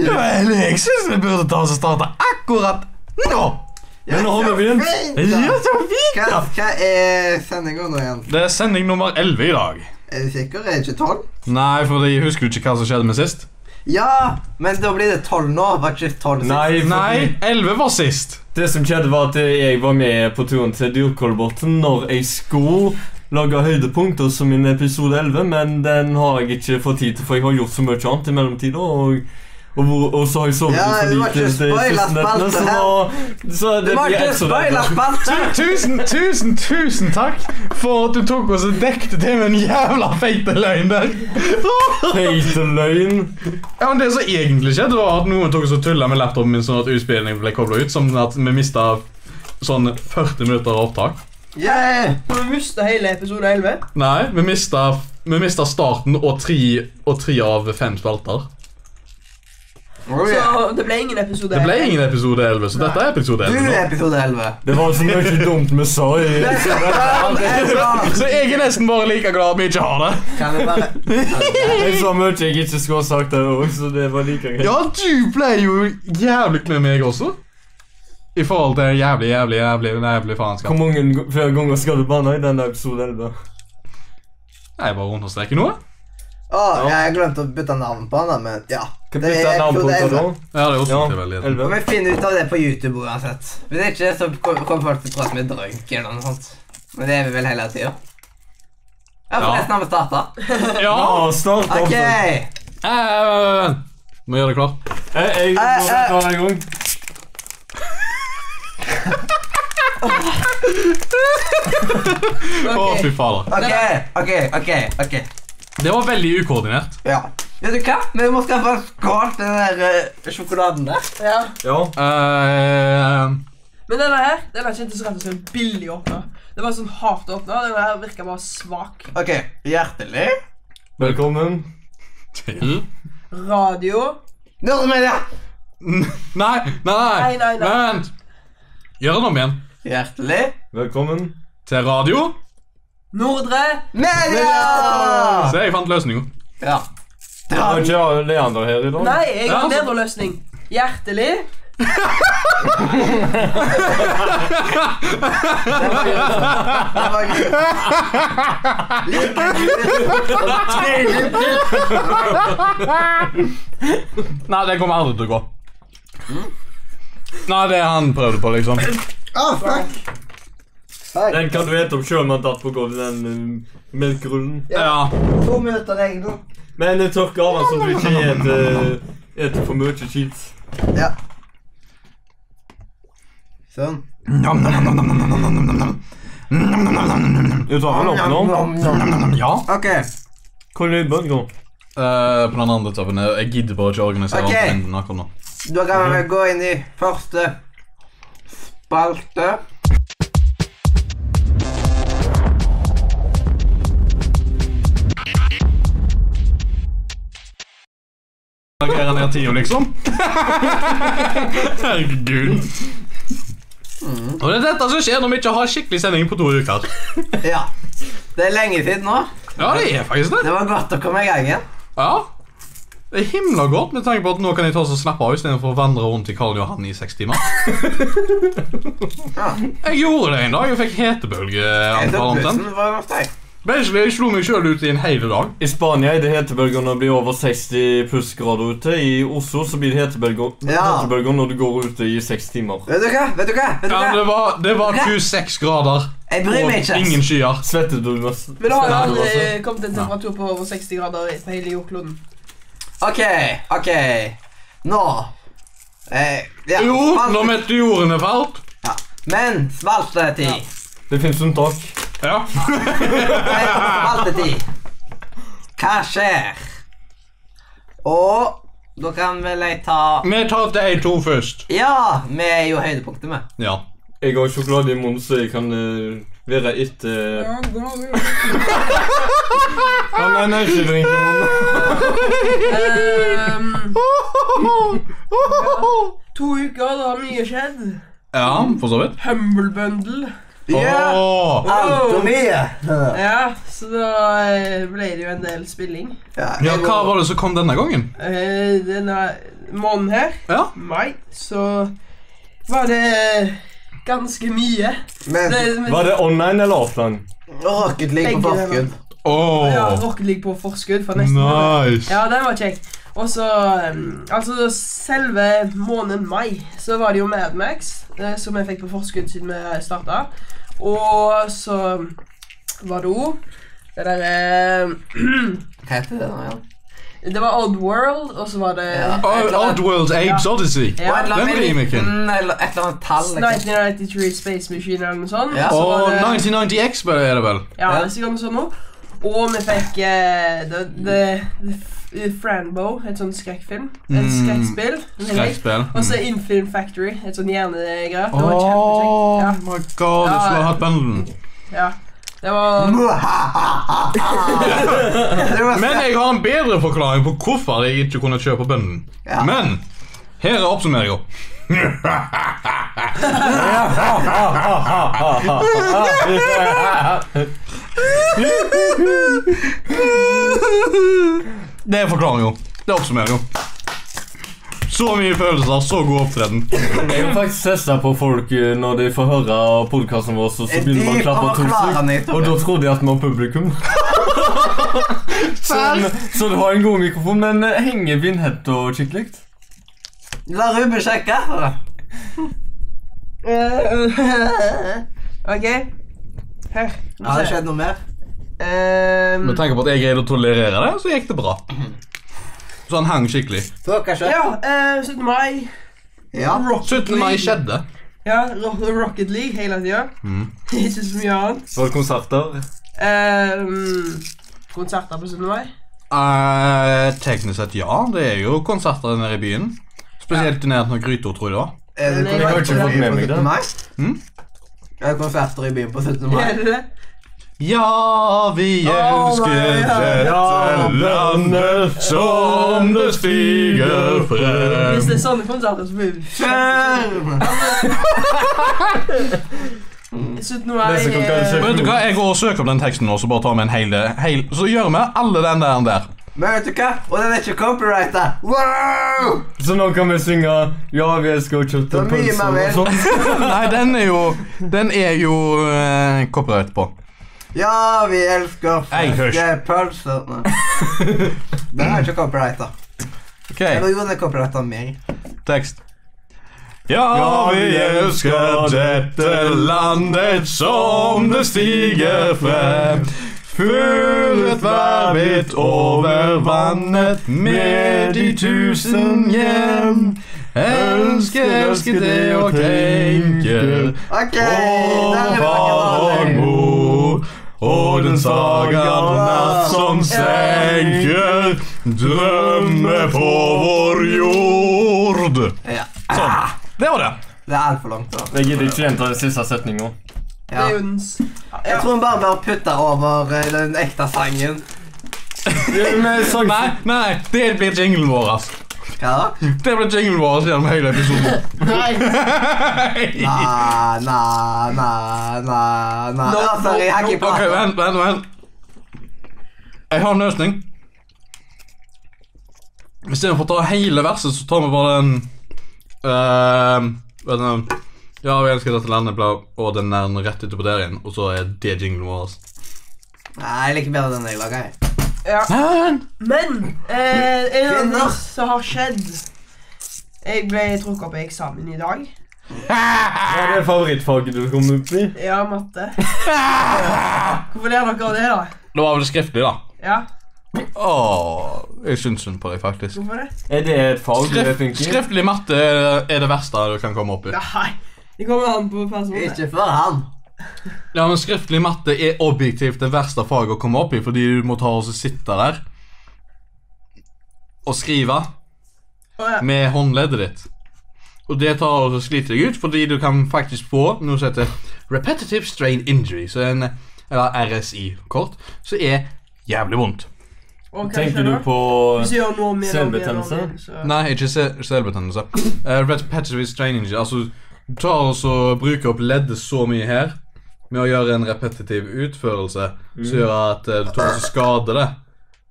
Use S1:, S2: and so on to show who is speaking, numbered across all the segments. S1: Ja, Alexis, wir würden das starten. Akkurat nå!
S2: Men nå har vi begynt.
S1: Ja, så fint,
S3: Hva,
S1: da!
S3: hva er sendinga nå igjen?
S1: Det er sending nummer 11 i dag.
S3: Er du sikker? Er det ikke tolv?
S1: Nei, for jeg husker du ikke hva som skjedde med sist?
S3: Ja, men da blir det tolv nå. Var ikke tolv sist?
S2: Nei,
S1: Nei,
S2: nei.
S1: 11 var sist.
S2: Det som skjedde, var at jeg var med på turen til Dyrkolbotn når jeg skulle lage høydepunkter som min episode 11, men den har jeg ikke fått tid til, for jeg har gjort så mye annet i mellomtida. Og, og, hvor- og så har jeg sovet
S3: Ja,
S2: for
S3: du må
S2: lite
S3: ikke
S2: de siste
S3: spoile
S2: nettene,
S3: spalten
S2: så
S3: her.
S2: nå- så
S3: Det
S2: det
S3: var
S2: blir
S3: ikke
S2: ett som dette.
S3: spoilerspalte!
S1: Tu- Tusen, tusen, tusen takk for at du tok oss og dekket til med en jævla feite løgn der.
S2: Feite løgn.
S1: Ja, men Det som egentlig skjedde, var at noen tok oss og tulla med laptopen min sånn at utspillingen ble kobla ut, sånn at vi mista sånn 40 minutter av opptak.
S3: Yeah!
S4: Har vi mista hele episode 11?
S1: Nei, vi mista, vi mista starten og tre, og tre av fem spalter.
S3: Oh, yeah.
S4: Så det ble ingen episode.
S1: Det ble ingen episode 11, så dette er episode
S3: Du
S1: 11
S3: er
S1: nå.
S3: episode elleve.
S2: Det var så mye dumt vi sa i
S1: Så jeg er nesten bare like glad at vi ikke har det.
S3: Kan vi bare
S2: Jeg sa mye jeg ikke skulle ha sagt der òg, så det var like greit.
S1: Ja, du ble jo jævlig med meg også. I forhold til jævlig, jævlig, jævlig jævlig faenskap.
S2: Hvor mange g- flere ganger skal du banne i denne episode 11?
S1: Jeg bare understreker noe.
S3: Å, jeg glemte å bytte navn på han, da, men ja.
S2: Hva bytter navnpunkter da?
S1: Ja, det er også
S2: Ja,
S1: ikke veldig.
S2: 11.
S3: Og vi finner ut av det på YouTube uansett. Hvis ikke, så kom- kommer folk til å prate med drønk eller noe sånt. Men det er vi vel hele tida. Ja, forresten har vi starta.
S1: Ja,
S2: Ja, snart
S3: OK.
S2: okay.
S1: eh, må gjøre det klart.
S3: Eh,
S2: Jeg, jeg, må
S3: eh.
S2: ta en gang.
S1: Å, fy fader.
S3: OK, OK, OK. ok.
S1: Det var veldig ukoordinert.
S3: Ja. Vet du hva? Vi må skaffe en skål til den der eh, sjokoladen der.
S4: Ja.
S2: Ja.
S1: Eh,
S4: Men denne her den her kjentes rett og slett billig åpna. Den var sånn hardt åpna, og den her virka bare svak.
S3: OK. Hjertelig.
S2: Velkommen.
S1: til
S4: Radio
S3: Nordmedia.
S1: Nei, nei, nei.
S4: Nei, nei, nei.
S1: Vent. Gjør det om igjen.
S3: Hjertelig.
S2: Velkommen.
S1: Til radio.
S4: Nordre
S3: Media!
S1: Se, jeg fant løsninga.
S3: Ja.
S2: Jeg har ikke Leander her i dag.
S4: Nei, jeg har
S1: Ja,
S4: en
S1: altså-
S4: bedre løsning. Hjertelig
S3: Det var gøy. Like gøy.
S1: Nei, det kommer aldri til å gå. Nei, det han prøvde på, liksom.
S3: Å, fuck. Fuck.
S2: Den kan du ete opp sjøl med datt på gulvet, den uh, melkerullen.
S1: Ja.
S3: To minutter regn nå.
S2: Men jeg tørker av den så du ikke eter eter for mye cheats.
S3: Ja. Sånn.
S2: Du tar den opp nå?
S1: Ja.
S3: OK.
S2: Hvor er bøndene?
S1: Eh, på den andre toppen. Jeg jeg gidder bare ikke å organisere
S3: Ok.
S1: okay. enden akkurat nå.
S3: Da kan vi vel gå inn i første spalte.
S1: Markere ned tida, liksom. Herregud. Og det er dette som skjer når vi ikke har skikkelig sending på to uker.
S3: Ja. Det er lenge siden nå.
S1: Ja, det er faktisk det.
S3: Det var godt å komme i gang igjen.
S1: Ja. Det er himla godt med tanke på at nå kan jeg ta oss og slappe av istedenfor å vandre rundt i Karl Johan i seks timer.
S3: Ja.
S1: Jeg gjorde det en dag. Jeg fikk hetebølge.
S3: Jeg
S1: antar
S3: tok
S1: omtrent.
S3: bussen fra Norstein.
S1: Basically, jeg slo meg sjøl ut i en hel dag.
S2: I Spania er det hetebølger når det blir over 60 plussgrader ute. I Oslo så blir det hetebølger,
S3: Ja.
S2: hetebølger når du går ute i seks timer.
S3: Vet du hva? Vet du hva? Vet du
S1: Ja, det
S3: hva?
S1: var, det var 26 grader
S3: Jeg bryr
S1: og
S3: meg ikke.
S1: ingen skyer.
S2: Svettet du mest?
S4: Men det har
S2: Svettet
S4: jo
S2: du
S4: aldri
S3: eh,
S2: masse?
S4: kommet en temperatur på over 60 grader i- på hele jordkloden.
S3: OK, OK. Nå eh, ja,
S1: Jo, når
S3: spalte-
S1: meteorene falt.
S3: ja. Men spaltetid.
S2: Det fins unntak.
S1: Ja.
S3: Men Spaltetid. Hva skjer? Og da kan vel jeg ta
S1: Vi tar de to først.
S3: Ja, vi er jo høydepunktet, vi.
S1: Ja.
S2: Jeg har sjokolade i munnen, så jeg kan eh, være etter uh, Han er energidrinken.
S4: Ehm, to uker, det har mye skjedd.
S1: Ja, for så vidt.
S4: Humble bundle.
S3: Ja!
S1: Åh.
S3: Alt og mye.
S4: Ja, så da eh, ble det jo en del spilling.
S1: Ja, hva var det som kom denne gangen?
S4: Eh, Den er måneden her,
S1: Ja.
S4: mai, så var det eh, ganske mye.
S5: Men
S4: Det, men,
S2: Var det online eller offline?
S5: Rocket League på
S4: Begge deler.
S5: forskudd.
S4: ja,
S1: Åh,
S4: Rocket League på forskudd for nesten
S1: nice.
S4: Ja, den var kjekk. Og så um, Altså, selve måneden mai, så var det jo Mad Max, eh, som jeg fikk på forskudd siden vi starta. Og så var det òg det derre
S5: Hva heter det nå igjen?
S4: Det var Odd World, og så var det
S5: Ja.
S1: Oh, Oddworld Apes Odyssey.
S4: Ja,
S5: Og et eller
S1: den
S5: annet med
S1: remaken.
S5: liten, eller et eller annet tall. Liksom.
S4: 1993 Space Machine eller noe sånt.
S5: Ja.
S4: Og så
S1: Og
S4: var det-
S1: 1990X bare er det vel?
S4: Ja,
S5: Ja.
S4: det er sikkert noe sånt nå. Og vi fikk eh, The, the, the, the Franbo, et sånn skrekkfilm. Et
S1: Mm.
S4: skrekkspill. veldig.
S1: Skrekkspill.
S4: Og så
S1: Mm.
S4: Infilm Factory, et sånn hjernegreier. Det var
S1: Åh,
S4: kjempekjekt.
S1: my god, du skulle ha hatt pendelen.
S4: Ja, ja. Det var
S5: Det var
S1: Men jeg har en bedre forklaring på hvorfor jeg ikke kunne kjøpe bønnen.
S5: Ja.
S1: Men her er oppsummeringa. Det er forklaringa. Det er oppsummeringa. Så mye følelser, så god opptreden.
S2: Jeg er faktisk stressa på folk eh, når de får høre podkasten vår, så, så
S5: En
S2: begynner man å
S5: dyp
S2: klappe
S5: og
S2: tromsøk.
S5: forklarende historie.
S2: Og da trodde jeg at man var publikum. så, så det var en god mikrofon, men eh, henger vindhetta skikkelig?
S5: La Ruben sjekke.
S4: OK. Her.
S5: Har det skjedd noe mer?
S1: Med
S4: Um,
S1: tanke på at jeg greide å tolerere det, så gikk det bra. Så han hang skikkelig.
S5: Så kanskje?
S4: ja, eh, 17. mai.
S5: Ja.
S4: Rocket
S1: 17. mai
S4: League.
S1: skjedde.
S4: Ja, Ro- Rocket League hele tida.
S1: Mm.
S4: Ikke så mye annet.
S2: Var det konserter?
S4: Um, konserter på 17. mai.
S1: Eh, teknisk sett, ja. Det er jo konserter nede i byen. Spesielt i nærheten av Gryto, tror jeg det var.
S5: Er Eh, det
S4: Men jeg har ikke
S5: konserter
S2: fått med meg
S5: på
S2: det.
S5: 17. mai?
S1: Mm?
S4: Hm?
S5: Er det konserter i byen på 17. mai?
S4: Er det det?
S1: Ja, vi
S4: Oh my
S1: elsker
S4: God.
S1: dette landet som det stiger
S2: Ehm.
S4: Hvis
S1: frem.
S4: det er sånn sånne konserter, så blir vi
S5: Skjerm!
S4: 17. mai
S2: Neste gang kan du
S4: eh,
S2: se-
S1: Vet du hva, Jeg går og søker opp den teksten nå, så bare tar vi en hel, hel Så gjør vi alle den der. der.
S5: Men vet du hva? Og den er ikke copyrighta! Wow!
S2: Så nå kan vi synge 'Ja, vi elsker å kjøpe
S5: Det var mye
S2: pølser'
S5: mer
S2: og sånn.
S1: Nei, den er jo Den er jo eh, copyright på.
S5: Ja, vi elsker
S1: Jeg hørs.
S5: ferske pølser. Nei. Den er ikke copyrighta.
S1: OK,
S5: Eller jo, den er copyrighta mer.
S1: tekst. Ja, vi elsker dette landet som det stiger frem. Fullet værbitt over vannet med de tusen hjem. Elsker, elsker det å tenke
S5: OK! Der er
S1: på
S5: mange
S1: vår
S5: dager.
S1: mor og den sagaen natt som senker drømmer på vår jord.
S5: Ja.
S1: Sånn. Det var det.
S5: Det er altfor langt. da.
S2: Jeg gidder ikke gjenta den siste setninga.
S4: Det
S5: Ja.
S4: er jo den s-
S5: Jeg
S4: Ja.
S5: tror hun bare bør putte over eh, den ekte sangen.
S1: Nei, nei, det blir jinglen vår, ass.
S5: Hva da?
S1: Det blir jinglen vår gjennom hele episoden.
S4: Nei.
S5: Na,
S1: Nei.
S5: na, na, na, na.
S4: Nå-
S5: Ah, Sorry, jeg har ikke
S1: Ok,
S5: pratet.
S1: vent, vent, vent. Jeg har en løsning. Istedenfor å ta hele verset, så tar vi bare den eh, hva er det nå? Ja, vi elsker dette landet, bla, og den er den rett etterpå der igjen. Og så er det jinglen vår.
S5: Nei, jeg liker bedre den jeg lager. jeg.
S4: Ja. Men eh, en annen
S5: Kvinner.
S4: ting som har skjedd Jeg ble trukket opp i eksamen i dag.
S2: Hva er det favorittfaget du kom opp i?
S4: Ja, matte. Hvorfor ler dere av det, da?
S1: Det var vel skriftlig, da.
S4: Ja,
S1: Åh, jeg syns synd på deg, faktisk.
S4: hvorfor det?
S2: Er det et fag du er
S1: Skrift,
S2: flink i?
S1: skriftlig matte er- er det verste du kan komme opp i.
S4: Nei. Det kommer an på personen.
S5: Ikke for han.
S1: Ja, men Skriftlig matte er objektivt det verste faget å komme opp i, fordi du må ta og så sitte der og skrive.
S4: Å, ja.
S1: med håndleddet ditt. Og det tar og sliter deg ut, fordi du kan faktisk få noe som heter repetitive strain injury, så en, eller RSI-kort, som er jævlig vondt.
S4: Og hva
S2: Tenker
S4: skjer
S2: du
S4: da?
S2: på
S4: Hvis du gjør noe med
S2: Selvbetennelse?
S1: Nei, ikke se- selvbetennelse. Eh, repetitive strain injury, altså du tar og så bruker opp leddet så mye her med å gjøre en repetitiv utførelse, som gjør at eh, du tar og så skader det,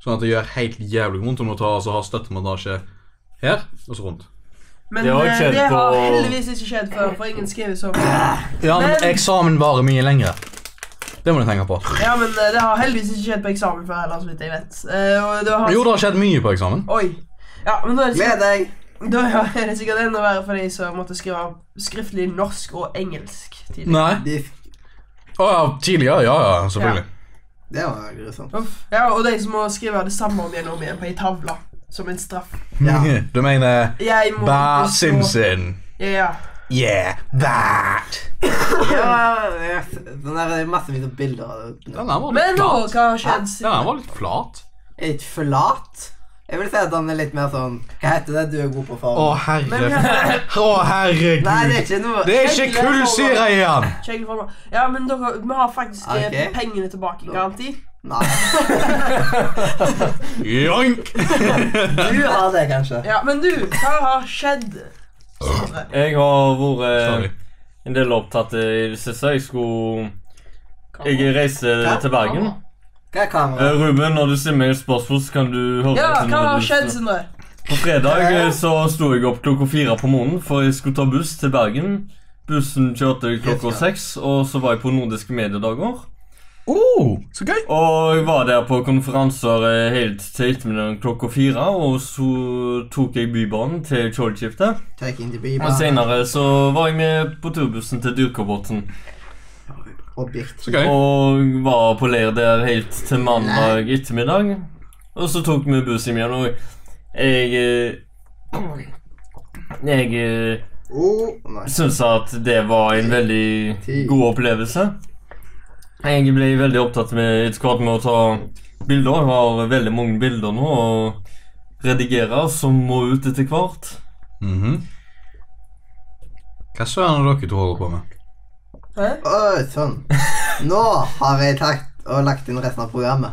S1: sånn at det gjør helt jævlig vondt, og du må ta og så ha støttemassasje her, og så rundt.
S4: Men
S2: Det har
S4: eh,
S2: skjedd
S4: det har
S2: på-
S4: heldigvis ikke skjedd før, for ingen skriver så
S1: Ja, men
S4: Men-
S1: eksamen varer mye lenger. Det må du tenke på.
S4: Ja, men eh, det har heldigvis ikke skjedd på eksamen før heller, så vidt jeg vet. Eh, og det har...
S1: Jo, det har skjedd mye på eksamen.
S4: Oi. Ja, men da er det sikkert,
S5: Gled deg.
S4: da er det sikkert enda verre for de som måtte skrive skriftlig norsk og engelsk tidlig.
S1: Nei.
S5: Biff.
S1: Å ja, tidligere. Ja, ja, selvfølgelig.
S5: Det var grusomt.
S4: Uff. Ja, og de som må skrive det samme om igjen og om igjen på ei tavle. Som en straff.
S5: Ja.
S1: Du mener
S4: Jeg må
S1: Bæ
S4: ikke stå-
S1: Simpson.
S4: Ja.
S1: Yeah, that.
S5: Ja, ja. Den der er massevis av bilder av det.
S1: Den her var
S4: Men
S1: litt
S4: nå,
S1: flat.
S4: hva har skjedd
S1: Den her
S4: siden?
S1: var litt flat.
S5: Er det ikke flat? Jeg vil si at han er litt mer sånn Hva heter det? Du er god på form.
S1: Å,
S4: Men vi
S1: herre...
S4: har-
S1: Å, herregud.
S5: Nei, det er ikke noe
S1: Det er ikke kullsyre i den!
S4: Kjegler for meg. Ja, men dere, vi har faktisk eh,
S5: Ok.
S4: pengene tilbake i garanti.
S5: Nei.
S1: Jank!
S5: Du har det, kanskje.
S4: Ja, men du, hva har skjedd? Sindre?
S2: Jeg har vært eh,
S1: Sorry.
S2: en del opptatt eh, i det siste. Jeg skulle Jeg reiste til Bergen.
S5: Hva er
S2: Eh,
S5: kameraet?
S2: Ruben, når du stiller meg et spørsmål, så kan du høre
S4: Ja,
S2: etter
S4: hva
S2: når
S4: har
S2: du
S4: skjedd,
S2: står-
S4: Sindre?
S2: På fredag eh, så sto jeg opp klokka fire på morgenen, for jeg skulle ta buss til Bergen. Bussen kjørte klokka
S5: Helt klart.
S2: seks, og så var jeg på Nordiske mediedager.
S1: Oh, så gøy!
S2: Og jeg var der på konferanser eh, helt til ettermiddagen klokka fire, og så tok jeg Bybanen til Tjoldskiftet.
S5: Take in the
S2: Og
S5: Bieber.
S2: senere så var jeg med på turbussen til Dyrkabotn.
S5: Objekt.
S1: Så gøy.
S2: Og var på leir der helt til mandag ettermiddag. Og så tok vi bussen hjem igjen, og jeg eh, Jeg eh,
S5: Oh, nei.
S2: syns at det var en veldig god opplevelse. Jeg ble veldig opptatt med etter hvert med å ta bilder. Jeg har veldig mange bilder nå å redigere, som må ut etter hvert.
S1: Mhm. Hva søren er det dere to holder på med?
S4: Hæ?
S5: Oi, sånn. Nå har jeg takt og lagt inn resten av programmet.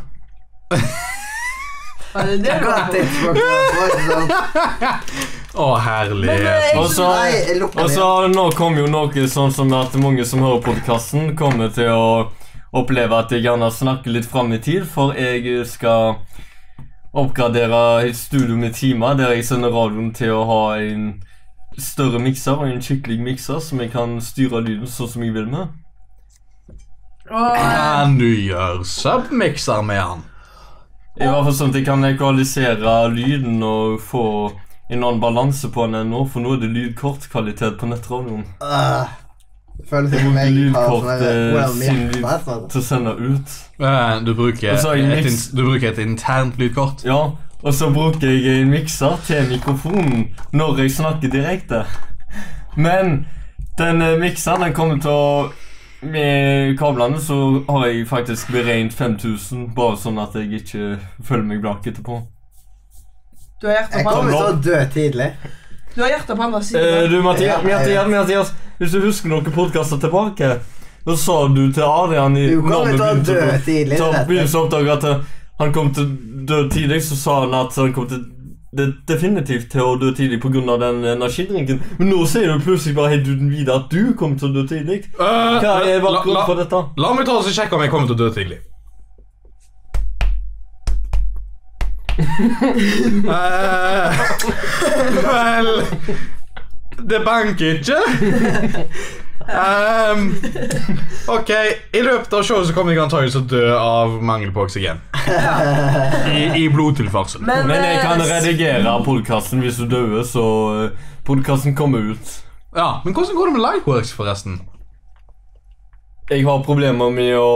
S4: Ja, det er det
S5: Jeg
S4: du
S5: kan
S4: har
S5: ha
S4: på.
S5: tidspunkt for det, sånn.
S1: Å, herlig.
S4: Men, eh,
S2: Og så
S5: Nei, jeg
S2: Og
S5: lukker
S2: så
S5: det.
S2: nå kom jo noe sånn som at mange som hører podkasten, kommer til å oppleve at jeg gjerne snakker litt fram i tid, for jeg skal oppgradere et studio med timer der jeg sender radioen til å ha en større mikser og en skikkelig mikser som jeg kan styre lyden sånn som jeg vil med.
S4: Og, eh,
S1: Kan du gjøre submixer med han?
S2: I hvert fall sånn at jeg kan equalisere lyden og få en annen balanse på den enn nå, for nå er det lydkortkvalitet på nettradioen
S5: Øh. Det føles som om jeg har sånn
S2: Lydkort, eh,
S5: der Well,
S2: sin lyd-
S5: hjerte, sånn.
S2: til å sende ut.
S1: Eh, Du bruker,
S2: Og så har jeg
S1: et,
S2: mix-
S1: in- du bruker et internt lydkort.
S2: Ja, og så bruker jeg en mikser til mikrofonen når jeg snakker direkte. Men den eh, mikseren den kommer til å Med kablene så har jeg faktisk beregnet 5000, bare sånn at jeg ikke føler meg blakk etterpå.
S4: Du har hjertet
S5: Jeg
S4: på
S5: kommer
S4: andre,
S5: til å dø tidlig.
S4: du har hjertet på andre
S2: Eh,
S4: siden.
S2: du, Mathias,
S5: Ja,
S2: Mathias, Mathias, hvis du husker noen podkaster tilbake, da sa du til Adrian i,
S5: Du
S2: når
S5: kommer
S2: vi
S5: til å
S2: begynte
S5: dø
S2: på-
S5: tidlig.
S2: Så
S5: vet du.
S2: begynte å oppdage at eh, han kom til å dø tidlig, så sa han at han kom til det, definitivt til å dø tidlig pga. den energidrinken. Men nå sier du plutselig bare helt uten videre at du kom til å dø tidlig.
S1: Eh,
S2: Hva er
S1: la,
S2: bakgrunnen
S1: la,
S2: for dette?
S1: la meg ta oss og sjekke om jeg kommer til å dø tidlig. Eh, Vel Det banker ikke. Ehm, ok, i løpet av showet så kommer jeg antakeligvis til å dø av mangel på oksygen. I, i blodtilførsel.
S2: Men jeg kan
S4: eh,
S2: redigere podkasten hvis du dør, så podkasten kommer ut.
S1: Ja, Men hvordan går det med Lightworks, forresten?
S2: Jeg har problemer med å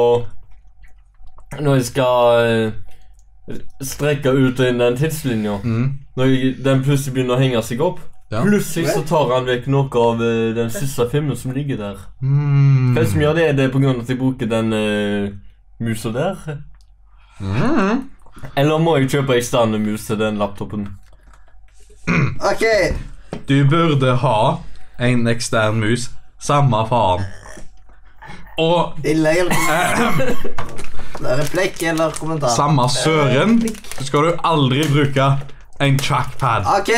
S2: Når jeg skal eh, strekke ut og inn den tidslinja
S1: Mm.
S2: Når jeg, den plutselig begynner å henge seg opp.
S1: Ja.
S2: Plutselig så tar han vekk noe av eh, den siste filmen som ligger der.
S1: Mm.
S2: Hva er det som gjør det? Er det pga. at jeg bruker den eh, musa der?
S1: Mm.
S2: Eller må jeg kjøpe eksterne mus til den laptopen?
S5: Ok,
S1: Du burde ha en ekstern mus. Samme faen. Og
S5: innlegg eller
S1: eh,
S5: replikk eller kommentar.
S1: samme søren så skal du aldri bruke en trackpad.
S5: Ok,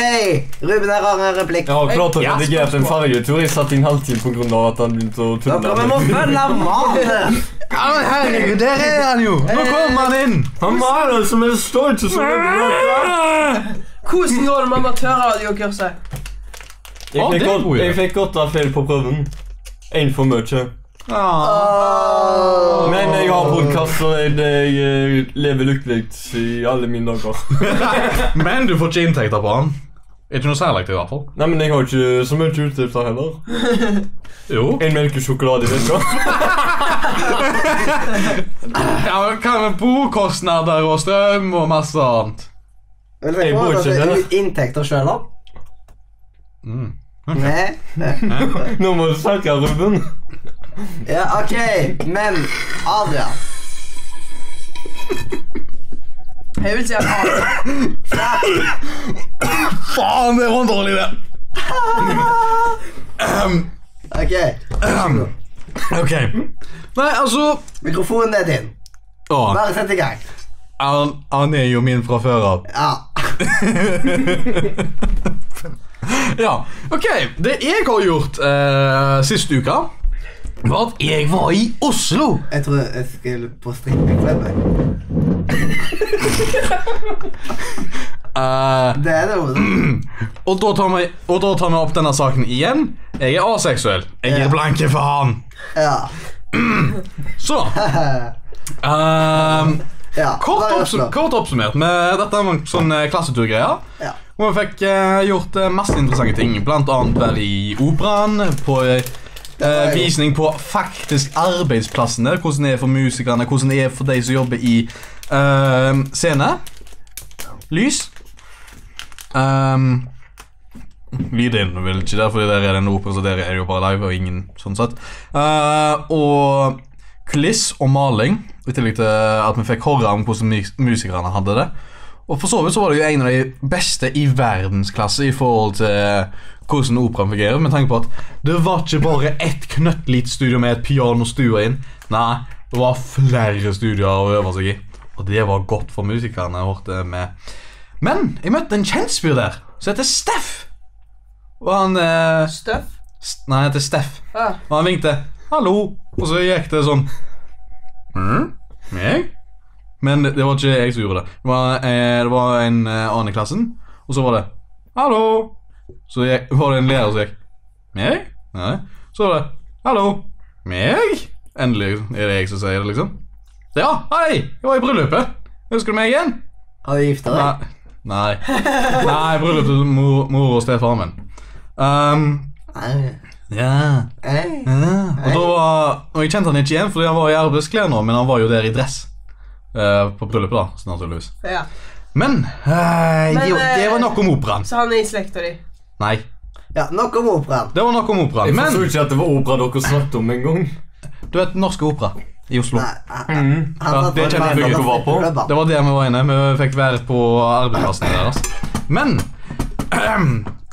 S5: Ruben her har en replikk.
S2: Jeg har klart å
S1: Ja,
S2: redigere en fargetur. Jeg satt i en halvtime pga. at han begynte å
S5: Dere vi
S2: tulle.
S5: må følge mannen.
S1: Ja, men herregud, der er han jo! Nå kommer han inn!
S2: Han maler som en står ikke som en
S4: Hvordan går det med amatørradiokurset?
S1: Ja, det
S2: Jeg fikk,
S1: er
S2: åt-
S1: god idé.
S2: jeg fikk åtte feil på prøven. Én for mye.
S1: Ah.
S2: Men jeg har podkast, og jeg, eh, jeg lever lykkelig i alle mine dager.
S1: Men du får ikke inntekter på den. Ikke noe særlig til, i hvert fall.
S2: Nei, men jeg har ikke så mye utgifter heller.
S1: Jo.
S2: En melkesjokolade i veka.
S1: Ja, men Hva med bokostnader og strøm og masse annet?
S5: Men
S2: Jeg
S5: tenk på
S2: bor
S5: at
S2: ikke
S5: det
S2: der.
S5: er inntekter sjøl, da.
S1: Mm.
S5: Nei.
S2: Nå må du snakke, Ruben.
S5: Ja, OK. Men Adrian
S4: Jeg vil si at Adrian,
S1: Faen, det var en dårlig idé! Ahem,
S5: OK.
S1: ahem. ok. Nei, altså
S5: Mikrofonen er din.
S1: Å,
S5: Bare sett i gang.
S1: han, han er jo min fra før av.
S5: Ja.
S1: Ja, ok. Det jeg har gjort eh, siste uka, var at jeg var i Oslo.
S5: Jeg tror jeg skulle på strippeklubb. jeg.
S1: Eh,
S5: Det er det hodet.
S1: og, da tar vi, og da tar vi opp denne saken igjen. Jeg er aseksuell. Jeg
S5: Ja.
S1: gir blanke faen.
S5: Ja.
S1: Så eh,
S5: ja.
S1: kort,
S5: bare
S1: oppsum
S5: Oslo.
S1: kort oppsummert med dette er en sånn eh, klasseturgreier.
S5: Ja.
S1: Og vi fikk eh, gjort eh, masse interessante ting, blant annet vel i operaen, på eh,
S5: var jo-
S1: eh, visning på faktisk arbeidsplassene, hvordan det er for musikerne, hvordan det er for de som jobber i eh, scene. Lys. Um, lyd er det vel ikke der, fordi der er det en opera, så der er det jo bare live, og ingen sånn sett. Eh, og kuliss og maling, i tillegg til at vi fikk høre om hvordan mus- musikerne hadde det. Og for så vidt så var det jo en av de beste i verdensklasse i forhold til hvordan operaen fungerer, med tanke på at det var ikke bare ett knøttlite studio med et pianostue inn. Nei, det var flere studioer å øve seg i. Og det var godt for musikerne, hørte jeg med. Men jeg møtte en kjentspyr der, som heter Steff. Og han eh,
S4: Støff.
S1: St- Nei, han heter Steff.
S4: Ja.
S1: Og han vinkte 'hallo', og så gikk det sånn «Hm? Jeg? Men det det var ikke jeg som gjorde det. Det var, eh, det var en eh, annen i klassen, og så var det 'hallo'. Så gikk, var det en lærer som gikk 'meg'? Nei. Så var det 'hallo'. Meg? Endelig er det jeg som sier det, liksom. Ja, hei! Jeg var i bryllupet. Husker du meg igjen?
S5: Har du gifta deg?
S1: Nei. Nei, Nei bryllupet til mor, mor og stefaren min. Um,
S5: Nei.
S1: ja
S5: Nei.
S1: og da var Og jeg kjente han ikke igjen, fordi han var i arbeidsklær nå, men han var jo der i dress. Eh, på bryllupet, da. så naturligvis
S4: ja.
S1: Men, eh,
S4: Men,
S1: jo, det var
S4: eh,
S1: nok om operaen.
S4: Så han er i slekta di.
S1: Nei,
S5: Ja, nok om operaen.
S1: det var nok om operaen.
S2: Jeg forsto
S1: Men
S2: ikke at det var opera dere snakket om engang.
S1: du vet Norsk Opera i Oslo.
S5: Nei, han-
S2: Mm.
S5: han
S1: Ja,
S5: satt
S1: det
S5: på
S1: kjenner jeg
S5: en
S1: ikke Mm.
S2: hva på.
S5: strippeklubb, han.
S1: Det var der vi var inne. Vi fikk være på arbeidsplassen deres. Men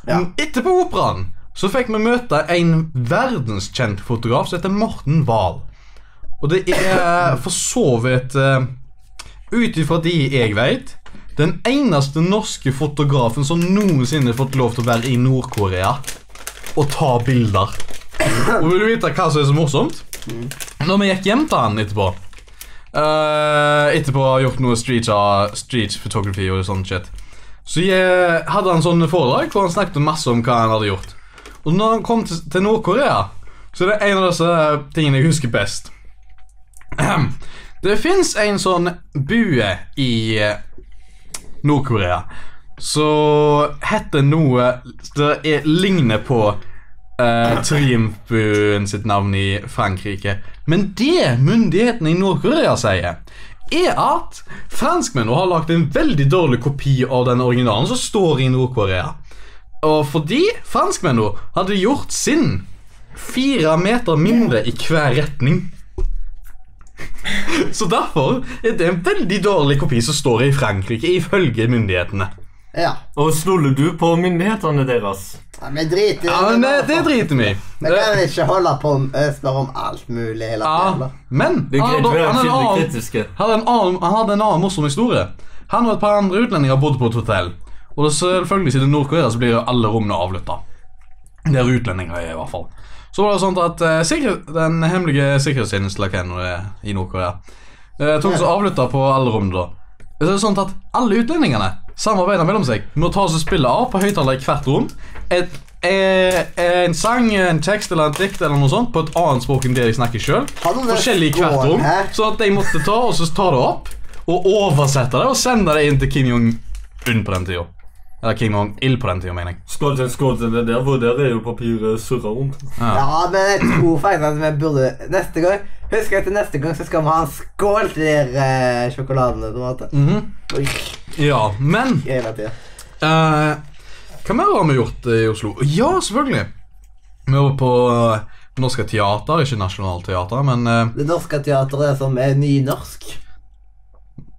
S5: Ja.
S1: etterpå operaen så fikk vi møte en verdenskjent fotograf som heter Morten Wahl. Og det er eh, for så vidt eh, Ut ifra de jeg vet den eneste norske fotografen som noensinne fått lov til å være i Nord-Korea og ta bilder. Og vil du vite hva som er så morsomt? Når vi gikk hjem til han etterpå eh, Etterpå har gjort noe street, street photography og sånn shit Så jeg hadde han sånne foredrag Hvor han snakket masse om hva han hadde gjort Og når han kom til, til Nord-Korea Så er det en av disse tingene jeg husker best Ahem. Det finnes en sånn bue i eh, Nord-Korea Så heter noe Det er, ligner på uh, Triumfbuen sitt navn i Frankrike. Men det myndighetene i Nord-Korea sier, er at franskmennene har lagd en veldig dårlig kopi av den originalen som står i Nord-Korea. Og fordi franskmennene hadde gjort sin fire meter mindre i hver retning. Så derfor er det en veldig dårlig kopi som står i Frankrike, ifølge myndighetene.
S5: Ja.
S2: Og stoler du på myndighetene deres?
S5: Nei, men drit i
S1: Ja, men det, det driter vi i.
S5: Vi kan ikke holde på å spørre om alt mulig hele tiden.
S1: Ja,
S5: da.
S1: Ah, men
S2: Det er
S1: han,
S2: greit å
S1: hadde-
S2: være
S1: han, hadde en
S2: skikkelig
S1: annen,
S2: kritiske.
S1: hadde en annen, han hadde en annen morsom historie. Han og et par andre utlendinger bodde på et hotell. Og selvfølgelig siden Nord-Korea så blir jo alle rommene avlytta. Der utlendinger er, i hvert fall. Så var det sånn at eh, sikkerhet, den hemmelige sikkerhetstjenesten eller hva nå det er eh, i Nord-Korea eh, tok så avlytta på alle rommene da. Så er det sånn at alle utlendingene samarbeider mellom seg med å ta oss og spille av på høyttaler i hvert rom. Et, eh, en sang, en tekst eller et dikt eller noe sånt på et annet språk enn det de snakker sjøl.
S3: Hadde det
S1: Forskjellig i hvert rom.
S3: gående?
S1: Sånn at de måtte ta og så ta det opp og oversette det og sende det inn til Kim Jong-un på den tida. Eller Kim Jong-il på den tida, mener jeg.
S2: Skål til en skål til det der, for der er jo papiret surra rundt.
S3: Ja, men jeg tror faktisk at vi burde Neste gang Husk at til neste gang så skal vi ha en skål til de der, eh, sjokoladene. på en måte
S1: Mhm. Ja, men
S3: Hele tiden.
S1: Eh, hva mer har vi gjort eh, i Oslo? Ja, selvfølgelig. Vi var på eh, Norske Teater, ikke Nationaltheatret, men eh,
S3: Det norske teateret som er nynorsk.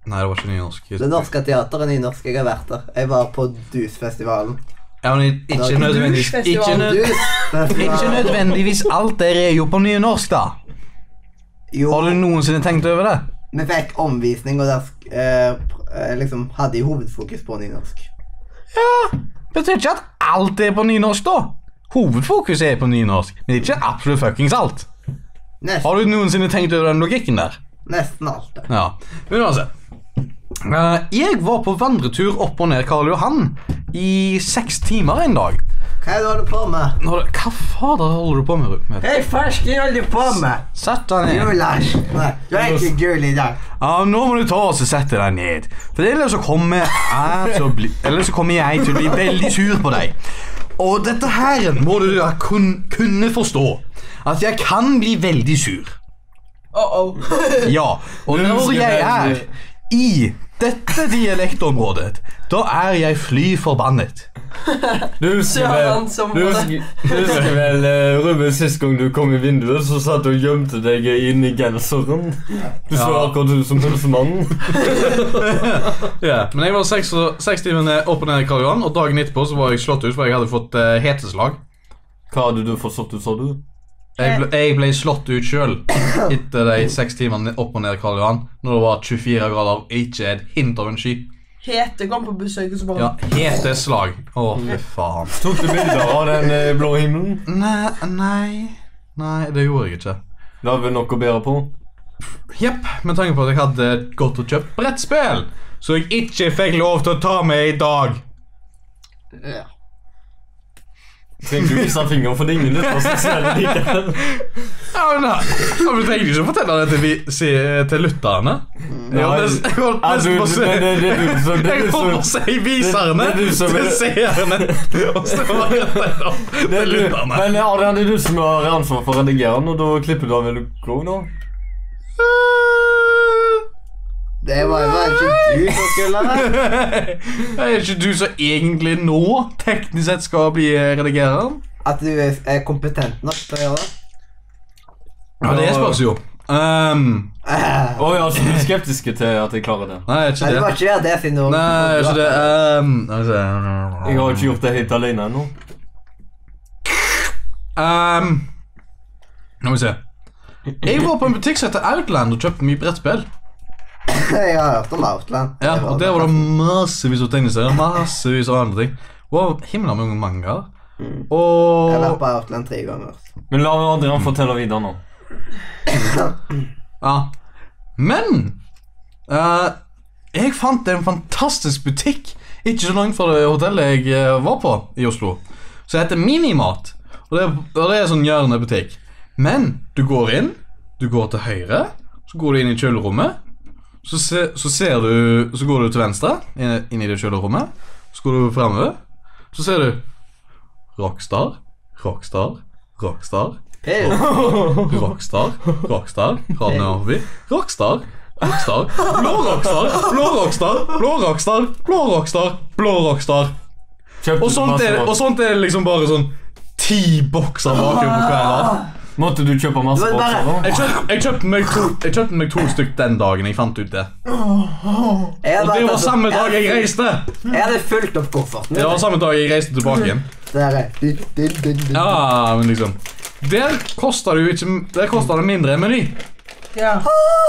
S1: Nei, det var ikke nynorsk.
S3: Det norske teateret er nynorsk. Jeg har vært der. Jeg var på DUS-festivalen.
S1: Ja, men i- ikke nødvendigvis ikke,
S4: Dusjfestivalen.
S1: nød, ikke
S3: DUS-festivalen.
S1: nødvendigvis alt der er jo på nynorsk, da.
S3: Jo,
S1: Har du noensinne tenkt over det?
S3: vi fikk omvisning, og der sk- eh, pr- eh, liksom hadde jeg hovedfokus på nynorsk.
S1: Betyr ikke at alt er på nynorsk, da. Hovedfokuset er på nynorsk, men ikke absolutt fuckings alt.
S3: Nest,
S1: Har du noensinne tenkt over den logikken der?
S3: nesten alt. det.
S1: Ja, men uansett. Eh, jeg var på vandretur opp og ned Karl Johan i seks timer en dag.
S3: Hva er det du holder på med?
S1: Når det, hva fader holder du på med? med?
S3: Hei, fars, hva holder du på med?
S1: Sett deg
S3: Jo,
S1: ned.
S3: Lars. Nei, du er ikke gul i dag.
S1: Ja, nå må du ta og så sette deg ned. For ellers så kommer jeg til å bli, ellers så kommer jeg til å bli veldig sur på deg. Og dette her må du da kun, kunne forstå. At jeg kan bli veldig sur.
S4: Uh-oh.
S1: Ja, og når jeg er i dette dialektområdet, da er jeg fly forbannet.
S2: Du husker
S4: Søren,
S2: vel,
S4: som
S2: du
S4: var
S2: husker, du husker vel eh, Ruben, sist gang du kom i vinduet, så satt du og gjemte deg inni genseren. Du så
S1: Ja.
S2: akkurat ut som pølsemannen.
S1: Ja, men jeg var seks, og- seks timer ned, opp og ned i Karl Johan, og dagen etterpå så var jeg slått ut, for jeg hadde fått eh, heteslag.
S2: Hva hadde du fått satt ut, sa du?
S1: Jeg ble, jeg ble slått ut sjøl etter de seks timene ned- opp og ned i Karl Johan, når det var 24 grader og ikke et hint av en sky.
S4: Hete kom på besøk, og så bare
S1: Ja, heteslag. Å, fy faen.
S2: Tok du bilder av den eh, blå himmelen?
S1: Nei, nei Nei, det gjorde jeg ikke.
S2: Det har vi nok å bære på.
S1: Jepp, med tanke på at jeg hadde gått og kjøpt brettspill, så jeg ikke fikk lov til å ta med i dag.
S3: Ja.
S2: Trenger du vise fingeren, for det er ingen lytter som ser det likevel.
S1: Ja, men da, ja, men trenger du ikke å fortelle det til, vi, si, til lytterne? Jeg holdt nesten- jeg holdt
S2: Ja, du-
S1: nesten på å si
S2: Altså, det- det- det- du- så- det-
S1: Jeg
S2: du-
S1: holdt på å
S2: så-
S1: si viserne
S2: det- det er du som
S1: til
S2: er-
S1: seerne. Og så var det der opp
S2: det-
S1: til
S2: du-
S1: lytterne.
S2: Men eh, Adrian, det er du som har ansvar for å redigere den, og da klipper du av vel Krog nå?
S3: Det var jo ikke du som skulle det.
S1: Det er ikke du som egentlig nå teknisk sett skal bli eh, redigerer?
S3: At du er er kompetent nok til å gjøre det.
S1: Ja, det spørs jo. Ehm,
S3: Eh,
S2: Oi, altså, du er skeptisk til at jeg klarer det?
S1: nei, ikke
S3: Nei, det
S1: det.
S3: var ikke det, det siden du
S1: Nei, ikke det. ehm, skal vi se.
S2: Jeg har ikke gjort det helt alene ennå.
S1: Ehm, Nå må vi se. Jeg var på en butikk som heter Outland og kjøpte mye brettspill.
S3: Jeg har hørt om Outland.
S1: Ja, og der var det massevis av tegneserier, massevis av andre ting. Og himla mange mangaer. Mm.
S3: Jeg har vært
S1: Og
S3: på Outland tre ganger.
S2: Men la Adrian fortelle videre nå.
S1: Ja. Men eh, jeg fant en fantastisk butikk ikke så langt fra det hotellet jeg eh, var på i Oslo. Som heter Minimat. Og det, og det er sånn hjørnebutikk. Men du går inn, du går til høyre, så går du inn i kjølerommet. Så, se, så ser du Så går du til venstre, inn, inn i det kjølerommet. Så går du framover, så ser du Rockstar, Rockstar, Rockstar.
S3: Pill.
S1: Rockstar, Rockstar, Radio Narvi, Rockstar, Rockstar, blå Rockstar, blå Rockstar, blå Rockstar, blå Rockstar, blå Rockstar.
S2: Kjøpte
S1: Og
S2: du
S1: sånt
S2: masse
S1: er, og
S2: mat?
S1: sånt er liksom bare sånn ti bokser bakover på hver rad.
S2: Måtte du kjøpe
S3: Det
S2: masse
S3: var bare-
S2: bokser? da?
S1: Jeg kjøpte jeg kjøpte meg, to- jeg kjøpte meg to stykk den dagen jeg fant ut det.
S3: Jeg hadde
S1: Og det
S3: vært-
S1: var samme dag jeg reiste.
S3: Jeg hadde fulgt opp kofferten.
S1: Det var samme dag jeg reiste tilbake igjen.
S3: Der er du, du, du, du.
S1: Ja, men liksom. Der kosta det jo ikke Der kosta det mindre enn Meny.
S4: Ja.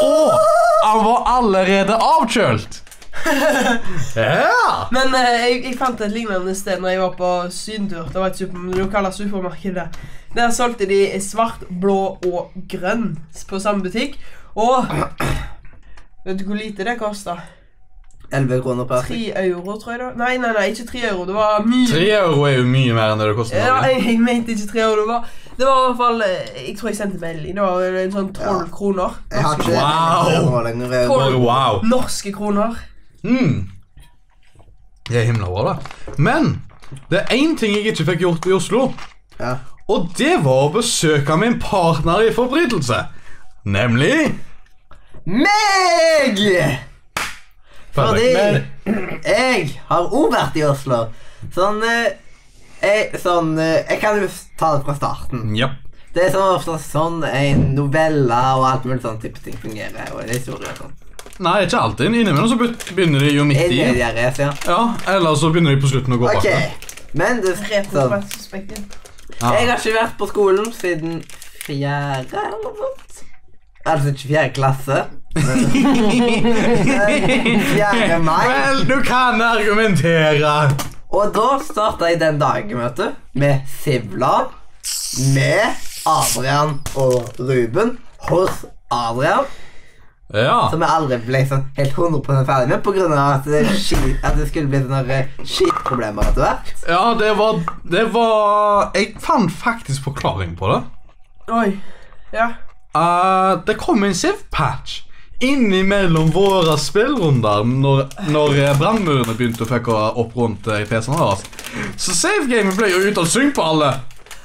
S1: Og han var allerede avkjølt. Ja!
S4: Men eh, jeg, jeg fant et lignende sted når jeg var på sydentur. Det var et super, det lokale supermarkedet. Der solgte de svart, blå og grønn på samme butikk. Og Vet du hvor lite det kosta?
S3: 11 kroner per stykk.
S4: Tre euro, tror jeg det var. Nei, nei, nei, ikke tre euro. Det var mye.
S1: Tre euro er jo mye mer enn det det koster. i
S4: Ja,
S1: Norge.
S4: jeg, jeg mente ikke tre euro. Det var, det var i hvert fall eh, Jeg tror jeg sendte melding. Det var en sånn tolv kroner.
S3: Jeg har ikke
S1: Wow.
S3: det nå lenger. eh, jeg-
S4: Tolv
S1: Bare wow.
S4: norske kroner.
S1: Mm. Det er himla bra, da. Men det er én ting jeg ikke fikk gjort i Oslo.
S3: Ja.
S1: Og det var å besøke min partner i forbrytelse. Nemlig
S3: Meg! Fordi
S1: Fredrik. Men
S3: jeg har òg vært i Oslo. Sånn eh, jeg, sånn eh, jeg kan jo ta det fra starten.
S1: Ja.
S3: Det er sånn ofte sånn en novelle og alt mulig sånn type ting fungerer. Og en historie og sånn.
S1: Nei, ikke alltid. Innimellom så begynner de jo midt
S3: En
S1: i.
S3: mediereis, ja.
S1: Ja, Eller så begynner de på slutten å gå
S3: Ok,
S1: bakover.
S3: men det
S4: Rett og
S3: sånn.
S4: slett suspekten.
S3: Jeg
S1: Ja.
S3: har ikke vært på skolen siden fjerde eller noe sånt. Altså ikke fjerde klasse. men- Fjerde mai.
S1: Vel, du kan argumentere.
S3: Og da starta jeg den dagen, vet du, med Sivla, med Adrian og Ruben hos Adrian.
S1: Ja.
S3: Som jeg aldri ble sånn helt 100 ferdig med pga. At, det ski- at det skulle bli sånne skitproblemer etter hvert.
S1: ja, det var Det var Jeg fant faktisk forklaring på det.
S4: Oi. Ja.
S1: Eh, det kom en Siv-patch innimellom våre spillrunder når, når eh, brannmurene begynte å fucke opp rundt eh, PC-ene deres. Så savegamet ble jo ute av synk på alle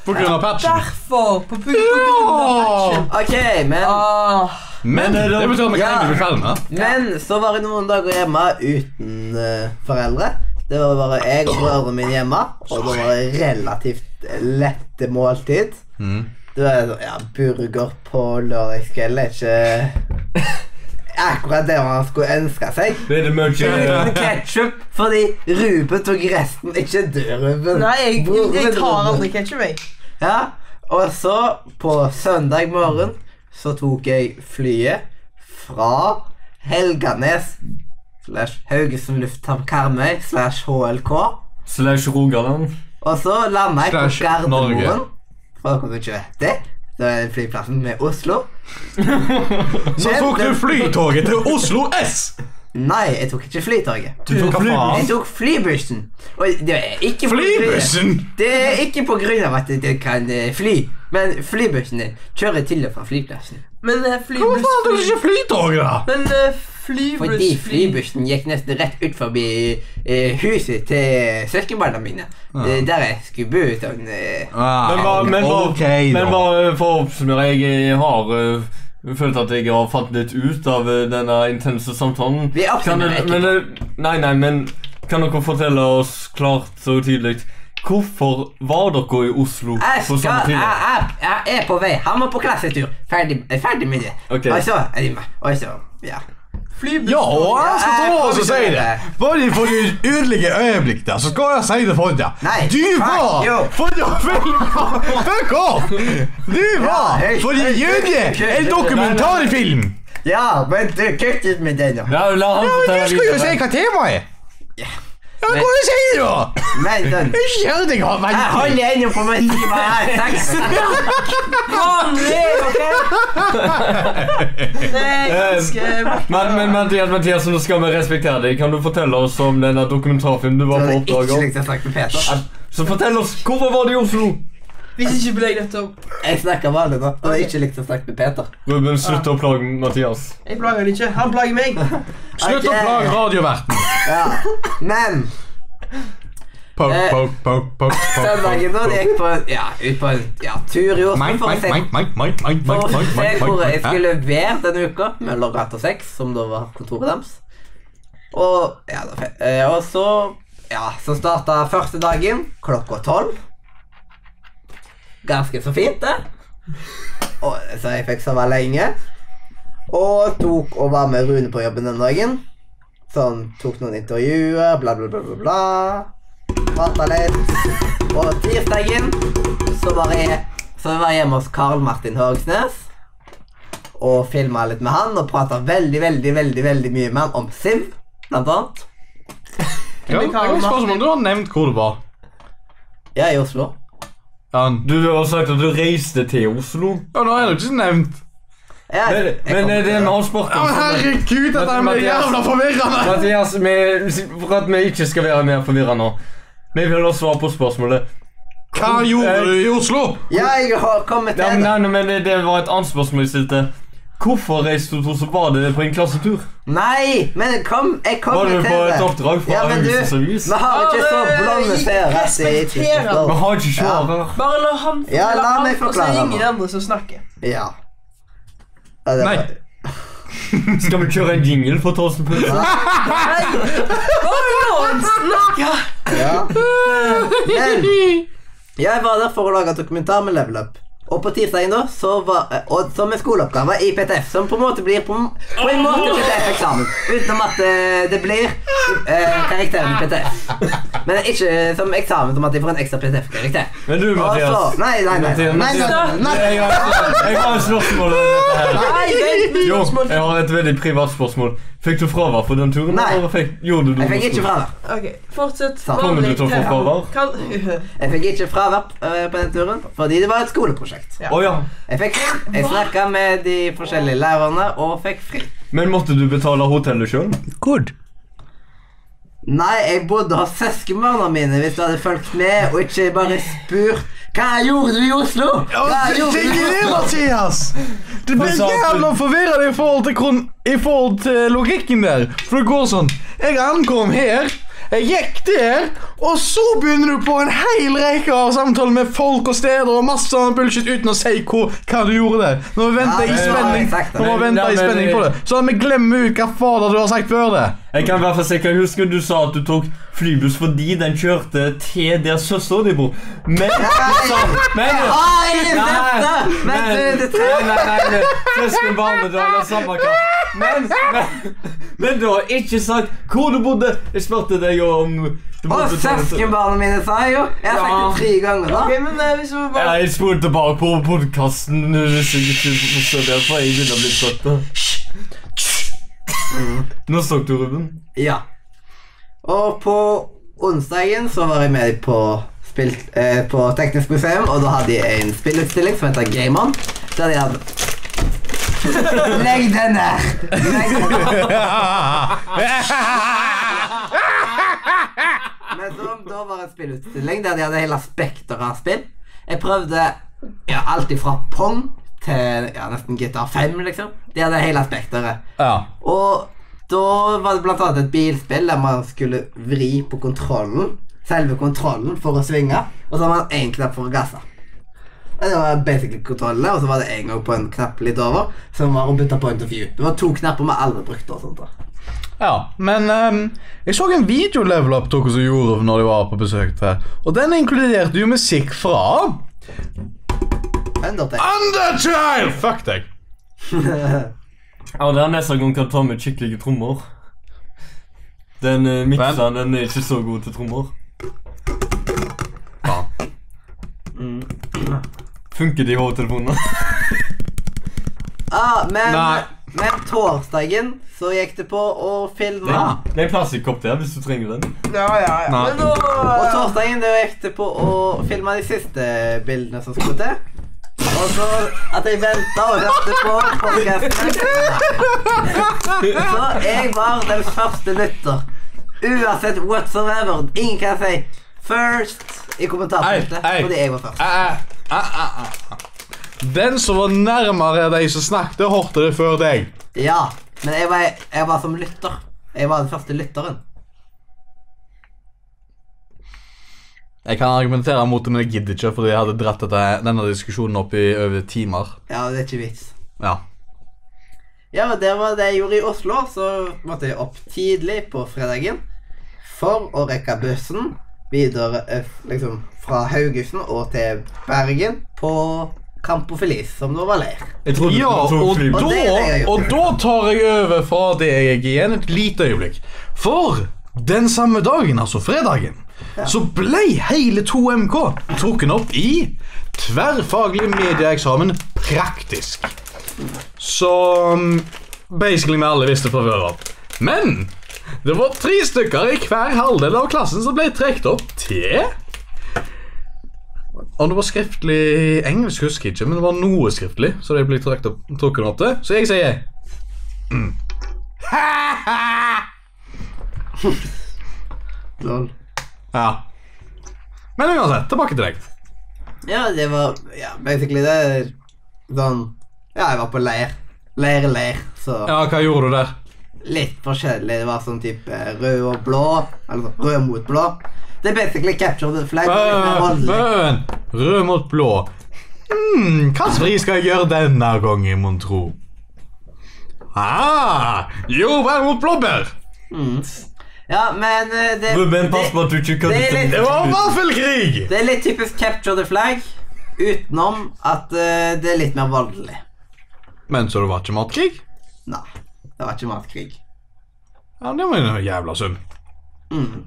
S1: på grunn av patchen.
S4: Derfor. På punkt på grunn av
S1: Ja!
S4: action.
S3: Ok, men,
S4: Ah,
S1: Men det betyr at vi kan
S3: Ja.
S1: endelig bli ferdig med det.
S3: men så var jeg noen dager hjemme uten eh, foreldre. Det var bare jeg og brødrene mine hjemme, og det var relativt lette måltid.
S1: Mm.
S3: Det var sånn, ja, burger på lørdagskvelden er ikke akkurat det man skulle ønske seg.
S2: Det er det mye
S3: Uten ketchup, fordi Ruben tok resten. Ikke du, Ruben.
S4: nei, jeg, jeg
S3: Broren
S4: tar
S3: Ruben.
S4: aldri ketsjup, jeg.
S3: Ja, og så på søndag morgen så tok jeg flyet fra Helganes slash Haugesund lufthavn Karmøy slash HLK.
S2: Slash Rogaland.
S3: Og så landa jeg på
S1: Slash Norge.
S3: Gardermoen. For dere som ikke vet det, det er flyplassen med Oslo.
S1: Så tok du flytoget til Oslo S!
S3: Nei, jeg tok ikke flytoget.
S2: Du får
S3: Jeg
S2: flybuss.
S3: tok flybussen. Og det er ikke på grunn-
S1: Flybussen!
S3: Det er ikke på grunn av at det kan eh, fly, men flybussen kjører til og fra flyplassen.
S4: Men eh,
S1: Hvorfor
S4: flybuss
S1: faen tok du ikke flytoget, da?
S4: Men eh,
S3: Fordi
S4: flybuss
S3: flybussen gikk nesten rett ut forbi eh, huset til søskenbarna mine. Eh, Der jeg skulle bo sånn eh,
S2: Men hva, men hva,
S1: ok,
S2: men
S1: da.
S2: hva eh, for å oppsummere Jeg har eh, følt at jeg har falt litt ut av eh, denne intense samtalen.
S3: Vi
S2: Kan
S3: oppsummerer
S2: dere,
S3: ikke.
S2: men, eh, nei, nei, men kan dere fortelle oss klart og tydelig Hvorfor var dere i Oslo
S3: Jeg,
S2: på samme
S3: skal, jeg,
S2: tid?
S3: jeg, jeg er på vei. Han må på klassetur. Ferdig, jeg er ferdig med det.
S2: Ok.
S3: Og så er de med. Og så Ja.
S4: Flybuss
S1: Ja, og jeg skal
S3: Jeg
S1: ta
S3: kommer
S1: oss og si
S3: til
S1: det.
S3: det.
S1: Bare for et ødelegge øyeblikk der, så skal jeg si det for deg.
S3: Nei,
S1: Du
S3: fuck you.
S1: var for å filme Fuck off! Du var
S3: hei,
S1: for å
S3: hei,
S1: gjøre
S3: hei,
S1: en
S3: hei,
S1: dokumentarfilm!
S3: ja, men du kutt ut med det nå.
S2: Ja, la
S1: Ja,
S2: han
S1: men
S2: fortelle
S1: du skulle jo
S2: videre.
S1: si hva temaet er.
S3: Ja.
S1: Ja, hva du sier du da?
S3: Men sånn
S1: Jeg kjører deg av
S3: Jeg holder ennå på med timen her. Takk.
S4: Vanlig, ok? Nei, ganske
S2: Men, men Mathias, Mathias, nå skal vi respektere deg. Kan du fortelle oss om denne dokumentarfilmen du
S3: Du
S2: var
S3: hadde
S2: på
S3: ikke
S2: oppdrag om?
S3: slikt å snakke med Peter.
S2: Så fortell oss, hvorfor var det i Oslo?
S4: Hvis ikke blir jeg nødt til å
S3: Jeg snakker vanlig nå. Du hadde ikke likt å snakke med Peter.
S2: Ruben, slutt å plage Mathias.
S4: Jeg plager han ikke. Han plager meg.
S1: Slutt å
S3: Ok.
S1: plage radioverten.
S3: Ja. Men
S1: Poke,
S3: Eh,
S1: poke, poke, poke, poke,
S3: Søndagen da, det
S1: poke.
S3: gikk på en, ja, ut på en ja, tur i Oslo
S1: Mike,
S3: for å
S1: Mike,
S3: se,
S1: Mike, Mike, Mike, Mike,
S3: for å
S1: Mike, Mike,
S3: se
S1: Mike,
S3: hvor jeg
S1: Mike, Mike.
S3: skulle være denne uka, mellom Ratt og Sex, som da var kontoret deres. Og, ja, da, fe- eh, og så ja, så starta første dagen klokka tolv. Ganske så fint, det. Og, så jeg fikk sove lenge. Og tok og var med Rune på jobben den dagen. Sånn, tok noen intervjuer, bla, bla, bla, bla, bla. Prata litt. Og tirsdagen så var jeg, så var jeg hjemme hos Karl Martin Høgsnes. Og filma litt med han og prata veldig, veldig, veldig veldig mye med han om Siv, blant annet.
S1: Ja, jeg kan spørre om du har nevnt hvor det var.
S3: Jeg er i Oslo.
S1: Ja,
S2: Du har sagt at du reiste til Oslo.
S1: Ja, nå har jeg jo ikke nevnt.
S3: Ja,
S2: Men,
S3: jeg
S2: men
S3: kommer
S2: eh, det
S3: til
S2: vi
S3: det.
S2: har spurt
S1: Ja,
S2: om
S1: men herregud, dette her blir
S2: Mathias.
S1: jævla forvirrende!
S2: Mathias, vi, for at vi ikke skal være mer forvirra nå Vi vil ha svar på spørsmålet.
S1: Hva gjorde du i Oslo?
S3: Ja, jeg har kommet
S2: Ja,
S3: til
S2: men,
S3: det.
S2: nei, nei, men det, det var et annet spørsmål jeg stilte. Hvorfor reiste du til Oslo Bade på en klassetur?
S3: Nei, men jeg kom, jeg
S2: Var
S3: kommer
S2: du
S3: til
S2: på et
S3: det.
S2: oppdrag fra
S3: Ja, men du,
S2: Augustus Avis?
S3: vi har ikke så
S4: Ja, men,
S3: blonde
S4: jeg
S3: seere at de ikke
S4: respekterer.
S2: Vi
S3: forstår.
S2: har ikke svarer.
S4: Bare la han
S3: Ja, la
S4: fortelle
S3: meg
S4: alt, og så
S3: forklare
S4: er ingen
S3: nå.
S4: andre som snakker.
S3: Ja. Ja, det
S1: Nei.
S3: var-
S2: Skal vi kjøre en jingle for Torsten Pølse?
S4: Nei, bare la han snakke!
S3: Ja. Men jeg var der for å lage dokumentar med Level Up. Og på tirsdagen da, så var, og som en skoleoppgave i PTF, som på en måte blir på, på en måte PTF-eksamen. Utenom at eh, det blir eh, karakteren i PTF. Men ikke som eksamen, som at de får en ekstra PTF-karakter.
S2: Men du,
S3: Og så,
S2: Mathias.
S3: nei, Altså, nei, nei, nei, nei, nei, nei.
S2: Jeg har jeg har et spørsmål om dette her.
S4: Nei, vent med
S2: Jo,
S4: spørsmål.
S2: jeg har et veldig privat spørsmål. Fikk du fravær på den turen?
S3: Nei.
S2: eller Fikk, gjorde du
S3: Jeg fikk ikke fravær.
S4: Ok, fortsett.
S3: Sa-
S2: Kommer du til å få fravær?
S4: fravær?
S3: Jeg fikk ikke fravær eh, på den turen, fordi det var et skoleprosjekt.
S2: Å ja.
S3: Jeg, fikk, jeg snakka med de forskjellige lærerne og fikk fri.
S2: Men måtte du betale hotellet sjøl?
S1: Good.
S3: Nei, jeg bodde hos søskenbarna mine hvis du hadde fulgt med og ikke bare spurt Hva gjorde du i Oslo? Hva gjorde du i Oslo?
S1: Mathias! Det blir
S2: Men sa du-
S1: jævla forvirrende i forhold, til kron i forhold til logikken der. For det går sånn Jeg ankom her, jeg gikk der, og så begynner du på en hel rekke av samtaler med folk og steder og masse sånn bullshit uten å si hvor, hva du gjorde der. Nå venter jeg i
S3: Ja, det var
S1: spenning
S3: exakt det.
S1: Nå venter jeg i
S2: Ja, men- eh,
S1: spenning på det. Så vi glemmer ut hva fader du har sagt før det.
S2: Jeg kan i hvert fall si hva jeg husker du sa at du tok flybuss fordi den kjørte til der søstera di bor. Men du sa Men
S3: Å, jeg er dette! Men du, det
S2: nei, nei, nei, nei. Søsken barnet, du har samme hva. Men, men, men du har ikke sagt hvor du bodde. Jeg spurte deg jo om du
S3: Og
S2: ta det-
S3: søskenbarna mine sa jo Jeg har sagt
S2: Ja.
S3: det tre ganger,
S4: Ok,
S3: da.
S4: men eh, hvis vi
S2: Ja,
S4: bare...
S2: jeg spolte tilbake på eh, podkasten. Derfor jeg begynner å bli trøtt. da. Nå snakket du, Ruben.
S3: Ja. Og på onsdagen så var jeg med på, spilt, eh, på Teknisk museum, og da hadde jeg en spillutstilling som heter Game On. Der de hadde Legg den der! Legg den der. Men som da var en spillutstilling der de hadde hele spekteret av spill. Jeg prøvde ja, alt ifra Pong til ja, nesten GTA 5, liksom. De hadde hele spekteret.
S1: Ja.
S3: Og da var det blant annet et bilspill der man skulle vri på kontrollen. Selve kontrollen for å svinge, og så har man én knapp for å gasse. Og Det var basically kontrollene, og så var det en gang på en knapp litt over, som var å bytte point of view. Det var to knapper vi aldri brukte og sånt. da.
S1: Ja, men ehm, jeg så en video Level Up tok og så gjorde når de var på besøk der. Og den inkluderte jo musikk fra
S3: Undertale.
S1: Undertale! Fuck deg.
S2: Ja, det er neste gang kan ta med skikkelige trommer. Den uh, mikseren den er ikke så god til trommer.
S1: Faen.
S2: Funker de hovedtelefonene?
S3: Ah, men,
S1: Nei.
S3: men torsdagen så gikk det på å filme.
S1: Ja.
S2: Det er en plastikkopp der hvis du trenger den.
S4: Ja, ja, ja.
S1: Nei.
S4: Men nå...
S3: Og torsdagen det gikk det på å filme de siste bildene som skulle til. Og så at jeg venta og hørte på podkasten. Så jeg var den første lytter. Uansett whatsoever. Ingen kan si 'first' i kommentarfeltet
S1: Ei, ei.
S3: fordi jeg var først.
S1: Eh, eh, eh, eh. Den som var nærmere deg som snakket, hørte det før deg.
S3: Ja, men jeg var, jeg var som lytter. Jeg var den første lytteren.
S1: Jeg kan argumentere mot det, men jeg gidder ikke, fordi jeg hadde dratt dette, denne diskusjonen opp i over timer.
S3: Ja, det er ikke vits.
S1: Ja.
S3: Ja, og det var det jeg gjorde i Oslo. Så måtte jeg opp tidlig på fredagen for å rekke bussen videre eh, liksom fra Haugesund og til Bergen på Campo Feliz, som da var leir.
S2: Jeg trodde
S1: Ja,
S2: du tok
S1: og
S2: flybuss.
S3: Og det er det jeg
S1: da,
S3: har gjort.
S1: og da tar jeg over fra det jeg er igjen et lite øyeblikk. For den samme dagen, altså fredagen, så ble hele 2MK trukken opp i tverrfaglig medieeksamen praktisk. Som basically vi alle visste fra før av. Men det var tre stykker i hver halvdel av klassen som ble trukket opp til Om det var skriftlig i engelsk, husker jeg ikke, men det var noe skriftlig. Så det blir trukket opp, trukket opp til. Så jeg sier
S3: Lol.
S1: ja. Men uansett, tilbake til deg.
S3: Ja, det var ja, basically det er sånn Ja, jeg var på leir. Leir, leir. Så
S1: Ja, hva gjorde du der?
S3: litt forskjellig. Det var sånn type rød og blå. Eller sånn rød mot blå. Det er basically capture the
S1: Ah.
S3: flag. men litt mer
S1: Bøn,
S3: voldelig.
S1: bøn. Rød mot blå. Hmm, hva vri skal jeg gjøre denne gangen, mon tro? Ah, jordbær mot blåbær.
S3: Mm. Ja, men eh, det,
S2: Ruben, pass på
S3: det,
S2: at du ikke kødder
S3: det er litt-
S1: Det var vaffelkrig!
S3: det er litt typisk capture the flag utenom at eh, det er litt mer voldelig.
S1: Men så det var ikke matkrig?
S3: Nei, det var ikke matkrig.
S1: Ja, det var jo jævla synd.
S3: Mm.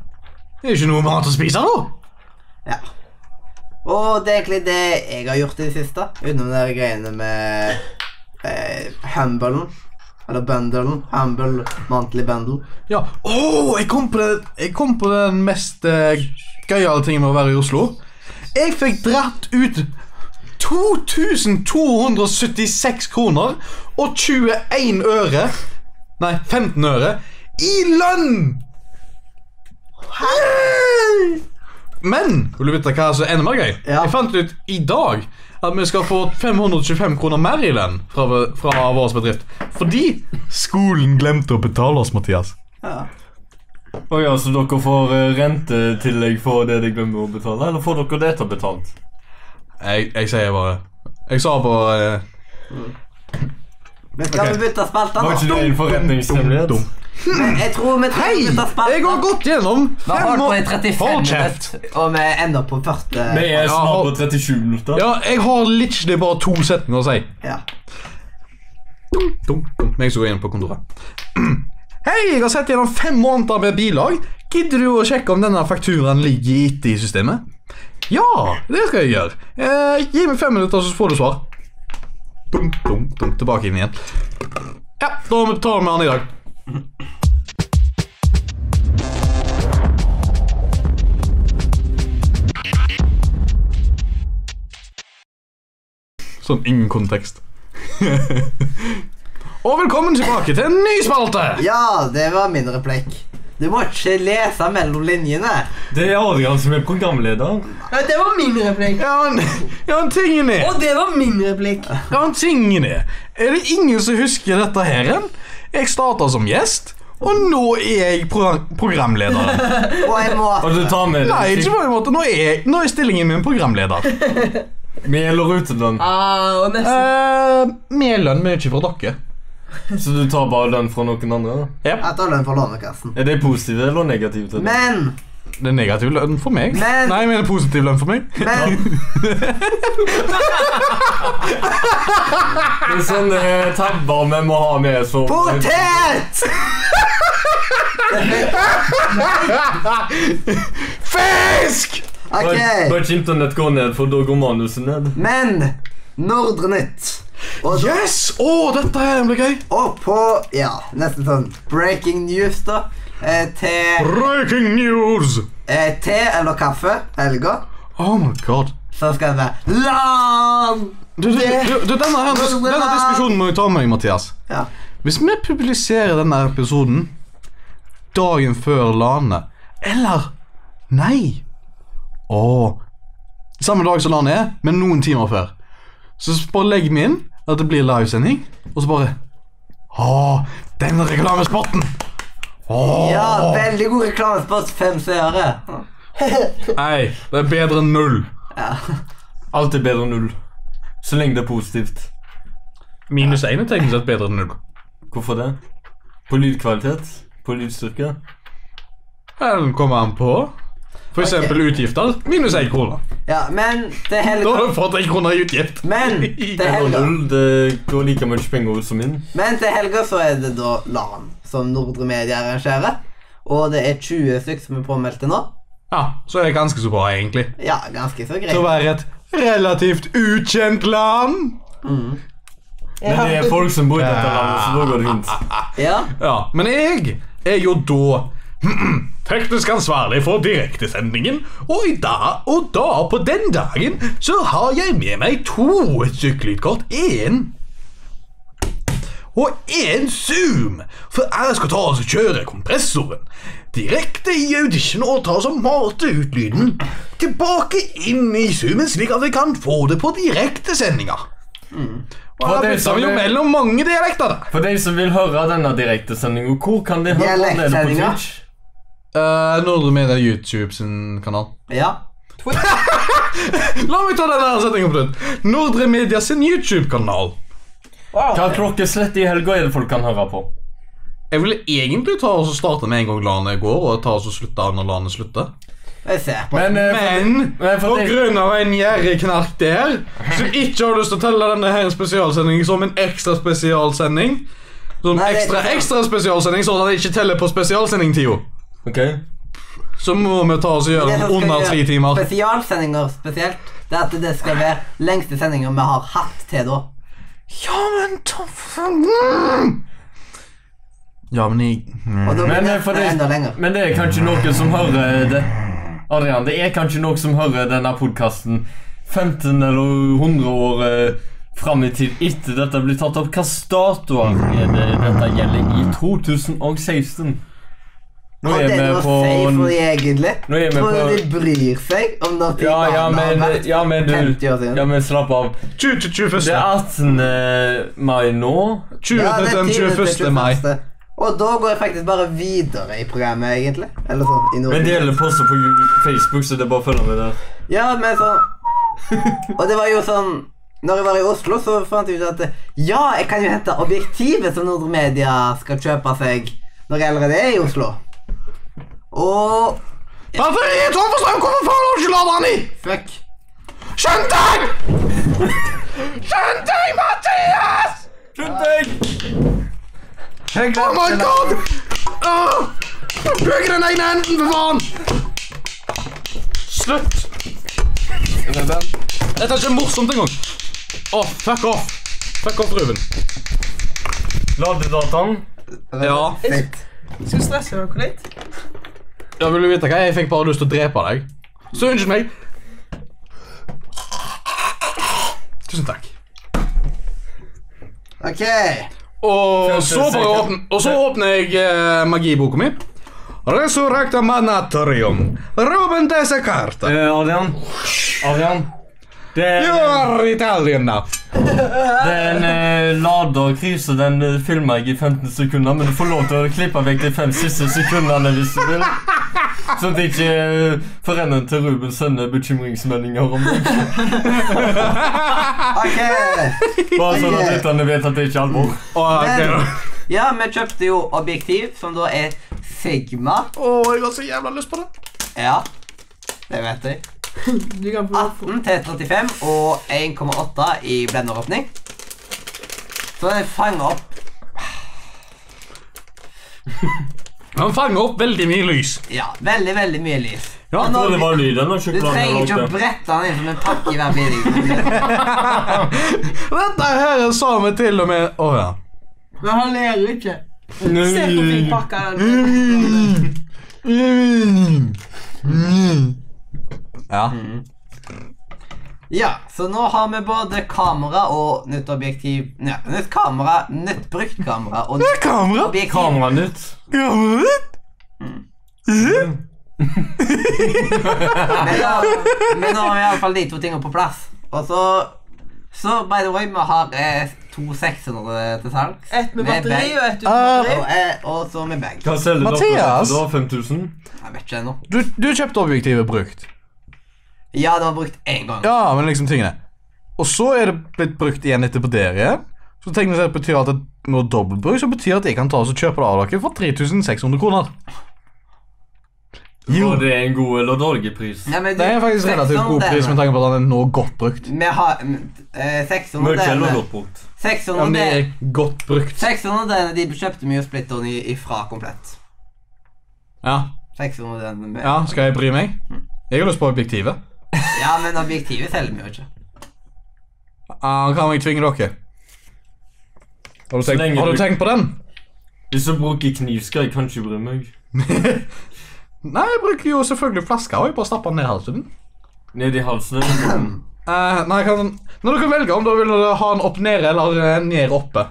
S1: Det er ikke noe mat å spise nå.
S3: Ja. Og det er egentlig det jeg har gjort i det siste. Utenom de der greiene med eh, humblen. Eller bundlen. Humble monthly bundle.
S1: Ja. Å, jeg kom på det Jeg kom på den mest eh, gøyale tingen med å være i Oslo. Jeg fikk dratt ut 2276 kroner og 21 øre Nei, 15 øre i lønn! Hei! Men vil du vite hva som er enda mer gøy?
S3: Ja.
S1: Jeg fant ut i dag at vi skal få 525 kroner mer i lønn fra, fra vår bedrift. Fordi skolen glemte å betale oss, Mathias.
S3: Ja.
S2: Å ja, så dere får eh, rentetillegg for det de glemmer å betale? Eller får dere det etterbetalt?
S1: Jeg, jeg sier bare Jeg sa bare eh,
S3: Men skal
S1: Ok.
S3: vi bytte spalte
S2: Var ikke
S3: nå?
S2: det en forretningshemmelighet?
S1: dum.
S3: Jeg tror vi
S1: Hei!
S3: trenger å bytte spalte.
S1: Jeg har gått gjennom
S5: Vi har holdt på i
S1: år-
S5: 35
S1: Hold kjeft!
S5: minutter.
S3: Og vi ender på første
S2: Vi er snart på 37 minutter.
S1: Ja, jeg har literally bare to setninger å si.
S3: Ja.
S1: Dum, dum. Men jeg skal gå inn på kontoret. Hei, jeg har sett gjennom fem måneder med bilag. Gidder du å sjekke om denne fakturaen ligger etter i systemet? Ja, det skal jeg gjøre. Eh, gi meg fem minutter, så får du svar. Dum, dum, dum. Tilbake inn igjen. Ja, da tar vi han i dag. Sånn ingen kontekst. Og velkommen tilbake til en ny spalte!
S3: ja, det var min replikk. Du må ikke lese mellom linjene.
S2: Det er Adrian som er programleder.
S4: Nei, det var min replikk.
S1: Ja, men, ja, men tingen er
S4: Og det var min replikk.
S1: Ja, men tingen er Er det ingen som husker dette her igjen? Jeg starta som gjest, og nå er jeg pro programleder.
S3: Og jeg må
S2: Og du tar med
S1: Nei, ikke
S2: deg
S1: på en måte. Nå er, jeg- nå er stillingen min programleder.
S2: mel og ruteland,
S4: Ah, og nesten.
S1: Eh, med lønn, men ikke fra dere.
S2: så du tar bare den fra noen andre? da?
S3: Jeg tar lønn for Lånekassen.
S2: Er det positivt eller negativt? til det?
S3: Men
S1: Det er negativ lønn for meg.
S3: Men-
S1: Nei, men det er positiv lønn for meg.
S3: Men
S2: Det er sånne tabber vi må ha med. Så
S3: potet!
S1: Fisk!
S3: OK.
S2: Bare- Bare ikke internett går ned, for da går manuset ned.
S3: Men Nordre Nytt. Og,
S1: Yes! Å, dette her blir gøy.
S3: og på Ja, nesten sånn breaking news, da. Eh, te,
S1: Breaking news!
S3: eh, te eller kaffe helga,
S1: Oh my god.
S3: så skal det være LAN!
S1: Du, du, du, du, denne, her, denne diskusjonen må vi ta med, Mathias.
S3: Ja.
S1: Hvis vi publiserer denne episoden dagen før LANet Eller nei! Åh. Samme dag som LANet er, men noen timer før. Så s- bare legger vi inn at det blir livesending, og så bare Åh, den reklamespotten! Åh.
S3: ja, veldig god reklamespot. Fem seere.
S1: Nei, det er bedre enn null.
S3: Ja.
S2: Alt er bedre enn null. Så lenge det er positivt.
S1: Minus én er teknisk sett bedre enn null.
S2: Hvorfor det? På lydkvalitet? På lydstyrke?
S1: Den kommer an på for eksempel utgifter. Minus én krone.
S3: ja, men til
S1: Da
S3: helga
S1: har du fått én krone i utgift.
S3: Men til
S2: Det går
S3: helga
S2: null. Det går like mye penger ut som inn.
S3: Men til helga så er det da LAN, som Nordre Media arrangerer. Og det er 20 stykker som er påmeldte nå.
S1: Ja, så er det ganske så bra, egentlig.
S3: Ja, ganske så greit.
S1: til å være et relativt ukjent land.
S2: Men det er folk som bor i dette landet, så da går det fint.
S3: Ja.
S1: Ja, Men jeg er jo da teknisk ansvarlig for direktesendingen, og i dag og da på den dagen så har jeg med meg to sykkelkort. Én og én Zoom, for jeg skal ta og kjøre kompressoren direkte i audition og ta og mate ut lyden tilbake inn i Zoomen, slik at vi kan få det på direktesendinga. Og
S2: For
S1: her
S2: Mm. det
S1: bytter
S2: som
S1: vi jo
S2: er-
S1: mellom mange dialekter, da.
S2: For de som vil høre denne direktesendinga, hvor kan de høre den? Er det på
S3: Dialektsendinga.
S2: Twitch?
S1: Uh, Nordre Media YouTube sin kanal.
S3: Ja.
S1: La meg ta denne setningen på nytt. Nordre Media sin YouTube-kanal.
S4: Wow.
S2: Hva klokkeslett i helga er det folk kan høre på?
S1: Jeg ville egentlig ta og så starte med en gang landet går, og ta og så slutte når landet slutter.
S3: Jeg ser på.
S2: Men, eh,
S1: Men
S2: men for
S1: på
S2: det-
S1: grunn av en gjerrigknark der, som ikke har lyst til å telle denne her spesialsendingen som en ekstra spesialsending Som
S3: Nei, det er
S1: ekstra
S3: ikke sant.
S1: ekstra spesialsending, sånn at jeg ikke teller på spesialsendingtida.
S2: Ok,
S1: Så må vi ta oss og gjøre
S3: Det som
S1: den
S3: skal
S1: under
S3: gjøre
S1: tre timer.
S3: Spesialsendinger spesielt. Det er at det skal være lengste sendinger vi har hatt til da.
S1: Ja, men ta mm. Ja, men jeg
S3: Og da blir
S2: Men, eh,
S3: det
S2: for det-
S3: enda lenger.
S2: Men det er kanskje noen som hører det Adrian, det er kanskje noen som hører denne podkasten 15 eller 100 år eh, fram i tid etter dette blir tatt opp. Hvilke datoer er det dette gjelder i 2016? Nå
S3: Hva
S2: er
S3: er det
S2: vi
S3: å
S2: på
S3: si for de egentlig?
S2: Nå er vi
S3: Tror du
S2: på-
S3: de bryr seg om når
S2: Ja, ja,
S3: barna har
S2: men,
S3: vært
S2: ja, men du
S3: 50 år siden?
S2: Ja, men slapp av.
S1: 20 til
S2: Det
S1: 21.
S2: er 18. mai nå.
S1: 20
S3: Ja, det er
S1: til den
S3: 10. til
S1: 21. mai.
S3: 21.. Og da går jeg faktisk bare videre i programmet, egentlig. Eller sånn, i noen-
S2: Vi deler poster på Facebook, så det er bare å følge med der.
S3: Ja, men sånn Og det var jo sånn Når jeg var i Oslo, så fant jeg ut at eh, Ja, jeg kan jo hente objektivet som Nordre Media skal kjøpe seg når jeg allerede er i Oslo. Og
S1: Batteriet er tom for strøm! Hvorfor faen har du ikke laderen i?
S3: fuck.
S1: Skjønn deg! Skjønn deg, Mathias!
S2: Slutt deg!
S1: Jeg oh my god! Åh! Bruk den ene enden, for faen! Slutt. Dette er ikke morsomt engang. Åh, fuck off. Fuck off, Ruben.
S2: Ladedataen.
S1: Ja.
S3: Sitt.
S4: Skal vi stresse dere litt?
S1: Ja, vil du vite hva? Jeg fikk bare lyst til å drepe deg. Så unnskyld meg. Tusen takk.
S3: OK.
S1: Og
S2: Følte
S1: så,
S2: seg
S1: bare
S2: kald.
S1: åpne, og så åpner jeg eh, magiboka mi. Resurrecta manatorium. Robin dessa carta.
S2: Eh, Adrian. Adrian. Det er,
S1: You are Italian now.
S2: det er en eh, laderkrise. Den eh, filmer jeg i 15 sekunder, men du får lov til å klippe vekk de fem siste sekundene hvis du vil. Sånn at ikke eh, foreldrene til Ruben sender bekymringsmeldinger om det.
S3: ok
S2: Bare sånn at lytterne vet at det ikke er alvor.
S1: Åh, ok da.
S3: Ja, vi kjøpte jo objektiv, som da er Sigma.
S1: Åh, jeg har så jævla lyst på det.
S3: Ja, det vet jeg.
S4: Du kan få
S3: 18 til 35 og 1,8 i blenderåpning. Så den fanger opp
S1: Han fanger opp veldig mye lys.
S3: ja, veldig veldig mye lys.
S1: Ja,
S3: Og
S2: Jeg
S3: når
S2: tror det
S3: vi-
S2: var lyden av
S3: du trenger
S2: sjokoladen
S3: ikke
S2: jeg
S3: å
S2: lagde.
S3: brette den inn som en pakke i hver bil.
S1: Dette her sa vi til og med Å ja.
S4: Men han ler ikke. Se hvor fin pakka den er.
S1: Mm. Ja.
S3: Ja, så nå har vi både kamera og nytt objektiv ja, Nytt kamera, nytt brukt kamera og nytt
S1: Kamera.
S3: objektiv.
S2: Kameraet ditt.
S1: Kameraet ditt.
S3: Men, da, men nå har vi iallfall de to tingene på plass. Og så Så by the way, vi har eh, to 600 til salgs.
S4: Ett med batteri
S3: bag.
S4: og ett uten batteri.
S3: Og, eh, og så med bag.
S2: Hva selger dere
S1: Mathias.
S2: for da? 5000?
S3: Jeg vet ikke ennå.
S1: Du, du kjøpte objektivet brukt.
S3: Ja, det var brukt én gang.
S1: Ja, men liksom tingene Og så er det blitt brukt igjen etterpå der igjen Så teknisk sett betyr at det nå er dobbeltbruk Så betyr at jeg kan ta oss og kjøpe det av dere For 3600 kroner Jo,
S2: Var det en god eller dårlig pris?
S3: Nei, men du,
S1: det er faktisk relativt
S3: 600
S1: god pris Med
S3: der.
S1: tanke på at den er nå godt brukt
S3: Vi har eh, 600
S2: Mørk eller
S3: der.
S2: godt brukt?
S3: 600
S1: Ja, men det
S3: der.
S1: er godt brukt
S3: 600 der, de kjøpte mye splitteren i, ifra komplett.
S1: Ja,
S3: 600 der med.
S1: ja skal jeg bry meg? Jeg har lyst på objektivet
S3: ja, men objektivet selger vi jo ikke.
S1: Ah, Kan jeg tvinge dere? Har du
S2: Så
S1: tenkt,
S2: lenge
S1: har
S2: du-
S1: du tenkt på den?
S2: Hvis du bruker kniv, skal jeg kanskje bry meg.
S1: Nei, jeg bruker jo selvfølgelig flaska og jeg bare stapper den ned i halsen. din.
S2: Ned i halsen eller noe sånt.
S1: Eh, nei, jeg kan, når dere velger om dere vil ha den opp nede eller eh, ned oppe.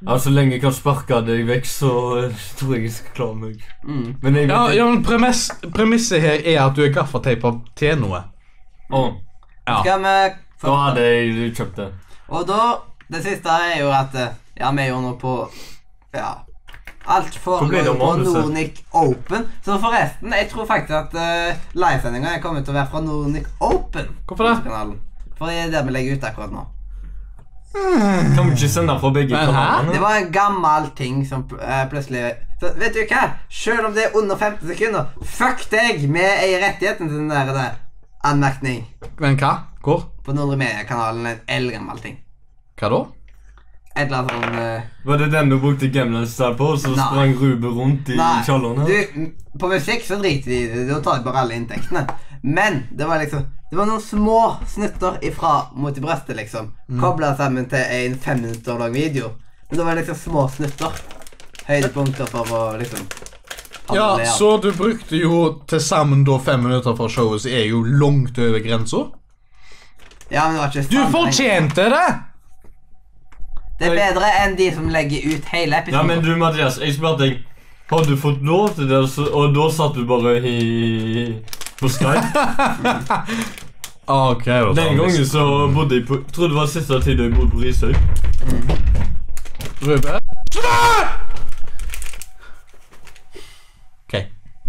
S2: Ja, Altså, så lenge jeg kan sparke deg vekk, så eh, tror jeg jeg skal klare meg.
S3: Mm.
S2: Men jeg
S1: Ja, ja men premiss, Premisset her er at du er gaffateipa til noe.
S2: Å,
S1: Ja.
S3: Skal vi
S2: Da hadde jeg kjøpt det.
S3: Og da Det siste er jo at eh, Ja, vi er jo nå på Ja. Alt
S2: Hvor er
S3: foregår
S2: det
S3: jo på
S2: manuset?
S3: Nordic Open. Så forresten, jeg tror faktisk at uh, livesendinga kommer til å være fra Nordic Open.
S1: Hvorfor det?
S3: Kanalen. For det er der vi legger ut akkurat nå.
S2: Kan vi ikke sende fra begge
S1: Men hæ?
S3: Det
S2: kanalene?
S3: var en gammel ting som pl- eh, plutselig så, Vet du hva? Selv om det er under 15 sekunder, fuck deg med ei rettigheten til den der, der anmerkning
S1: Men hva? Hvor?
S3: på Nordre Media-kanalen. En eldgammel ting.
S1: Hva da?
S3: Et eller annet sånn eh,
S2: Var det den du brukte Gamlens der på, og så
S3: Nei.
S2: sprang Ruben rundt i
S3: Nei,
S2: kjelleren? her?
S3: du, m- på musikk så driter de i det. Da tar de bare alle inntektene. Men det var liksom Det var noen små snutter ifra mot i brøstet, liksom.
S2: Mm.
S3: Kobla sammen til en fem minutter lang video. Men det var liksom små snutter. Høydepunkter for å liksom
S1: Ja,
S3: handle,
S1: så du brukte jo til sammen da fem minutter fra showet, så er jo langt over grensa.
S3: ja, men det var ikke
S1: Du
S3: sammenheng.
S1: fortjente det!
S3: Det er bedre enn de som legger ut hele
S2: Ja,
S3: episoden.
S2: men du, Mathias, jeg spurte deg Har du fått lov til det? Så- Og da satt du bare i på Skype.
S1: Ah, Ok, da tar
S2: Den
S1: vi
S2: gangen så bodde jeg på Tror det var siste tid jeg bodde på Risøy.
S1: Ruben? Ok.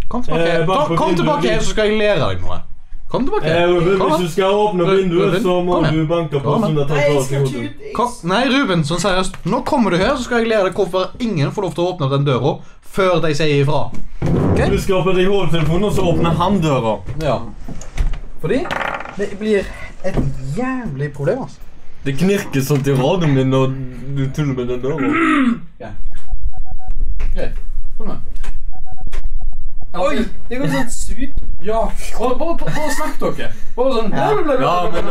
S1: Kom tilbake,
S2: Eh, bare
S1: Ta-
S2: på Eh,
S1: kom
S2: vinduet
S1: tilbake her,
S2: ditt.
S1: så skal jeg lære deg noe. Kom tilbake. Kom, da.
S2: skal åpne
S1: vinduet, Ruben, så må kom igjen. du sånn
S2: banke
S1: Kom igjen.
S2: har
S4: Nei, jeg skal ikke ut. Jeg-
S1: kom. Nei, Ruben, sånn seriøst. Nå kommer du her, så skal jeg lære deg hvorfor ingen får lov til å åpne opp den døra før de sier ifra.
S2: Du skal på deg hodetelefonen, og så åpner han døra.
S1: Ja. Fordi det blir et jævlig problem, altså.
S2: Det knirker sånn til radioen min når du tuller med den døra.
S1: Greit. Kom nå.
S4: Oi, det går sånn sup.
S1: Ja, bare, bare, bare snakk dere. Bare sånn
S2: Ja, men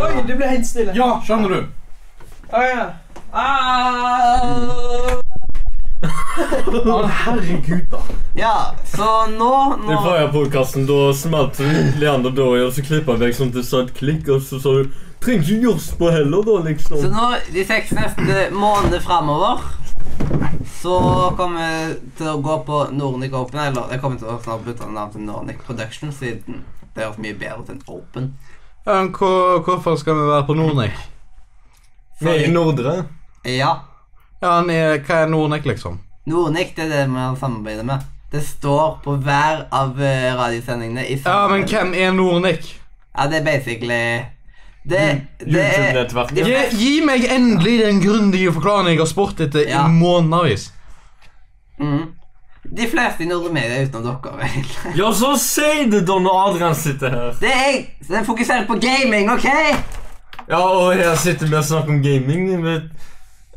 S4: Oi, det ble helt stille.
S1: Ja, skjønner du.
S4: Å ja. Ah. Au.
S1: Herregud, da.
S3: Ja, så nå,
S2: I
S3: nå
S2: forrige podkasten smalt Leander døra i, og så klippa jeg vekk sånn at det sa et klikk, og så sa du Trenger ikke jors på heller, da,
S3: Så
S2: liksom.
S3: nå, de seks neste månedene framover, så kommer jeg til å gå på Nordic Open. Eller jeg kommer til å snart bytte navn til Nordic Production, siden det høres mye bedre ut enn Open.
S1: hvorfor skal vi være på Nordnek?
S2: Nei, i Nordre.
S3: Ja,
S1: Ja, han er, hva er Nordnek, liksom?
S3: Nordic det er det man samarbeider med. Det står på hver av eh, radiosendingene i
S1: Ja, men
S3: samarbeid.
S1: hvem er Nordnek?
S3: Ja, det er basically Det, det er
S2: YouTube-nettverket.
S1: Gi, Eh, gi meg endelig den grundige forklaringen jeg har spurt etter
S3: Ja.
S1: i månedsvis.
S3: mm, De fleste i Nordre Media utenom dere, egentlig.
S2: Ja, så si det da når Adrian sitter her.
S3: Det er jeg! så Den fokuserer på gaming, OK?
S2: Ja, og her sitter vi og snakker om gaming. Vet.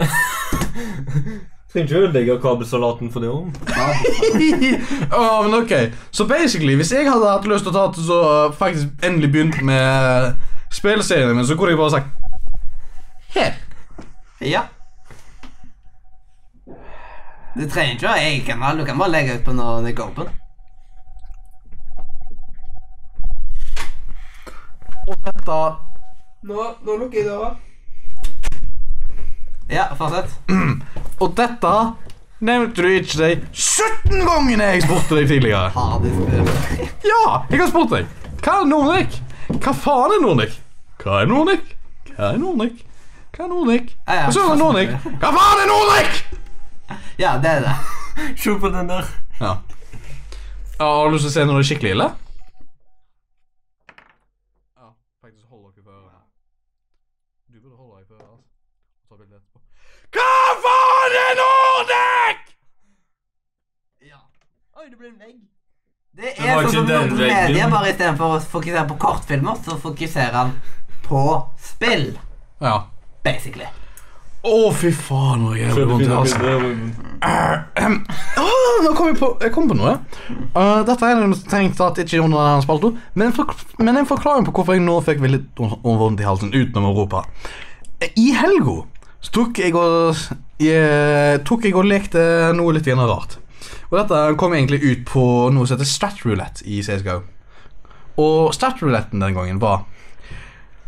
S2: Trenger ikke ødelegge kabelsalaten for det òg.
S1: Ja, men ok Så basically, hvis jeg hadde hatt lyst til å ta til så uh, faktisk endelig begynt med spillserien min, så kunne jeg bare sagt Her.
S3: Ja. Du trenger ikke å ha egen kanal, du kan bare legge ut på når det går åpen.
S1: Og dette
S4: Nå, nå lukker jeg døra.
S3: Ja, fortsett.
S1: Og dette nevnte du ikke deg 17 ganger jeg spurte deg tidligere.
S3: Har du spurt?
S1: Ja, jeg har spurt deg. Hva er Nordic? Hva faen er Nordic? Hva er Nordic? Hva er Nordic? Hva er Nordic?
S3: Ja, ja.
S1: Og så er det Nordic. Hva faen er Nordic?
S3: Ja, det er det.
S2: Se på den der.
S1: Ja. ja har du lyst til å se når det er skikkelig ille? Ja, faktisk holder dere på øret. Du burde holde deg på øret, altså. Ta bildet etterpå. Hva faen er Nordic?!
S4: Oi, det ble en vegg.
S3: Det
S2: Det
S3: er
S2: var
S3: sånn
S2: ikke
S3: som
S2: den
S3: Nordre
S2: veggen.
S3: Media, bare istedenfor å fokusere på kortfilmer, så fokuserer han på spill,
S1: Ja.
S3: basically.
S1: Å, fy faen, nå gjør det vondt altså. i halsen. Åh, nå kom jeg på, jeg kom på noe. Eh, dette er noe jeg tenkte at ikke under denne spalten, men, en fork- men en forklaring på hvorfor jeg nå fikk veldig vondt i halsen utenom Europa. Eh, I helga Så tok jeg og, jeg, tok jeg og lekte noe litt grann rart. Og dette kom egentlig ut på noe som heter stat roulette i CSGO. Og stat rouletten den gangen var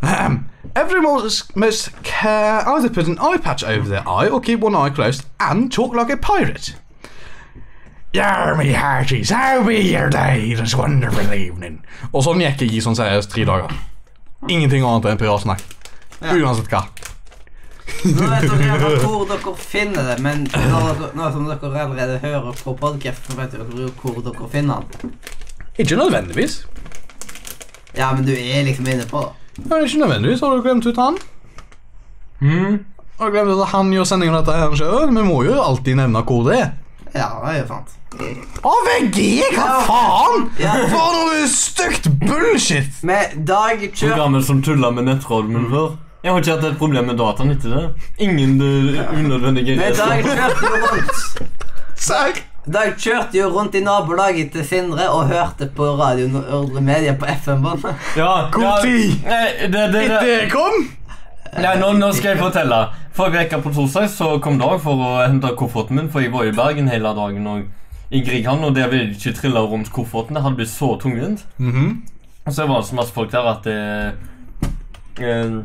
S1: Ahem. Everyone must- must care either put an eye patch over their eye or keep one eye closed and talk like a pirate. Yeah, me hearties, how be your day this wonderful evening? Og sånn gikk jeg i sånn seriøst tre dager. Ingenting annet enn piratsnakk. Uansett hva.
S5: Nå vet dere gjerne hvor dere finner det, men når dere, nå som dere allerede hører på podcasten, vet dere jo hvor dere finner den.
S1: Ikke nødvendigvis.
S5: Ja, men du er liksom inne på det.
S1: Ja, ikke nødvendigvis. Har du glemt ut han?
S2: Mm.
S1: Har du glemt at han gjør sendingen av dette her selv? Vi må jo alltid nevne hvor det er.
S5: Ja, det er jo sant.
S1: AVG, hva faen? For noe stygt bullshit!
S5: Med Dag Kjør...
S2: Programmet som tulla med
S1: Mm.
S2: nettradioen før. Jeg har ikke hatt et problem med dataen etter det. Ingen eh, unødvendige
S5: Med Dag kjørte jo rundt.
S1: Serr?
S5: Dag kjørte jo rundt i nabolaget til Sindre og hørte på Radio Nordre Media på FM-båndet.
S2: Ja,
S1: God
S2: ja,
S1: tid.
S2: Nei, det, det, det.
S1: Etter kom?
S2: Nei, nå, nå skal jeg fortelle. Forrige uke på torsdag så kom Dag for å hente kofferten min, for jeg var i Bergen hele dagen og i Grieghallen, og der ville jeg ikke trille rundt kofferten. Det hadde blitt så tungvint.
S1: Mhm.
S2: Og så var det så masse folk der at det, eh,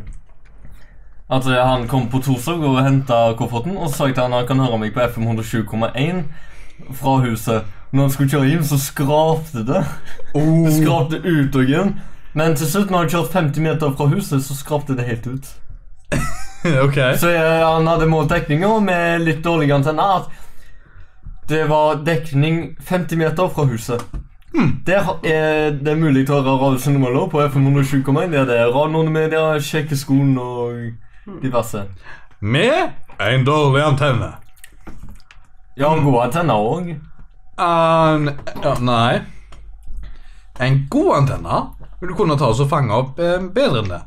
S2: At eh, han kom på torsdag og henta kofferten, og så sa jeg til han han kan høre meg på FM 107,1 fra huset. Når han skulle kjøre hjem, så skrapte det. Det skrapte ut og igjen. Men til slutt, når han kjørte 50 meter fra huset, så skrapte det helt ut.
S1: ok.
S2: Så eh, han hadde målt dekninga med litt dårlig antenne. At det var dekning 50 meter fra huset. Der er det mulig å høre radiosignaler på FM 107,1. Der det er radiomedia, sjekkeskolen og diverse.
S1: Med en dårlig antenne.
S2: Ja, gode antenner òg.
S1: En Um, ja, Nei. En god antenne vil du kunne ta oss og fange opp eh, bedre enn det.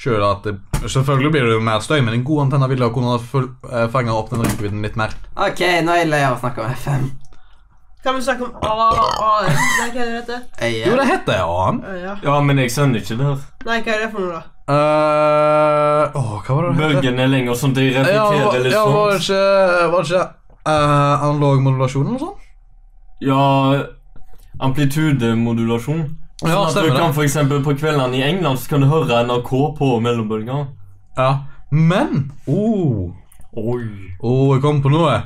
S1: Selv at det, selvfølgelig blir det jo mer støy, men en god antenne vil da kunne full, eh, fange opp den rekkevidden litt mer.
S5: Ok, nå er jeg lei av å snakke om FM.
S4: Kan vi snakke om AAS? Nei, hva er det dette?
S5: Jeg,
S1: Jo, det heter jeg, Ahan.
S4: Uh, ja.
S2: Ja, men jeg skjønner ikke det her.
S4: Nei, hva er det for noe, da?
S1: Uh, åh, hva var det det
S2: Bølgen er lenger, sånn de
S1: Ja,
S2: reflekterer
S1: var,
S2: litt
S1: ja, var det
S2: sånn.
S1: ikke, var det ikke eh, analog modulasjon eller sånn?
S2: Ja, amplitudemodulasjon.
S1: Ja,
S2: Sånn at du
S1: stemmer det.
S2: kan for eksempel på kveldene i England så kan du høre NRK på mellombølger.
S1: Ja. Men oh,
S2: Oi.
S1: oh, jeg kom på noe.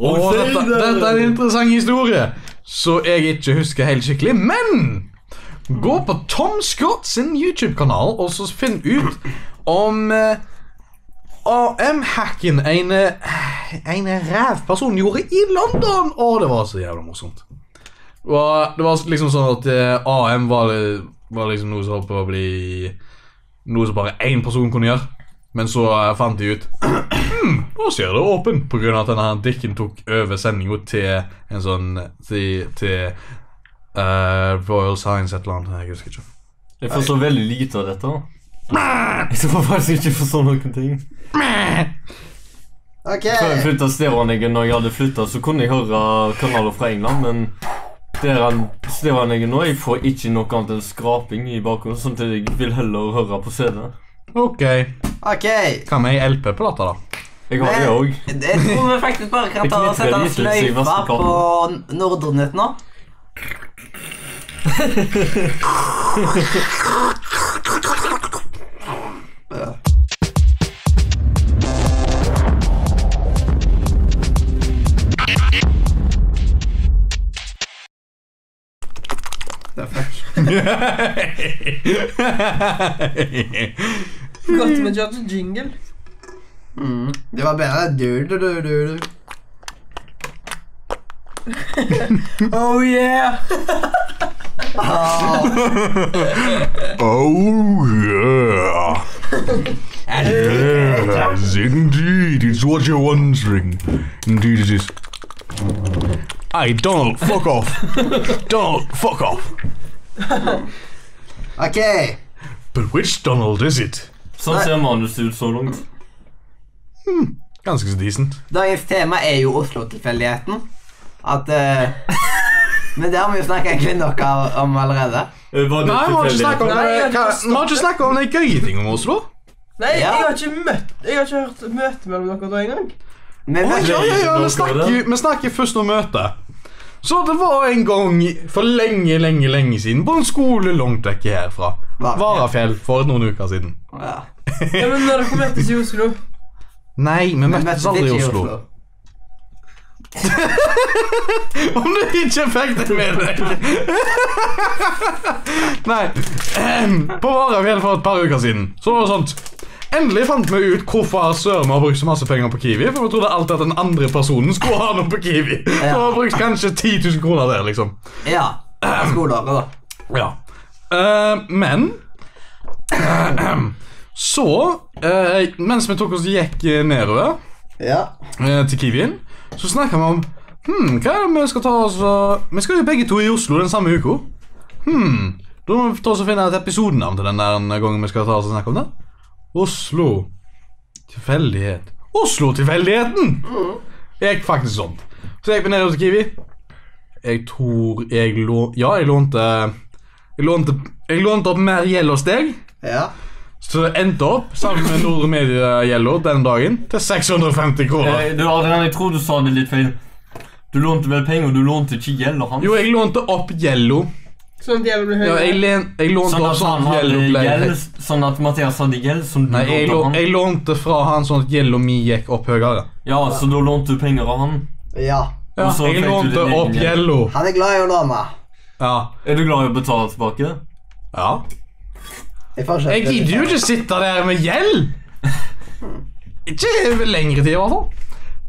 S2: Å,
S1: Åh,
S2: si
S1: dette,
S2: det!
S1: dette er en interessant historie som jeg ikke husker helt skikkelig. Men gå på Tom Scott sin YouTube-kanal og så finn ut om eh, AM-hacken en, eh, en rævperson gjorde i London. Å, det var så jævla morsomt. Det var, det var liksom sånn at eh, AM var, var liksom noe som holdt på å bli Noe som bare én person kunne gjøre. Men så eh, fant de ut nå ser det åpent pga. at denne her dikken tok over sendinga til en sånn Til, til eh, Royal Science et eller annet. Jeg husker ikke.
S2: Jeg forstår veldig lite av dette. Jeg får faktisk ikke forstå noen ting.
S3: Ok.
S2: Før jeg flytta stereoanlegget, når jeg hadde flytta, så kunne jeg høre kanaler fra England, men der han- stereoanlegget nå, jeg får ikke noe annet enn skraping i bakgrunnen, sånn at jeg vil heller høre på CD.
S1: Ok,
S3: Ok.
S1: kan vi LP på dette, da?
S2: Jeg har det òg.
S5: jeg tror vi faktisk bare kan ta og sette en sløyfe på Nordrenytt nå.
S4: Godt med Judge Jingle.
S3: Det var bedre. Du, du, du, du, du.
S4: Oh yeah!
S3: Ah.
S1: oh yeah. Yes, indeed, it's what you're wondering. Indeed it is. Hey, Donald, fuck off. Donald, fuck off.
S3: Ok.
S1: But which Donald is it?
S2: Sånn ser manuset ut så langt.
S1: Ganske så decent.
S5: Dagens tema er jo Oslo-tilfeldigheten. At eh, Men det har vi jo snakka egentlig nok av- om allerede.
S2: Eh, Var
S1: Nei,
S2: det
S1: vi har ikke
S2: tilfeldig?
S1: snakket om
S4: Nei, jeg
S1: det
S4: har ikke
S1: hva-
S4: forstått
S1: vi har ikke snakket om de gøye tingene om Oslo.
S4: Nei,
S3: Ja.
S4: jeg har ikke møtt Jeg har ikke hørt møte mellom dere to engang.
S3: Men
S1: Oi,
S3: vent,
S1: ja, ja, ja, vi snakker, vi snakker først om møtet. Så det var en gang for lenge, lenge lenge siden på en skole langt vekk herfra. Varafjell for noen uker siden.
S3: ja.
S4: Ja, men når dere møttes i Oslo
S1: Nei, vi
S3: Men
S1: møttes
S3: møttes
S1: aldri i
S3: ikke
S1: Oslo. Om du ikke fikk det med deg! Nei. ehm, På Varafjell for et par uker siden Så var det sånt. Endelig fant vi ut hvorfor Søren har brukt så masse penger på Kiwi. For vi trodde alltid at den andre personen skulle ha noe på Kiwi. Så vi har brukt kanskje 10 000 kroner der, liksom.
S3: Ja. Skoleåret, da.
S1: Ja. Eh, men ehm, Så, eh, mens vi tok oss gikk eh, nedover
S3: Ja.
S1: eh, til Kiwien, så snakka vi om Hm, hva er det vi skal ta oss og Vi skal jo begge to i Oslo den samme uka. Hm, da må vi ta oss og finne et episodenavn til den der gangen vi skal ta oss og snakke om det. Oslo. Tilfeldighet. Oslo-tilfeldigheten! Gikk faktisk sånn. Så jeg gikk vi nedover til Kiwi. Jeg tror jeg lå... Ja, jeg lånte Jeg lånte, jeg lånte opp mer gjeld hos deg.
S3: Ja.
S1: Så det endte opp, sammen med Nordre Media-gjelda den dagen, til 650 kroner.
S2: Eh, Du, Adrian, jeg tror du sa det litt feil. Du lånte vel penger, du lånte ikke gjeld av hans.
S1: Jo, jeg lånte opp gjelda.
S4: Sånn at jeg ble
S1: Ja,
S4: høyere.
S1: jeg, len, jeg lånte
S2: Sånn
S1: opp
S2: at
S1: sånn
S2: han
S1: at
S2: hadde
S1: gjelda ble
S2: gjeld, sånn at Mathias hadde gjeld som du
S1: Nei, jeg,
S2: lånte
S1: lå,
S2: av han.
S1: jeg lånte fra han sånn at gjelda mi gikk opp høyere.
S2: Ja, så da lånte du penger av han.
S3: ja.
S1: Ja,
S2: Og så
S1: jeg
S2: fikk du
S1: lånte
S2: din egen
S1: opp
S2: gjeld.
S1: gjelda.
S3: Han er glad i å låne.
S1: Ja.
S2: Er du glad i å betale tilbake?
S1: ja.
S3: Jeg, får ikke-
S1: Jeg gidder jo ikke sitte der med gjeld! Ikke over lengre tid, i hvert fall.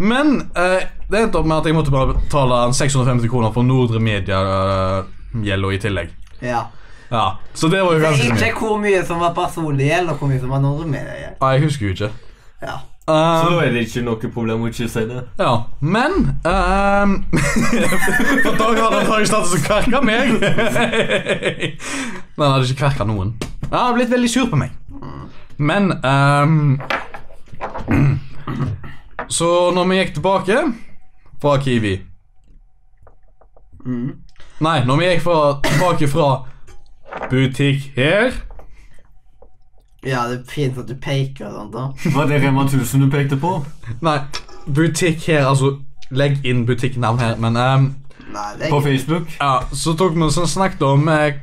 S1: Men eh, det endte opp med at jeg måtte bare betale en 650 kroner for Nordre Media-gjelda i tillegg.
S3: Ja.
S1: Ja, Så det var jo
S3: Det er
S1: ganske mye.
S3: ikke hvor mye som var personlig gjeld, og hvor mye som var normerigjeld.
S1: Nei, jeg husker jo ikke.
S3: Ja.
S2: Så
S1: Um,
S2: da er det ikke noe problem å ikke si det.
S1: ja, men um, For Dag hadde antakelig startet å kverke meg. Men han hadde ikke kverka noen. Han hadde blitt veldig sur på meg. Men um, Så når vi gikk tilbake fra Kiwi Nei, når vi gikk fra, tilbake fra butikk her
S3: ja, det er fint at du peker og sånt. da.
S2: Var det Rema 1000 du pekte på?
S1: Nei, butikk her, altså Legg inn butikknavn her, men ehm,
S3: Nei, det er
S2: På Facebook?
S1: Ja, så tok vi og snakket om eh,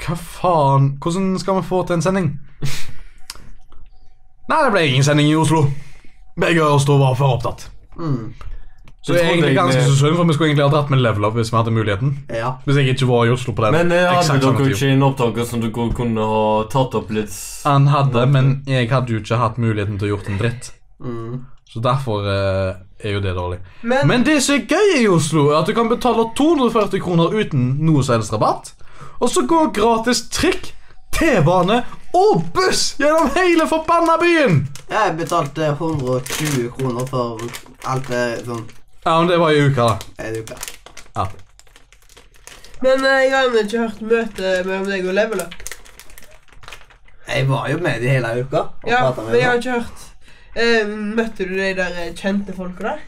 S1: Hva faen Hvordan skal vi få til en sending? Nei, det ble ingen sending i Oslo. Begge oss to var for opptatt.
S3: Mm.
S1: Så
S2: Jeg
S1: det er
S2: eh, trodde
S1: egentlig ganske
S2: egentlig-
S1: så synd, for vi skulle egentlig ha dratt med level up hvis vi hadde muligheten.
S3: Ja.
S1: Hvis jeg ikke var i Oslo på den.
S2: Men eh, hadde
S1: eksakt samme
S2: dere
S1: tid.
S2: ikke en opptaker som dere kunne ha tatt opp litt s-
S1: Han hadde, men jeg hadde jo ikke hatt muligheten til å gjort en dritt.
S3: Mm.
S1: Så derfor eh, er jo det dårlig.
S4: Men,
S1: Men det som er gøy i Oslo, er at du kan betale 240 kroner uten noe som helst rabatt. Og så går gratis trikk, T-bane og buss gjennom hele forbanna byen!
S3: Ja, Jeg betalte 120 kroner for alt det sånn
S1: Ja, men det var i uka, da.
S3: en uke.
S1: Ja.
S4: men eh, jeg har ennå ikke hørt møte mellom deg og Level Up.
S3: Jeg var jo med de hele uka. og
S4: Ja,
S3: pratet med
S4: men jeg har
S3: dem.
S4: ikke hørt Eh, Møtte du de der eh, kjente folka der?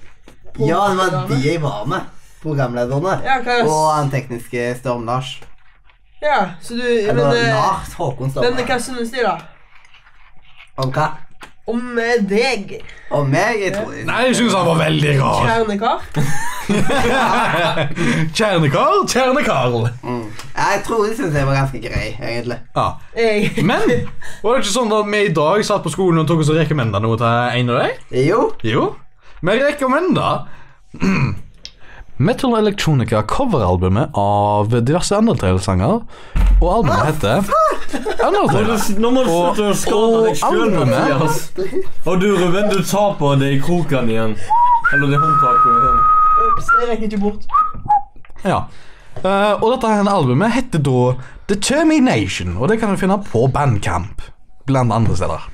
S3: ja, det var de jeg var med. Programlederne.
S4: Ja, hva
S3: Og han tekniske Storm-Lars.
S4: Ja, så du Men
S3: Eller
S4: eh,
S3: Lars Håkon
S4: denne,
S3: Storm.
S4: hva synes de, da?
S3: Om hva?
S4: Om eh, deg,
S3: Om meg? Jeg tror
S1: Nei, jeg syns han var veldig rar.
S4: kjernekar?
S1: Kjernekar, kjernekarl.
S3: Mm. Jeg tror de syntes jeg var ganske grei, egentlig.
S1: Ja.
S4: Jeg
S1: Men var det ikke sånn at vi i dag satt på skolen og tok oss og rekommenda noe til en av deg?
S3: Jo.
S1: Jo, vi rekommender Metal Electronica coveralbumet av diverse Undertale-sanger. Og albumet heter Undertale.
S2: Nå må du
S1: Og-
S2: slutte å skade deg sjøl,
S1: albumet.
S2: Mathias. Og du, Ruben, du taper det i krokene igjen. Eller det håndtaket igjen.
S4: Ops, jeg rekker ikke bort.
S1: Ja. Eh, og dette her albumet heter da Determination, og det kan du finne på Bandcamp. Blant andre steder.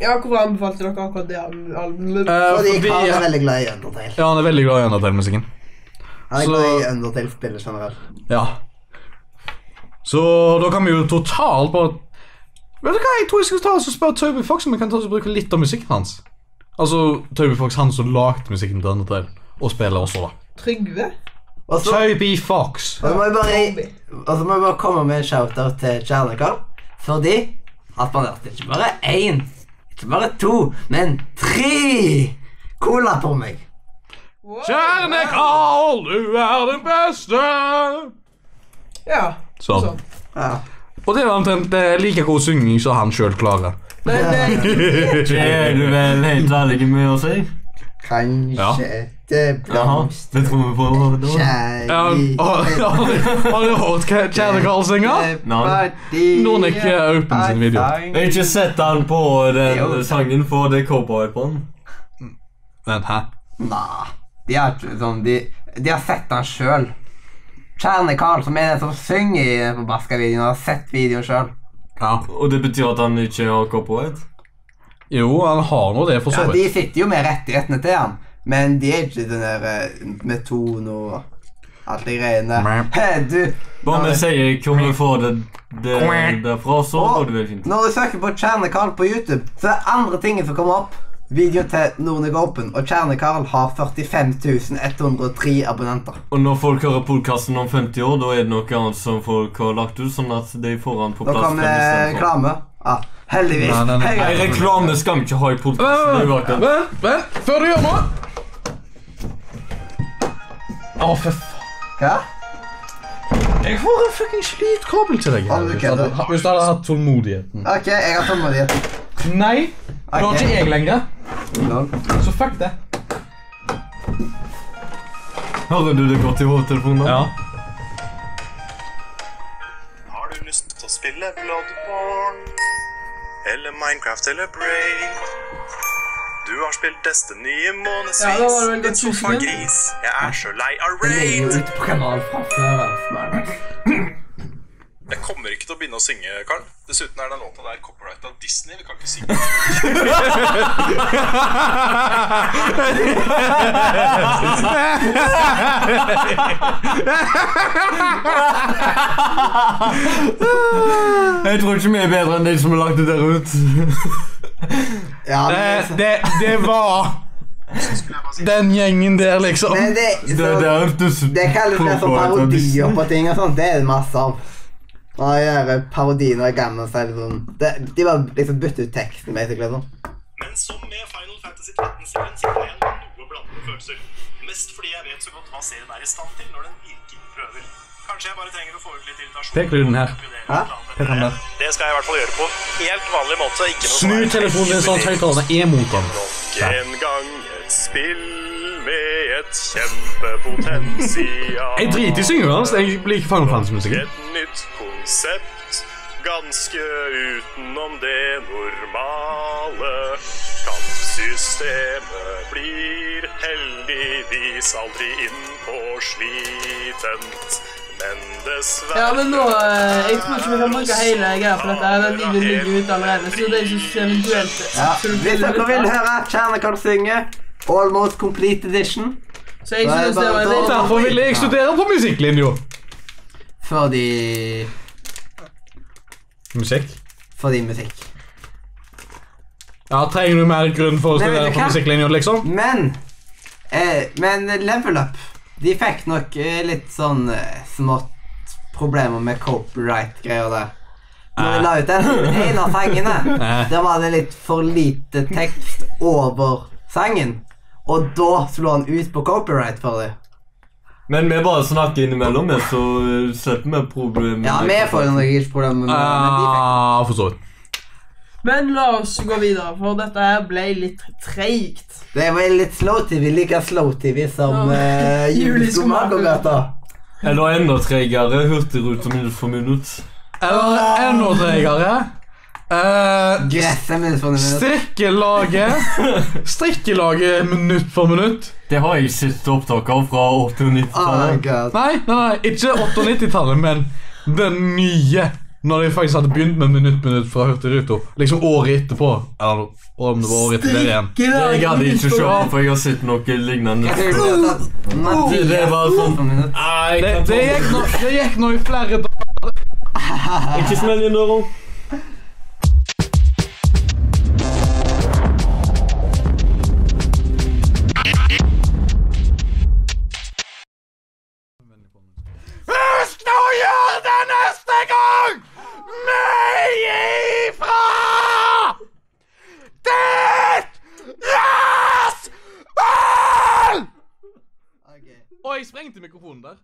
S4: Ja, hvorfor anbefalte dere akkurat det al- albumet?
S1: Eh,
S3: Fordi
S1: fordi,
S3: han er
S1: ja,
S3: veldig glad i Undertale.
S1: han er veldig glad i Undertale-musikken.
S3: Han er
S1: Så-
S3: glad i Undertale-spillet generelt.
S1: Ja. Så da kan vi jo totalt bare Vet du hva, jeg tror jeg skal ta oss og spørre Toby Fox om vi kan ta oss og bruke litt av musikken hans. Altså Toby Fox, han som lagde musikken til Undertale, og spiller også, da.
S4: Trygve?
S3: Og så
S1: Toby Fox.
S3: og så må jeg bare
S4: Zombie.
S3: Og så må jeg bare komme med en shout-out til Kjernekar. Fordi han spanderte ikke bare én, ikke bare to, men tre cola på meg.
S1: Kjære Karl, du er den beste!
S4: Ja.
S1: Sånn.
S4: sånn.
S3: Ja.
S1: Og det var omtrent eh, like god synging som han sjøl klarer.
S4: Men eh,
S2: Er du vel helt ærlig med å si?
S3: Kanskje det
S2: Jaha,
S3: blomstrer
S2: det tror vi på da.
S1: Um, har
S3: kjærlighet
S1: har du har du hørt Kjæ- Kjære Karl synge?
S3: Eh,
S2: Nei.
S1: Noen ikke er open sin video.
S2: Jeg har ikke sett han på
S3: Jo.
S2: den sangen, for det er cowboy på den.
S1: Vent, hæ?
S3: Nei.
S5: De har, ikke- sånn, de, de har sett han sjøl. Kjerne Karl, som er den som synger i- på Baska-videoen, har sett videoen sjøl.
S1: Ja.
S2: Og det betyr at han ikke har cowboy?
S1: Jo, han har nå det, for
S5: Ja,
S1: så
S5: de
S1: vidt.
S5: sitter jo med rettighetene til han.
S3: Men de er ikke den der eh, med tone og alt de greiene.
S1: Mæp.
S3: Hei, du,
S2: Bare vi sier hvor vi får det, det derfra, så
S3: Å,
S2: går det vel fint.
S3: Når du søker på Kjerne-Karl på YouTube, så er det andre tingen som kommer opp. Videoen til Nordic Open, og Kjerne-Karl har 45.103 abonnenter.
S2: Og når folk hører podkasten om 50 år, da er det noe annet som folk har lagt ut, sånn at de får han på
S3: Nå
S2: plass.
S3: kom det
S2: fem istedenfor.
S3: reklame. Ja, heldigvis.
S1: Nei, nei, nei.
S3: Hei,
S2: Nei, reklame skal vi ikke ha i
S1: Vent,
S2: podkasten.
S1: vent, vent, før du gjør noe! Å, for faen.
S3: Hva?
S1: Jeg får en fuckings lydkabel til deg. her,
S3: Har du
S1: hvis du hadde-
S3: kødder?
S1: Hvis du hadde hatt tålmodigheten.
S3: OK, jeg har tålmodighet.
S1: Nei, det har
S3: Ok.
S1: ikke jeg lenger.
S3: Lol.
S1: Så fuck det.
S2: Hører du det godt i hovedtelefonen?
S1: Ja.
S6: Har du lyst til å spille Bloodborne? Eller Minecraft eller Brave? Du har spilt Destiny i månedsvis.
S4: Ja, det var vel litt
S6: en sofagris. Jeg er så lei av
S5: Den er jo
S6: raid.
S5: ute på kanal fra før. altså.
S6: Jeg kommer ikke til å begynne å synge, Karl. Dessuten er den låta der copyright av Disney. Vi kan ikke synge.
S2: Jeg tror ikke vi er bedre enn de som har lagt det der ut.
S3: Ja, men,
S1: Det, det, det var den gjengen der, liksom.
S3: men det,
S2: Det,
S3: så,
S2: det, er du,
S3: det kalles det som sånn parodier på ting og sånt. Det er det masse av. Å gjøre parodier av gamle selv sånn. Det, de bare liksom bytter ut teksten, basically. Sånn.
S6: Men som med Final Fantasy 13-serien sitter jeg igjen med noe blandede følelser. Mest fordi jeg vet så godt hva serien er i stand til når den virkelig prøver. Kanskje jeg bare trenger å få ut litt irritasjon.
S1: Pek lyden her.
S3: Hæ?
S6: Det skal jeg i hvert fall gjøre på helt vanlig måte. Ikke noe
S1: Snu
S6: sånn her-
S1: telefonen din sånn at høyttalerne er mot den.
S6: Nok en gang et spill med et kjempepotensial.
S1: Jeg driter i syngingen hans. Jeg liker Final Fantasy-musikken.
S6: Et nytt konsept, ganske utenom det normale. Kampsystemet blir heldigvis aldri innpå slitent. Men dessverre
S4: ja, men nå eh, Jeg tror ikke vi kan bruke hele greia på dette. her, Den videoen ligger ute allerede, så de som eventuelt
S3: Ja.
S4: som
S3: Hvis dere vil høre Kjernekarl synge Almost Complete Edition
S4: Så jeg synes det var en
S3: Nei, bare-
S4: del
S1: Derfor ville jeg studere på musikklinja.
S3: Fordi
S1: Musikk?
S3: Fordi musikk.
S1: Ja, Trenger du mer grunn for å
S3: Nei,
S1: studere
S3: vet du
S1: på
S3: hva?
S1: musikklinja, liksom?
S3: Men eh, Men Level Up De fikk nok eh, litt sånn eh, smått problemer med copyright-greier der. Når de la ut den ene av sangene,
S1: Eh.
S3: der var det litt for lite tekst over sangen. Og da slo han ut på copyright for dem.
S2: Men vi bare snakker innimellom, vi, så slipper vi problemet.
S3: Ja, vi får jo nok ikke problemer med
S1: Eh.
S3: men de fikk.
S1: Ja, Ah, for så vidt.
S4: Men la oss gå videre, for dette her ble litt treigt.
S3: Det var litt slow-TV. Like slow-TV som eh, Juleskomagogata.
S2: Eller enda tregere hurtigrute minutt for minutt.
S1: Eller enda tregere eh,
S3: Gresset minst for en minutt.
S1: Strikkelaget Strikkelaget minutt for minutt.
S2: Det har jeg sett opptak av fra 80- og
S3: Oh my
S2: 90-tallet.
S3: god.
S1: Nei, nei, nei, ikke 98-tallet, men den nye. Når de faktisk hadde begynt med Minutt Minutt fra Hurtigruta. Liksom året etterpå. Eller om det var året etter der igjen.
S3: Ah,
S2: Jeg hadde ikke sjokk, for jeg har sett noe lignende.
S3: Jeg tror det er sånn. Mathias
S2: Det var sånn-
S3: for en minutt.
S2: Nei,
S1: Det, det, gikk, nå, det gikk nå i flere dager.
S3: Ah.
S2: Ikke smell igjen døra.
S1: Husk nå å gjøre det neste gang! Nei ifra! inn til mikrofonen der.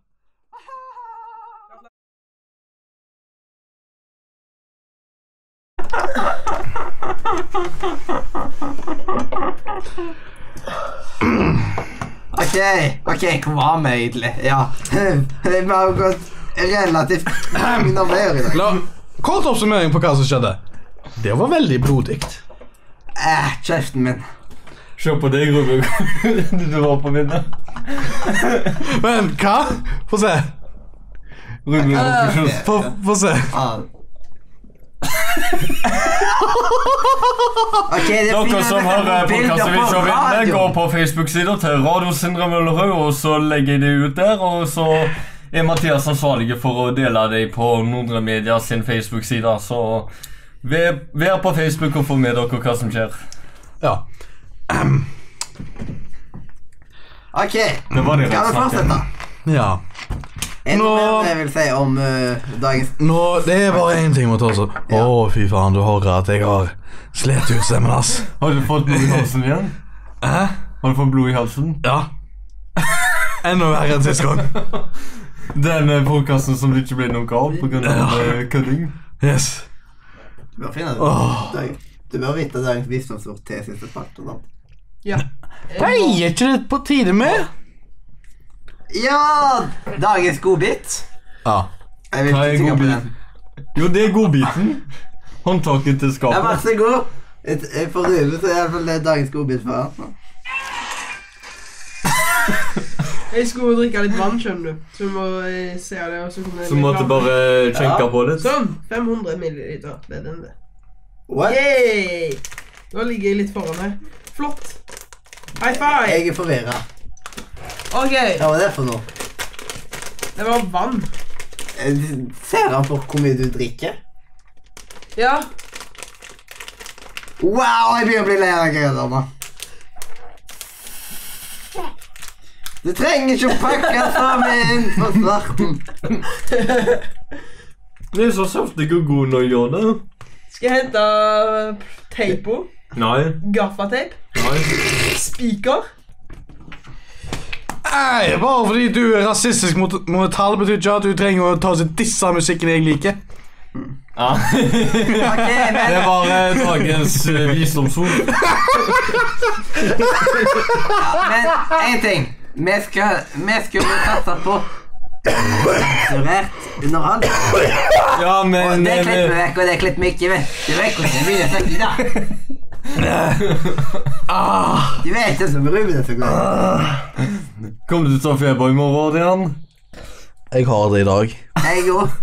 S3: OK, ok, hvor var vi egentlig? Ja. Vi har jo gått relativt mye mer i dag.
S1: La, kort oppsummering på hva som skjedde. Det var veldig blodig.
S3: Eh, kjeften min.
S2: Se på deg, Robin. du var på
S3: Ah.
S2: minnet.
S1: Men hva? Få se.
S2: Ruben konklusjon.
S1: Få, få se.
S3: Ah. Ok, det er
S2: Dere som hører podkasten Vits og vinne, går på Facebook-sida til Radio Sindre Møllerud, og så legger jeg det ut der. Og så er Mathias ansvarlig for å dele det på Nordre Media sin Facebook-side. Så vær vær på Facebook og få med dere hva som skjer.
S1: Ja.
S3: Ok,
S2: Det var det
S3: skal vi fortsette?
S1: ja.
S3: Er det noe
S1: Nå-
S3: mer jeg vil si om eh, dagens
S1: Nå, Det er bare én ting mot oss. Å, fy faen, du hører at jeg har slet ut stemmen, ass.
S2: Har du fått blod i halsen igjen?
S1: Hæ?
S2: Har du fått blod i halsen?
S1: Ja. Enda verre enn sist gang.
S2: Den podkasten som det ikke ble noe av pga. kødding?
S1: Yes.
S3: Du bør finne
S1: Åh.
S3: dag, Du bør vite dagens visdomsord til siste spalte. da.
S4: Ja.
S1: Pleier ikke det på tide med?
S3: Ja! Dagens godbit.
S1: Ja.
S3: Jeg vil
S2: Hva er
S3: ikke tygge på
S2: godbit?
S3: den.
S2: Jo, det er godbiten. Håndtaket til
S3: Ja, vær
S2: skapet.
S3: så god. Et- eh, For Rune så er i hvert fall det dagens godbit for han.
S4: Jeg skulle drikke litt vann, skjønner du. Så vi må eh, se det, og så kommer det
S2: Så måtte bare kjenke på det.
S4: Sånn. 500 milliliter bedre enn det.
S3: What?
S4: Yay! Nå ligger jeg litt foran her. Flott. High five.
S3: Jeg er forvirra.
S4: OK,
S3: Hva var det for noe?
S4: det var vann.
S3: Eh, Ser han for hvor mye du drikker?
S4: Ja.
S3: Wow, jeg begynner å bli lei av grønnene. Du trenger ikke å pakke sammen inn for svarten.
S2: Det er så søtt det går god når jeg gjør det.
S4: Skal jeg hente teipo?
S2: Nei.
S4: Gaffateip?
S2: Nei.
S4: Spiker?
S1: Nei, bare fordi du er rasistisk mot, mot tall, betyr ikke at du trenger å ta og disse musikken jeg liker.
S2: Ja.
S3: Ok, men
S2: Det var eh, dagens eh, visdomsord.
S3: Men én ting. Vi skal Vi skulle satse på Sensurert underholdning.
S2: Ja, men
S3: Det
S2: eh,
S3: klipper vi vekk, og det klipper vi ikke vekk. Du vet hvordan det blir å snakke i dag.
S1: Ah.
S3: Du vet det som Ruben er så glad i.
S2: Kommer du til å ta feber i morgen, Adrian?
S1: Jeg har det i dag.
S3: Jeg er god.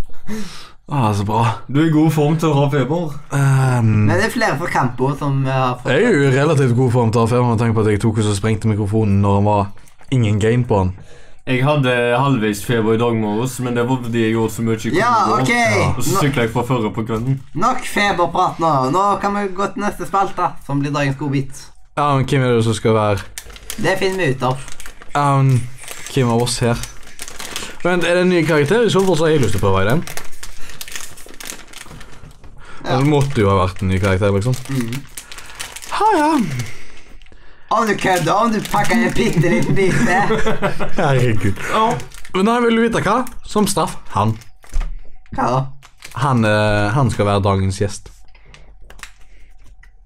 S1: Ah, så bra.
S2: Du er i god form til å ha feber.
S1: Ehm,
S3: Men det er flere fra Campo som eh, har fått
S1: jeg er jo i relativt god form til å ha feber, med tanke på at jeg tok og så sprengte mikrofonen når han var ingen game på den.
S2: Jeg hadde halvveis feber i dag morges, men det var fordi jeg gjorde så mye i
S3: Ja,
S2: går.
S3: ok.
S2: Og så sykla jeg fra førre på kvelden.
S3: Nok feberprat nå. Nå kan vi gå til neste spalte, som blir dagens godbit.
S1: Ja, men hvem er det som skal være
S3: Det finner vi ut av.
S1: Ja, men hvem av Um, oss her? Vent, er det en ny karakter? I så fall så har jeg lyst til å prøve i den.
S3: Ja.
S1: Det måtte jo ha vært en ny karakter, liksom. Ha, ja.
S3: Om du kødder, om du pakker en bitte liten bit med
S1: Herregud. Men nei, vil du vite hva? Som straff, han.
S3: Hva da?
S1: Han, eh, han skal være dagens gjest.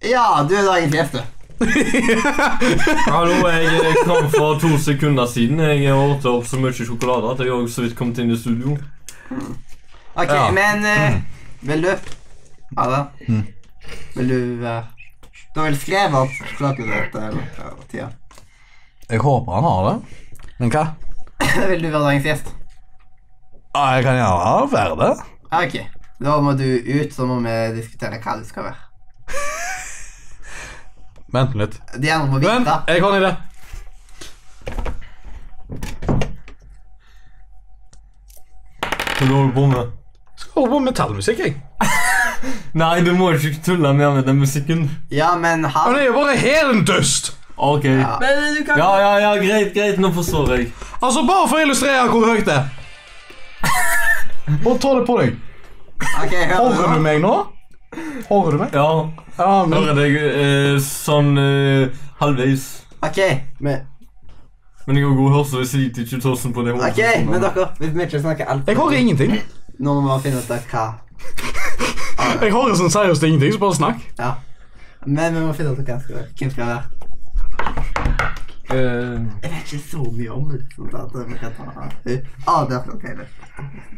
S3: Ja, du er dagens gjest, du.
S2: Hallo, jeg kom for to sekunder siden. Jeg har åtte opp så mye sjokolade at jeg har så vidt kommet inn i studio.
S3: Ok,
S1: Ja.
S3: men eh, Vil du Ha det. Vil du eh, Du vil skrive opp klokken ditt eller ja, tida.
S1: Jeg håper han har det. Men hva?
S3: vil du være dagens gjest?
S1: Ja, jeg kan gjerne være det.
S3: Ja, Ok. Da må du ut, så må vi diskutere hva du skal være.
S1: Vent litt.
S3: De andre må
S1: Vent,
S3: vite.
S1: jeg har en idé.
S2: Hva holder du på med?
S1: Skal holde på med metallmusikk, jeg.
S2: Nei, du må ikke tulle mer med den musikken.
S3: Ja, men
S1: Men
S3: han
S1: det er jo bare helt dust.
S2: Ok. Ja,
S4: Men du kan
S2: ja, ja, greit, greit. Nå forstår jeg.
S1: Altså, bare for å illustrere hvor høyt det er. Bare ta det på deg.
S3: Ok,
S1: Hører
S3: hører
S1: du
S3: du nå?
S1: meg nå? Hører du meg?
S2: Ja,
S1: Ja, men
S2: hører deg eh, sånn eh, halvveis.
S3: Ok, men
S2: Men jeg har god hørsel, hvis jeg gir ikke tossen på det hodet.
S3: Ok, men dere, hvis vi ikke snakker alt
S1: Jeg har ingenting.
S3: Nå må vi finne ut av hva
S1: Jeg har en sånn seriøst ingenting, så bare snakk.
S3: Ja. Men vi må finne ut av hva skal, hvem skal være.
S2: Eh,
S3: Jeg vet ikke så mye om det. sånn at vi kan ta Ah, det er flott, Taylor.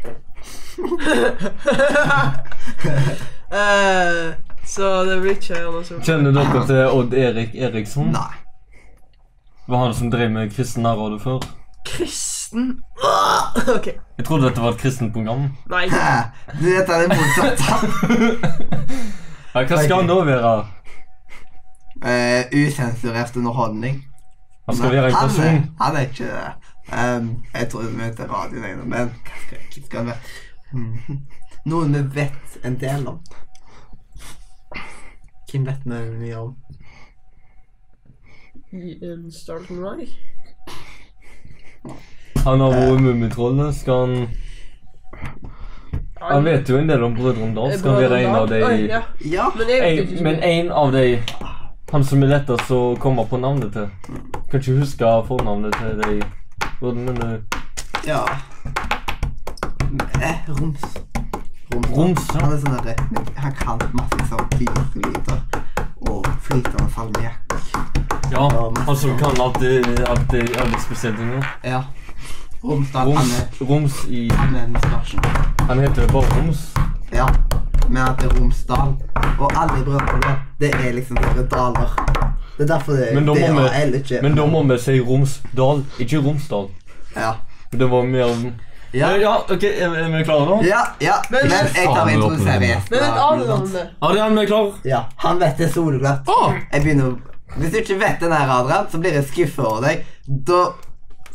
S4: Eh, så det blir ikke noe som
S2: Kjenner dere til Odd Erik Eriksson?
S3: Nei.
S2: Det var han som drev med kristen nærradio før.
S4: Kristen Åh! OK.
S2: Jeg trodde dette var et kristent program.
S4: Nei.
S3: Hæ? Du vet han er motsatt.
S2: Ja, hva skal han da være?
S3: Uh, usensurert underholdning.
S2: Han skal være en
S3: han,
S2: person.
S3: er- han er ikke det. Um, jeg tror vi møter radioen ennå, men hva skal, hva skal han være? Mm. Noen vi vet en del om. Hvem vet vi mye om?
S4: I en starten mai.
S2: Han har
S3: Eh.
S2: vært Mummitrollet. Skal han Han vet jo en del om Brødrene Dal. Skal han være en av de
S4: Oi, ja.
S3: Ja.
S4: Men jeg vet
S2: en,
S4: ikke så
S2: Men
S4: mye.
S2: en av de Han som er lettest å komme på navnet til. Kan ikke huske fornavnet til de brødrene. men, eh,
S3: ja. Eh, Roms. Roms.
S2: Roms, ja.
S3: Han er sånn der, Han kan masse sånn klypelyder og flytende salmiakk.
S2: Ja, han som kan alt det alt det alle spesielle tingene.
S3: Ja. Romsdal. Han
S2: Roms,
S3: er
S2: Roms i
S3: han er en stasjon.
S2: Han heter jo bare Roms.
S3: Ja. Men at det er Romsdal og alle brødrene, det er liksom sånne daler. Det er derfor det,
S2: Men da
S3: det
S2: må
S3: har
S2: vi-
S3: jeg ikke
S2: Men da må vi si Romsdal, ikke Romsdal.
S3: Ja.
S2: Det var mer om
S3: Ja.
S2: Eh, ja ok, er, er vi klare nå?
S3: Ja, ja.
S4: Men-
S3: Men, jeg tar
S1: Faen,
S3: introen
S1: åpner den.
S3: seriøst.
S4: Men et
S3: da.
S4: annet navn det.
S2: Adrian, vi er klare.
S3: Ja, han vet det solglatt.
S1: Ah,
S3: Jeg begynner å Hvis du ikke vet den her, Adrian, så blir jeg skuffet over deg. Da,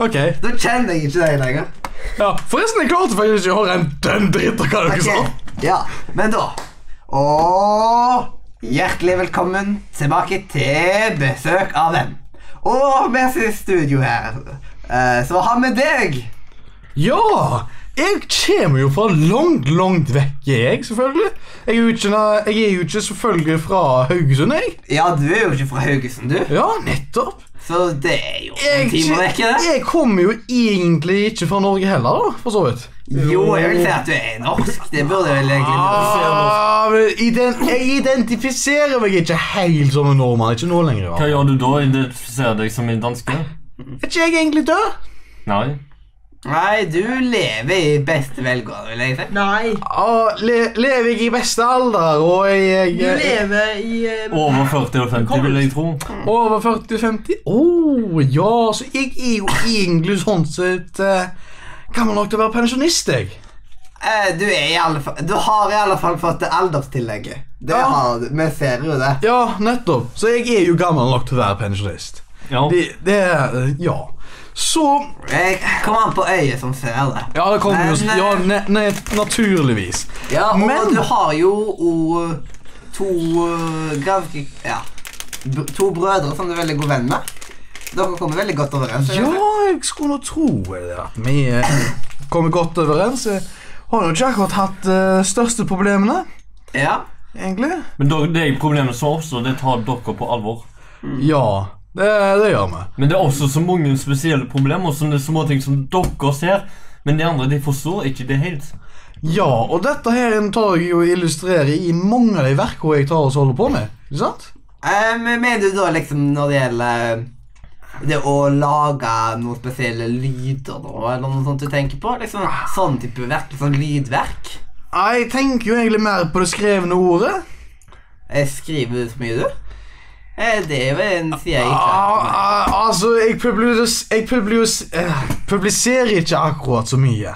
S1: ok.
S3: da kjenner jeg ikke deg lenger.
S1: Ja, forresten, jeg klarte faktisk ikke å høre en dønn dritt av hva dere
S3: Ok,
S1: sa.
S3: Ja, men da Og hjertelig velkommen tilbake til besøk av hvem? Og med oss i studio her, eh, så har vi deg.
S1: Ja! Jeg kommer jo fra langt, langt vekk, er jeg, selvfølgelig. Jeg er jo ikke, na- jeg er jo ikke selvfølgelig fra Haugesund, jeg.
S3: Ja, du er jo ikke fra Haugesund, du.
S1: Ja, nettopp.
S3: Så det er jo en
S1: Jeg,
S3: time vekk, er det?
S1: jeg kommer jo egentlig ikke fra Norge heller, da, for så vidt.
S3: Jo, jeg vil si at du er norsk. Det burde vel egentlig
S1: Ah, men ident jeg identifiserer meg ikke helt som en nordmann. Ikke nå lenger.
S2: Hva
S1: Ja.
S2: gjør du da? Identifiserer deg som en danske?
S1: Er ikke jeg egentlig død?
S2: Nei.
S3: Nei, du lever i beste velgående, vil jeg si.
S4: Nei.
S1: Ah, le lever jeg i beste alder, og jeg,
S4: Du
S1: jeg
S4: lever i eh,
S2: Over 40 eller 50, vil jeg tro.
S1: eh, Over 40-50? Å, ja, så jeg er jo egentlig sånn sett eh, gammel nok til å være pensjonist, jeg.
S3: Eh, Du, er i alle fall, du har i alle fall fått det alderstillegget. Det
S1: Ja.
S3: har du. Vi ser jo det.
S1: Ja, nettopp. Så jeg er jo gammel nok til å være pensjonist.
S2: Ja.
S1: Det, det eh, Ja. Så
S3: Jeg kommer an på øyet som ser det.
S1: Ja, det kommer jo
S3: Men, eh,
S1: Ja, ne, ne, naturligvis.
S3: Ja, og
S1: Men-
S3: du har jo og, to eh, ganske Ja. br- To brødre som du er veldig god venn med. Dere kommer veldig godt overens. vil jeg
S1: Ja,
S3: si.
S1: jeg skulle nå tro det. At vi eh, kommer godt overens. Jeg har jo ikke akkurat hatt eh, største problemene,
S3: ja.
S1: egentlig.
S2: Men da, de problemene som oppstår, det tar dere på alvor.
S1: Ja, det, det gjør vi.
S2: Men det er også så mange spesielle problemer, som det er småting som dere ser. Men de andre de forstår ikke det helt.
S1: Ja, og dette her tar jeg jo og illustrerer i mange av de verkene jeg tar og holder på med. Ikke sant?
S3: Eh, men mener du da liksom når det gjelder det å lage noen spesielle lyder nå, eller noe sånt du tenker på? Liksom Sånn type verk? Sånn lydverk?
S1: Jeg tenker jo egentlig mer på det skrevne ordet.
S3: Eh, skriver du så mye, du? Eh, det er jo en side jeg ikke
S1: Ah,
S3: har.
S1: ah, altså, jeg, publis, jeg publis, eh, publiserer ikke akkurat så mye.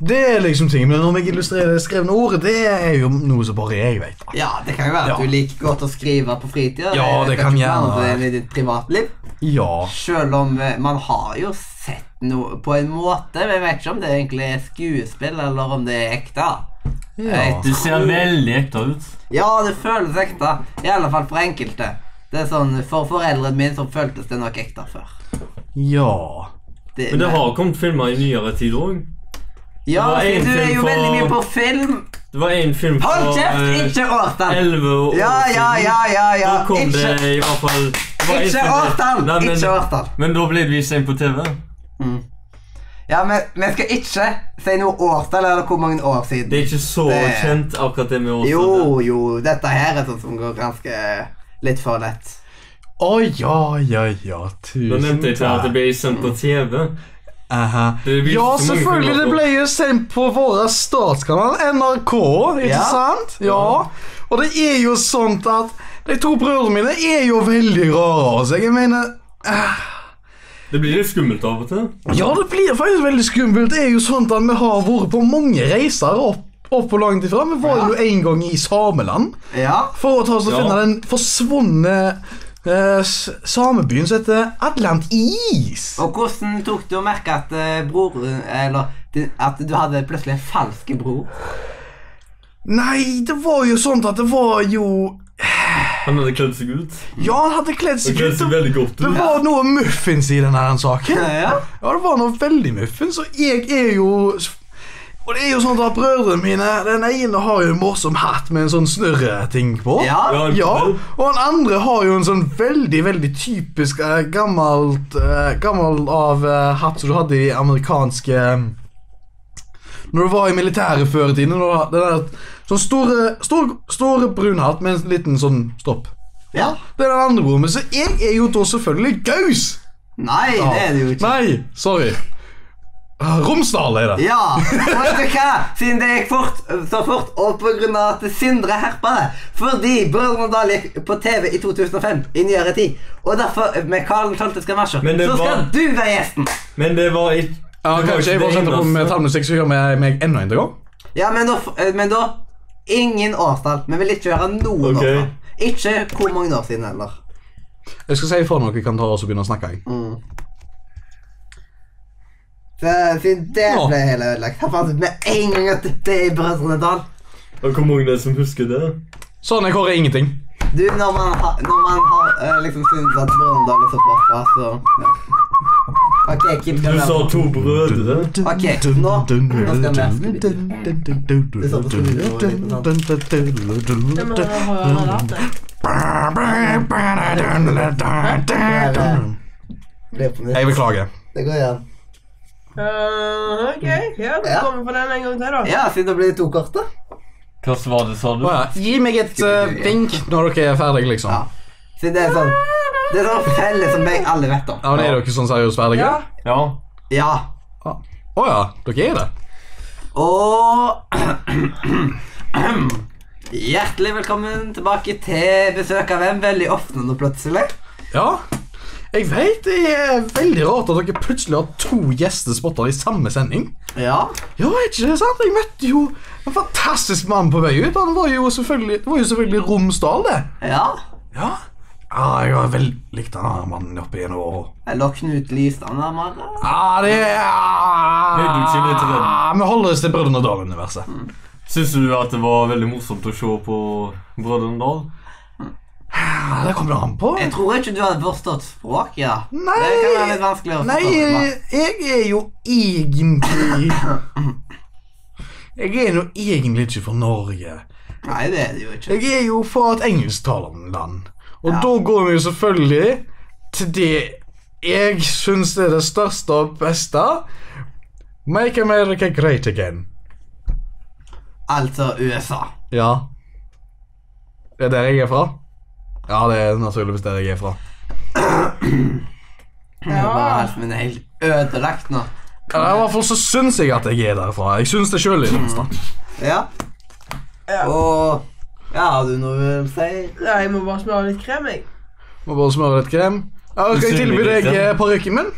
S1: Det er liksom ting, Men når jeg illustrerer det skrevne ordet, det er jo noe som bare jeg vet.
S3: Ja, det kan jo være at
S1: Ja.
S3: du liker godt å skrive på fritida.
S1: Ja, det kan
S3: ikke være
S1: gjerne
S3: noe til det i ditt privatliv.
S1: Ja.
S3: Selv om eh, man har jo sett noe på en måte. Men jeg vet ikke om det egentlig er skuespill, eller om det er ekte.
S1: ja.
S2: Det ser veldig ekte ut.
S3: Ja, det føles ekte. I alle fall for enkelte. Det er sånn, For foreldrene mine så føltes det nok ekte før.
S1: Ja.
S3: Det,
S2: Men det har kommet filmer i nyere tid òg.
S3: Ja,
S2: det var
S3: for
S2: en
S3: du er
S2: film
S3: jo
S2: på-
S3: veldig mye på film.
S2: Det var en film fra
S3: Hold kjeft!
S2: eh,
S3: Ikke årstall.
S2: 11 år
S3: Ja, ja, ja, ja. ja.
S2: Da kom
S3: Ikke
S2: det i hvert fall bare
S3: Ikke
S2: innføre-
S3: årstall!
S2: Nei, men-
S3: Ikke årstall.
S2: Men da ble det vist inn på TV.
S3: Ja, men vi skal ikke si noe årstall eller hvor mange år
S2: Det
S3: siden.
S2: er ikke så
S3: Det-
S2: kjent, akkurat det med årstall.
S3: Jo, jo, dette her er sånn som går ganske litt for lett.
S1: Å ja, ja, ja.
S2: Da
S1: Tusen
S2: nevnte jeg ikke at det ble sendt på TV.
S1: Aha.
S2: Det er vist
S1: Ja,
S2: så mange
S1: selvfølgelig. Det
S2: filmer.
S1: ble jo sendt på vår statskanal, NRK. Ikke
S3: Ja.
S1: sant? Ja. Og det er jo sånt at de to brødrene mine er jo veldig rare. Altså. Jeg mener
S2: Det blir litt skummelt av og til.
S1: Ja, det blir faktisk veldig skummelt. Det er jo sånt at vi har vært på mange reiser opp, opp og langt ifra. Vi var jo en gang i Sameland
S3: Ja.
S1: for å ta oss og
S2: Ja.
S1: finne den forsvunne eh, s- samebyen som heter Atlantis.
S3: Og hvordan tok du å merke at eh, broren Eller din- at du hadde plutselig en falsk bror?
S1: Nei, det var jo sånt at det var jo
S2: Han hadde kledd seg ut.
S1: Ja, han hadde kledd
S2: Og
S1: seg
S2: kledd
S1: ut.
S2: seg veldig godt
S1: Det
S2: ut.
S1: var noe muffins i denne her saken.
S3: Ja.
S1: Ja, det var noe veldig muffins, og jeg er jo Og det er jo sånn at brødrene mine Den ene har jo en morsom hatt med en sånn snørreting på.
S3: Ja.
S2: en
S1: Ja,
S2: pøl.
S1: og den andre har jo en sånn veldig veldig typisk eh, gammelt eh, Gammel av eh, hatt som du hadde i amerikanske eh, Når du var i militæret før i tiden. når du hadde Den der, sånn store, store, store brun hatt med en liten sånn stopp.
S3: ja.
S1: Det er den andre broren min, så jeg er jo da selvfølgelig gaus.
S3: Nei, det er det jo ikke.
S1: Nei, sorry. Ah, Romsdal er det.
S3: Ja, og vet du hva? Siden det gikk fort, så fort, og på grunn av at Sindre herpa det Fordi Brødrene Dal gikk på TV i 2005, i nyere tid. Og derfor, med Karl 12. skal matche,
S2: Men det
S3: så skal
S2: var-
S3: du være gjesten.
S2: Men det var ikke
S1: Ja,
S2: det var
S1: kanskje
S2: ikke
S1: jeg bare
S2: det
S1: setter på med
S2: eneste.
S1: tallmusikk, så gjør vi meg enda en gang.
S3: Ja, men da, f- eh, men da Ingen årstall. Vi vil ikke høre noen
S2: Ok.
S3: årstall. Ikke hvor mange år siden heller.
S1: Jeg skal si ifra når vi kan ta oss og begynne å snakke. jeg.
S3: Så, siden det
S1: Ja.
S3: ble hele ødelagt. Han fant ut med en gang at det er Brødrene Dal.
S2: Og hvor mange er det som husker det?
S1: Sånn, jeg hører ingenting.
S3: Du, når man, ha, når man har eh, liksom syntes at Brøndal er såpass bra, så ja. Ok, Kim
S2: Du
S3: kan
S2: sa
S3: være
S2: to brødre.
S3: Ok, nå, nå skal vi neste bit. Det er sånn på skolen, det
S4: Det må jeg ha lært det.
S3: Det er på nytt.
S1: Jeg beklager.
S3: Det går igjen.
S4: Eh, ok, ja, da
S3: Ja.
S4: kommer vi på den en gang til, da.
S3: Ja, siden det blir to kort, da.
S2: Hva var det, sa du?
S1: Å ja, Gi meg et eh, vink når dere er ferdige, liksom.
S3: Ja. Siden det er sånn Det er sånn felle som jeg alle vet om.
S1: Ja, men Er dere sånn seriøst ferdige?
S4: Ja,
S2: Ja.
S3: Ja.
S1: Å ja, dere er det?
S3: Og Hjertelig velkommen tilbake til besøk av hvem veldig ofte nå, plutselig.
S1: Ja. Jeg vet, det er veldig rart at dere plutselig har to gjester spotta i samme sending.
S3: Ja.
S1: Ja, er ikke det sant? Jeg møtte jo en fantastisk mann på vei ut. Han var jo selvfølgelig, det var jo selvfølgelig Romsdal, det.
S3: Ja.
S1: Ja. Ja, jeg har vel likt han her mannen oppi en år.
S3: Eller Knut Lystad, nærmere.
S1: Ja, det er
S2: Nei, du kjenner til den.
S1: Ja, Vi holder oss til Brødrene Dal-universet.
S2: Syns du at det var veldig morsomt å se på Brødrene Dal?
S1: Ja, det kommer det an på.
S3: Jeg tror ikke du hadde forstått språket. Ja.
S1: Nei.
S3: Det kan være litt vanskelig å
S1: Nei,
S3: forstå.
S1: jeg, jeg er jo egentlig Jeg er jo egentlig ikke fra Norge.
S3: Nei, det er det jo ikke.
S1: Jeg er jo fra et engelsktalende land. Og da går vi jo selvfølgelig til det jeg syns er det største og beste. Make America great again.
S3: Altså USA.
S1: Ja. Det er der jeg er fra? Ja, det er naturligvis der jeg er fra.
S3: Ja. Bare
S4: ja.
S3: alt min er helt ødelagt nå.
S1: Ja, I hvert fall så syns jeg at jeg er derfra. Jeg syns det sjøl.
S3: Ja.
S4: Ja.
S3: Og ja, har du noe du vil si?
S4: Nei, jeg må bare smøre litt krem, jeg.
S1: Må bare smøre litt krem. Ja, Skal jeg tilby deg eh, parykken min?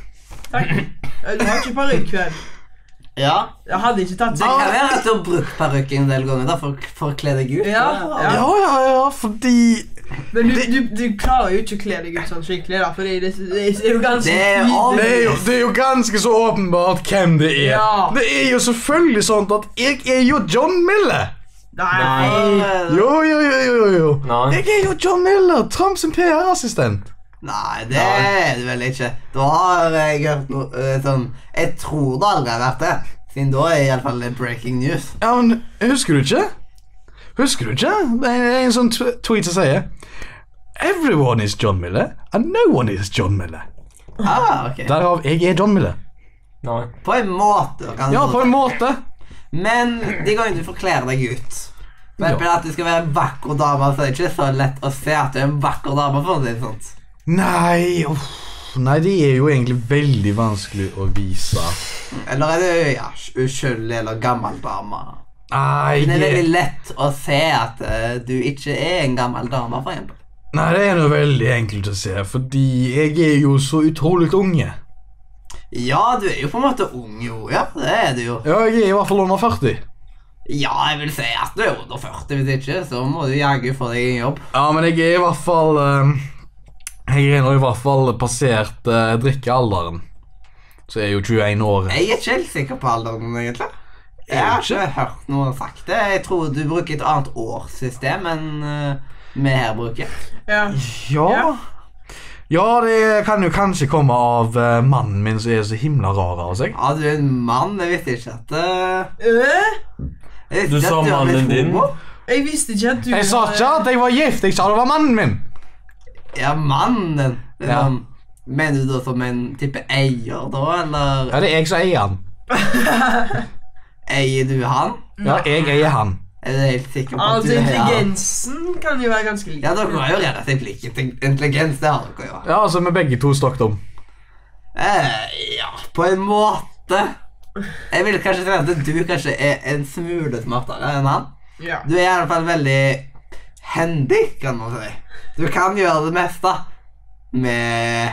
S4: Takk. Eh, Du har ikke parykk, vel?
S3: Ja.
S4: Jeg hadde ikke tatt
S1: Ah.
S3: Det kan
S4: seg
S3: være at du har brukt parykken en del ganger da, for, for å kle deg ut.
S4: Ja, ja.
S1: Ja, ja, ja, fordi
S4: Men du, du, du klarer jo ikke å kle deg ut sånn skikkelig, da, fordi det, det er jo ganske
S3: Det er alt-
S1: Det er, jo, det er jo ganske så åpenbart hvem det er.
S4: Ja.
S1: Det er jo selvfølgelig sånn at jeg er jo John Miller.
S4: Nei.
S1: Jo, jo, jo, jo, jo.
S2: Nei.
S1: Jeg er jo John Miller, Trumps PR-assistent.
S3: Nei, det er det vel ikke. Da har jeg hørt noe eh, sånn Jeg tror det aldri har vært det. Siden da er iallfall det breaking news.
S1: Ja, men husker du ikke? Husker du ikke? Det er en sånn tw tweet som sier Everyone is John Miller, and no one is John Miller.
S3: Ah, ok.
S1: Derav jeg er John Miller.
S2: Nei.
S3: På en måte. kan
S1: Ja,
S3: du
S1: på en
S3: si.
S1: måte.
S3: Men de går jo ikke for å kle deg ut. Men
S1: Ja.
S3: men at du skal være en vakker dame, så er det ikke så lett å se at du er en vakker dame. for å si det sånt.
S1: Nei, uff. Nei, det er jo egentlig veldig vanskelig å vise.
S3: Eller er du ja, uskyldig eller gammel dame?
S1: Nei,
S3: Men det er
S1: det-
S3: veldig lett å se at eh, du ikke er en gammel dame, for eksempel.
S1: Nei, det er noe veldig enkelt å se, fordi jeg er jo så utrolig unge.
S3: Ja, du er jo på en måte ung, jo. Ja, det er du jo.
S1: Ja, jeg er i hvert fall under 40.
S3: Ja, jeg vil si at du er under 40, hvis ikke, så må du jaggu få deg en jobb.
S1: Ja, men jeg er i hvert fall eh, Jeg er nå i hvert fall passert eh, drikkealderen. Så jeg er jo 21 år.
S3: Jeg er ikke helt sikker på alderen din, egentlig. Jeg
S1: Er
S3: har
S1: du
S3: ikke hørt noen sagt det. Jeg tror du bruker et annet årssystem enn eh, vi her bruker.
S4: Ja.
S1: Ja Ja, det kan jo kanskje komme av eh, mannen min som er så himla rar av seg.
S3: Ja, du er en mann. Jeg visste ikke at eh,
S4: Øh,
S3: jeg visste
S2: Du
S3: ikke
S2: sa
S3: at var
S2: mannen
S3: litt
S2: din?
S3: homo.
S4: jeg visste ikke at du
S1: Jeg sa
S4: var-
S1: ikke at jeg var gift, jeg sa det var mannen min.
S3: Ja, mannen din.
S1: Ja.
S3: Liksom, Mener du da som en type eier, da? Eller
S1: Ja, det er jeg som eier han.
S3: eier du han?
S1: Ja, jeg eier han.
S3: Er du helt sikker på at
S4: Altså,
S3: du er han?
S4: intelligensen kan jo være ganske lik.
S3: Ja, dere har jo relativt lik inte- intelligens. Det har dere jo.
S1: Ja, altså, vi begge to snakket om.
S3: Eh, ja, på en måte. Jeg vil kanskje si at du kanskje er en smule smartere enn han.
S4: Ja.
S3: Du er i alle fall veldig handy, kan man si. Du kan gjøre det meste med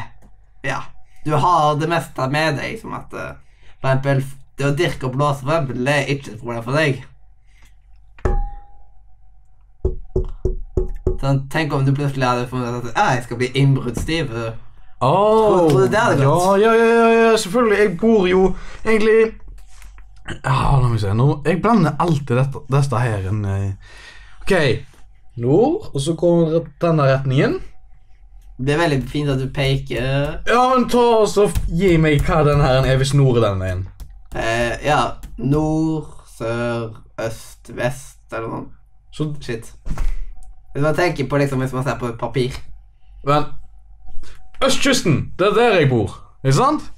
S3: Ja. Du har det meste med deg, som at eh, for eksempel det å dirke og blåse, for eksempel, det er ikke et problem for deg. Sånn, tenk om du plutselig hadde funnet ut at «Ah, jeg skal bli innbruddstyv.
S1: Oh,
S3: Tror du det hadde
S1: ja,
S3: gått?
S1: ja, ja, ja, ja, selvfølgelig. Jeg bor jo egentlig ah, La meg se nå. Jeg blander alltid dette, dette her en, eh, OK. Nord, og så kommer det denne retningen.
S3: Det er veldig fint at du peker
S1: Ja, men ta og så f- Gi meg hva den her er hvis nord er den veien.
S3: eh, Ja, nord, sør, øst, vest, eller noe.
S1: Så
S3: Shit. Hvis man tenker på liksom, hvis man ser på et papir
S1: Men Østkysten! Det er der jeg bor. Ikke sant?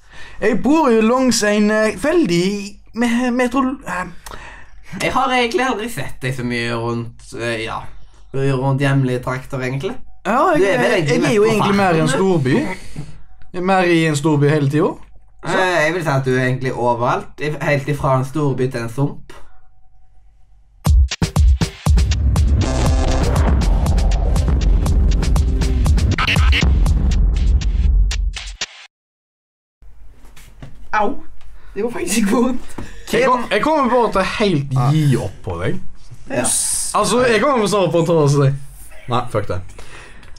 S1: Jeg bor jo langs en eh, veldig me metro... eh,
S3: Jeg har egentlig aldri sett deg så mye rundt eh, Ja, rundt hjemlige trakter, egentlig.
S1: Ja, jeg,
S3: Du er vel
S1: jeg,
S3: egentlig
S1: er
S3: mest
S1: jo
S3: på
S1: egentlig mer i en
S3: farten,
S1: storby. Jeg er mer i en storby hele tida.
S3: Eh, jeg vil si at du er egentlig overalt. i- Helt ifra en storby til en sump.
S4: Au. Det gjorde faktisk ikke vondt.
S1: Jeg, kom, jeg kommer bare til å helt gi opp på deg. Altså, jeg kommer snart på å ta oss deg. Nei, fuck det.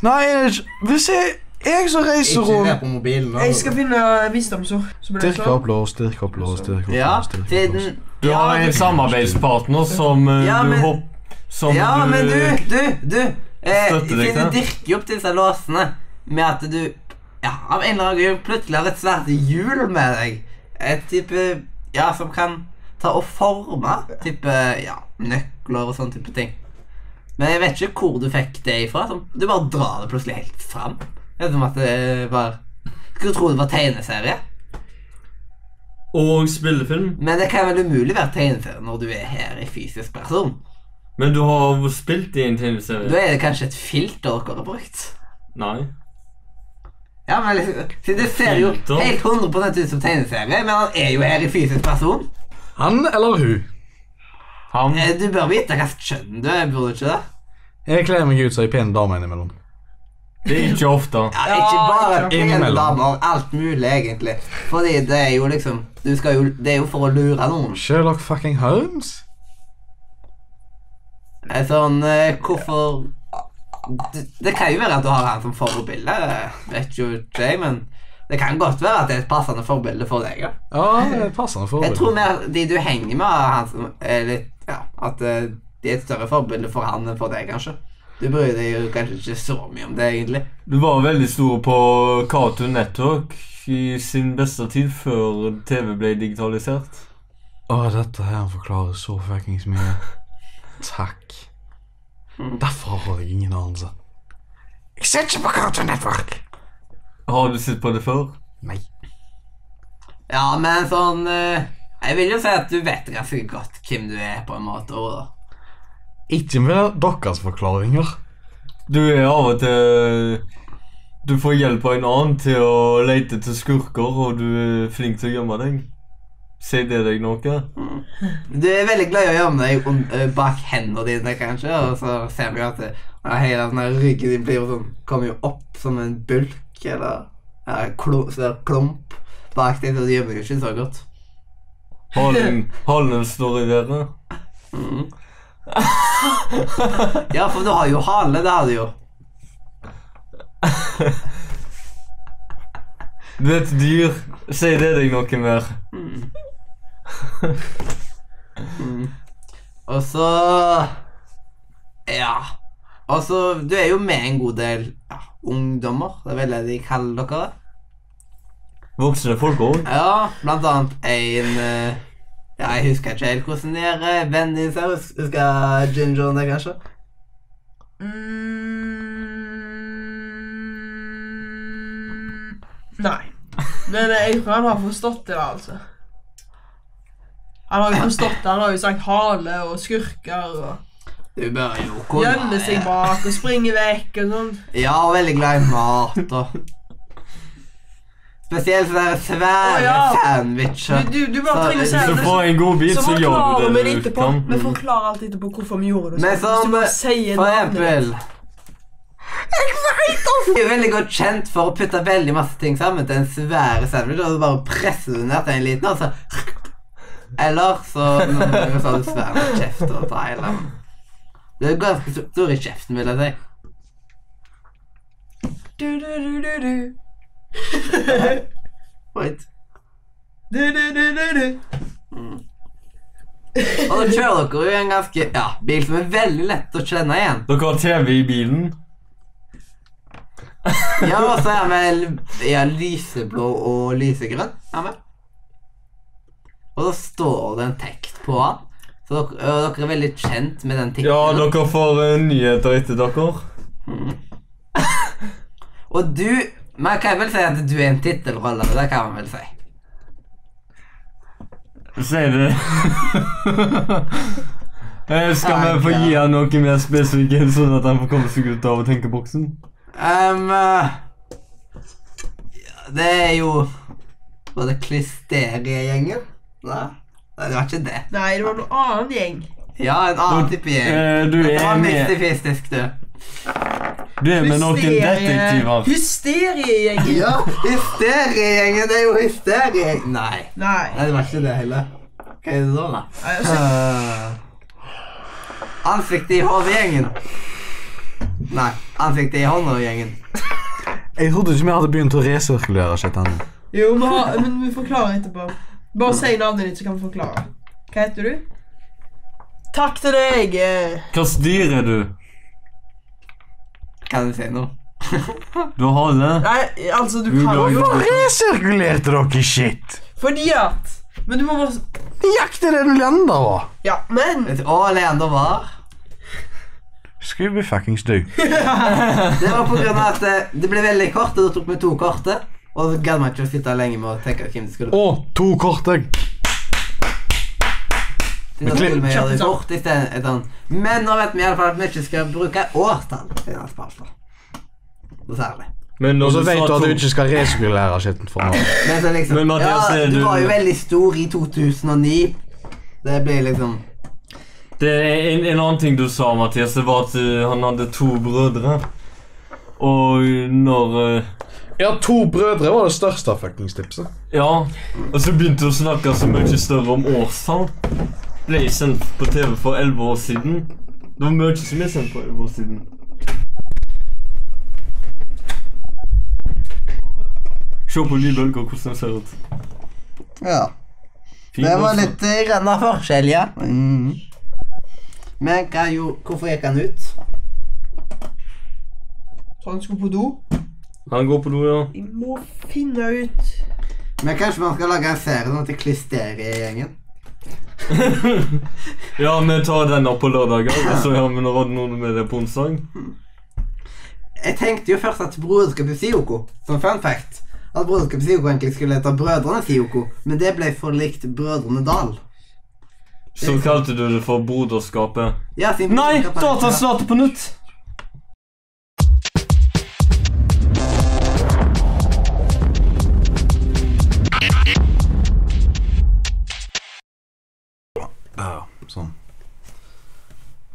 S1: Nei, jeg- hvis jeg Jeg som reiser
S3: Ikke se
S1: rundt
S3: på mobilen. nå.
S4: Jeg skal finne visdomsord. så blir det
S1: Dirke
S4: sånn.
S1: og blå, dirke og blå, dirke
S3: Ja,
S1: og blå.
S3: siden
S2: Du
S3: Ja,
S2: har en
S3: men-
S2: samarbeidspartner som eh,
S3: Ja,
S2: du
S3: men-
S2: hopp... Som
S3: Ja,
S2: du,
S3: men du, du, du. Eh,
S2: Støtter deg
S3: siden
S2: til.
S3: du dirker jo opp disse låsene med at du ja, av en eller annen grunn plutselig har et svært hjul med deg. Et type Ja, som kan ta og forme type ja, nøkler og sånne type ting. Men jeg vet ikke hvor du fikk det ifra. Sånn. Du bare drar det plutselig helt fram. Det er som at det var Skulle tro det var tegneserie,
S2: Og spillefilm.
S3: men det kan vel umulig være tegneserie når du er her i fysisk person.
S2: Men du har spilt i en tegneserie?
S3: Da er det kanskje et filter dere har brukt.
S2: Nei.
S3: Ja, men liksom, siden det ser jo
S2: Filter.
S3: helt 100 ut som tegneserie, men han er jo her i fysisk person.
S1: Han eller hun?
S2: Han
S3: Eh, Du bør vite hva slags kjønn du er, burde du ikke det?
S1: Jeg kler meg ut som ei pen dame innimellom.
S2: Det er ikke ofte.
S3: Ja,
S4: Ja,
S3: Eh, ikke bare
S4: ikke
S3: pene
S1: Innimellom.
S3: damer, alt mulig, egentlig. Fordi det er jo liksom du skal jo, Det er jo for å lure noen.
S1: Sherlock fucking Holmes?
S3: Eh, Sånn eh, Hvorfor det, det kan jo være at du har han som forbilde, eh, vet jo ikke jeg, men det kan godt være at det er et passende forbilde for deg. Ja.
S1: Ja, det er passende for
S3: Jeg tror mer de du henger med, er han som er litt Ja, at eh, de er et større forbilde for han enn for deg, kanskje. Du bryr deg jo kanskje ikke så mye om det, egentlig.
S2: Du var veldig stor på Cartoon Network i sin beste tid før TV ble digitalisert.
S1: Å, dette her forklarer så fuckings mye. Takk. Derfor har jeg ingen anelse. Jeg ser ikke på Cartoon Network.
S2: Har du sett på det før?
S1: Nei.
S3: Ja, men sånn eh, Jeg vil jo si at du vet ganske godt hvem du er, på en måte. også, da.
S1: Ikke med deres forklaringer.
S2: Du er av og til Du får hjelp av en annen til å lete etter skurker, og du er flink til å gjemme deg. Sier det deg noe?
S3: Du er veldig glad i å gjemme deg un- eh, bak hendene dine, kanskje, og så ser vi jo at det, ja, hele den der ryggen din blir jo sånn, kommer jo opp som en bulk, eller ja, klo, så der klump bak deg, så du gjemmer deg ikke så godt.
S2: Halen, halen står i været.
S3: Ja, for du har jo hale, det har du jo.
S2: Du er et dyr. Sier det deg noe mer?
S3: Mm. Og så Ja. Og så Du er jo med en god del ja, ungdommer, det er vel det de kaller dere. det.
S2: Voksne folk òg.
S3: Ja, blant annet en eh, Ja, jeg husker ikke helt hvordan de er. eh, Vennen din ser hus- Husker Gingeren det, kanskje?
S4: Mm, nei. Men eh, jeg tror han har forstått det, da, altså. Han har jo forstått det, han har jo sagt hale og skurker og
S3: Du bør jo kunne
S4: gjemmer seg bak og springer vekk og sånn.
S3: Ja, og veldig glad i mat og Spesielt sånne svære
S4: Å, ja.
S3: sandwicher.
S4: Du, du, du bare
S3: Så-
S4: trenger å si
S2: Hvis du
S4: det.
S2: får en god bit,
S4: Så
S2: så gjør du
S4: forklarer vi
S2: det
S4: det
S2: du
S4: etterpå.
S2: kan.
S4: Vi forklarer alt etterpå hvorfor vi gjorde det.
S3: Men
S4: sånn. Hvis
S3: sånn,
S4: du bare sier
S3: for
S4: navnet
S3: eksempel Du er veldig godt kjent for å putte veldig masse ting sammen til en svær sandwich, og så bare presser du ned til en liten, og så Eller så Noen ganger så har du svær nok kjeft og ta hele Du er ganske st- stor i kjeften, vil jeg si.
S4: Du, du, du, du, du.
S3: Right.
S4: Du, du, du, du, du.
S3: Og da kjører dere jo en ganske Ja, bil som er veldig lett å kjenne igjen.
S2: Dere har TV i bilen.
S3: Ja, og så er han vel ja, lyseblå og lysegrønn. Er han vel? Og så står det en tekst på han. Så dere, og dere er veldig kjent med den teksten.
S2: Ja, dere får eh, nyheter etter dere.
S3: Og du Man kan vel si at du er en tittelrolle. Det kan man vel si.
S2: Sier det. Eh, Skal vi få gi han noe mer spesifikt, sånn at han får komme seg ut av tenkeboksen?
S3: Ehm, eh, ja, det er jo Var det Klisteriegjengen? Nei, Nei, det var ikke det.
S4: Nei, det var noen annen gjeng.
S3: Ja, en annen type gjeng.
S2: Eh, Du
S3: Det
S2: er
S3: var
S2: med,
S3: mystifistisk, du.
S2: du er med noen detektiver.
S4: Hysteriegjengen.
S3: Ja, Hysteriegjengen. Det er jo hysterie... Nei.
S4: Nei.
S3: Nei, det var ikke det heller. Hva er det da, da?
S4: Nei, altså,
S3: Ansiktet i hodet-gjengen. Nei, ansiktet i hånda-gjengen.
S1: Jeg trodde ikke vi hadde begynt å resirkulere shit ennå.
S4: Jo, vi har, men vi forklarer etterpå. Bare si navnet ditt, så kan vi forklare. Hva heter du? Takk til deg. eh.
S2: Hvilket dyr er du?
S3: Kan du si noe?
S2: Du har hale.
S4: Nei, altså, du
S2: Du
S4: kan
S2: lager-
S4: jo
S1: Resirkulerte dere shit?
S4: Fordi at Men du må bare s-
S1: Jakt er det du lander på.
S4: Ja, men
S3: Vet du hva Leander var?
S1: Scooby fuckings do.
S3: Det var på grunn av at eh, det ble veldig kort, og da tok vi to korte. Og så gadd man ikke å sitte lenge med å tenke hvem det skulle være.
S1: Og to kort egg.
S3: Så
S1: klipp-
S3: da skulle vi gjøre det
S4: Kjapt,
S3: kort i stedet. et annet. Men nå vet vi i alle fall at vi ikke skal bruke årstall i denne spalten. Noe særlig.
S2: Men
S1: Og
S2: når
S1: så
S2: du
S1: vet
S2: sa
S1: du at
S2: to-
S1: du ikke skal resirkulere shitten for nå.
S3: Men, så liksom,
S2: Men Mathias,
S3: ja,
S2: er
S3: du
S2: du-
S3: var jo veldig stor i 2009. Det blir liksom
S2: Det er en, en annen ting du sa, Mathias, det var at eh, han hadde to brødre. Og når eh,
S1: Ja, to brødre var det største fuckings tipset.
S2: Ja. Og så begynte hun å snakke så mye større om årstall. Ble sendt på TV for elleve år siden. Det var mye som ble sendt på elleve år siden. Se på lydbølger hvordan de ser ut.
S3: Ja.
S2: Fin
S3: Det var
S2: også.
S3: litt eh, grann av forskjell, ja. Mm. Men hva gjorde, hvorfor gikk han ut?
S4: Han skulle på do.
S2: Han går på do, ja.
S4: Vi må finne ut
S3: Men kanskje man skal lage en serie sånn at det klisterer i gjengen?
S2: Ja, vi tar den opp på lørdager, og så gjør vi noe med det på onsdag.
S3: Jeg tenkte jo først at broderskapet til Sioko, som fun fact At broderskapet til Sioko egentlig skulle hete Brødrene Sioko, men det ble for likt Brødrene Dal.
S2: Så kalte du det for Broderskapet.
S3: Ja, siden
S2: Nei!
S3: broderskapet-
S2: Dataen starter på nytt!
S1: Ja, sånn.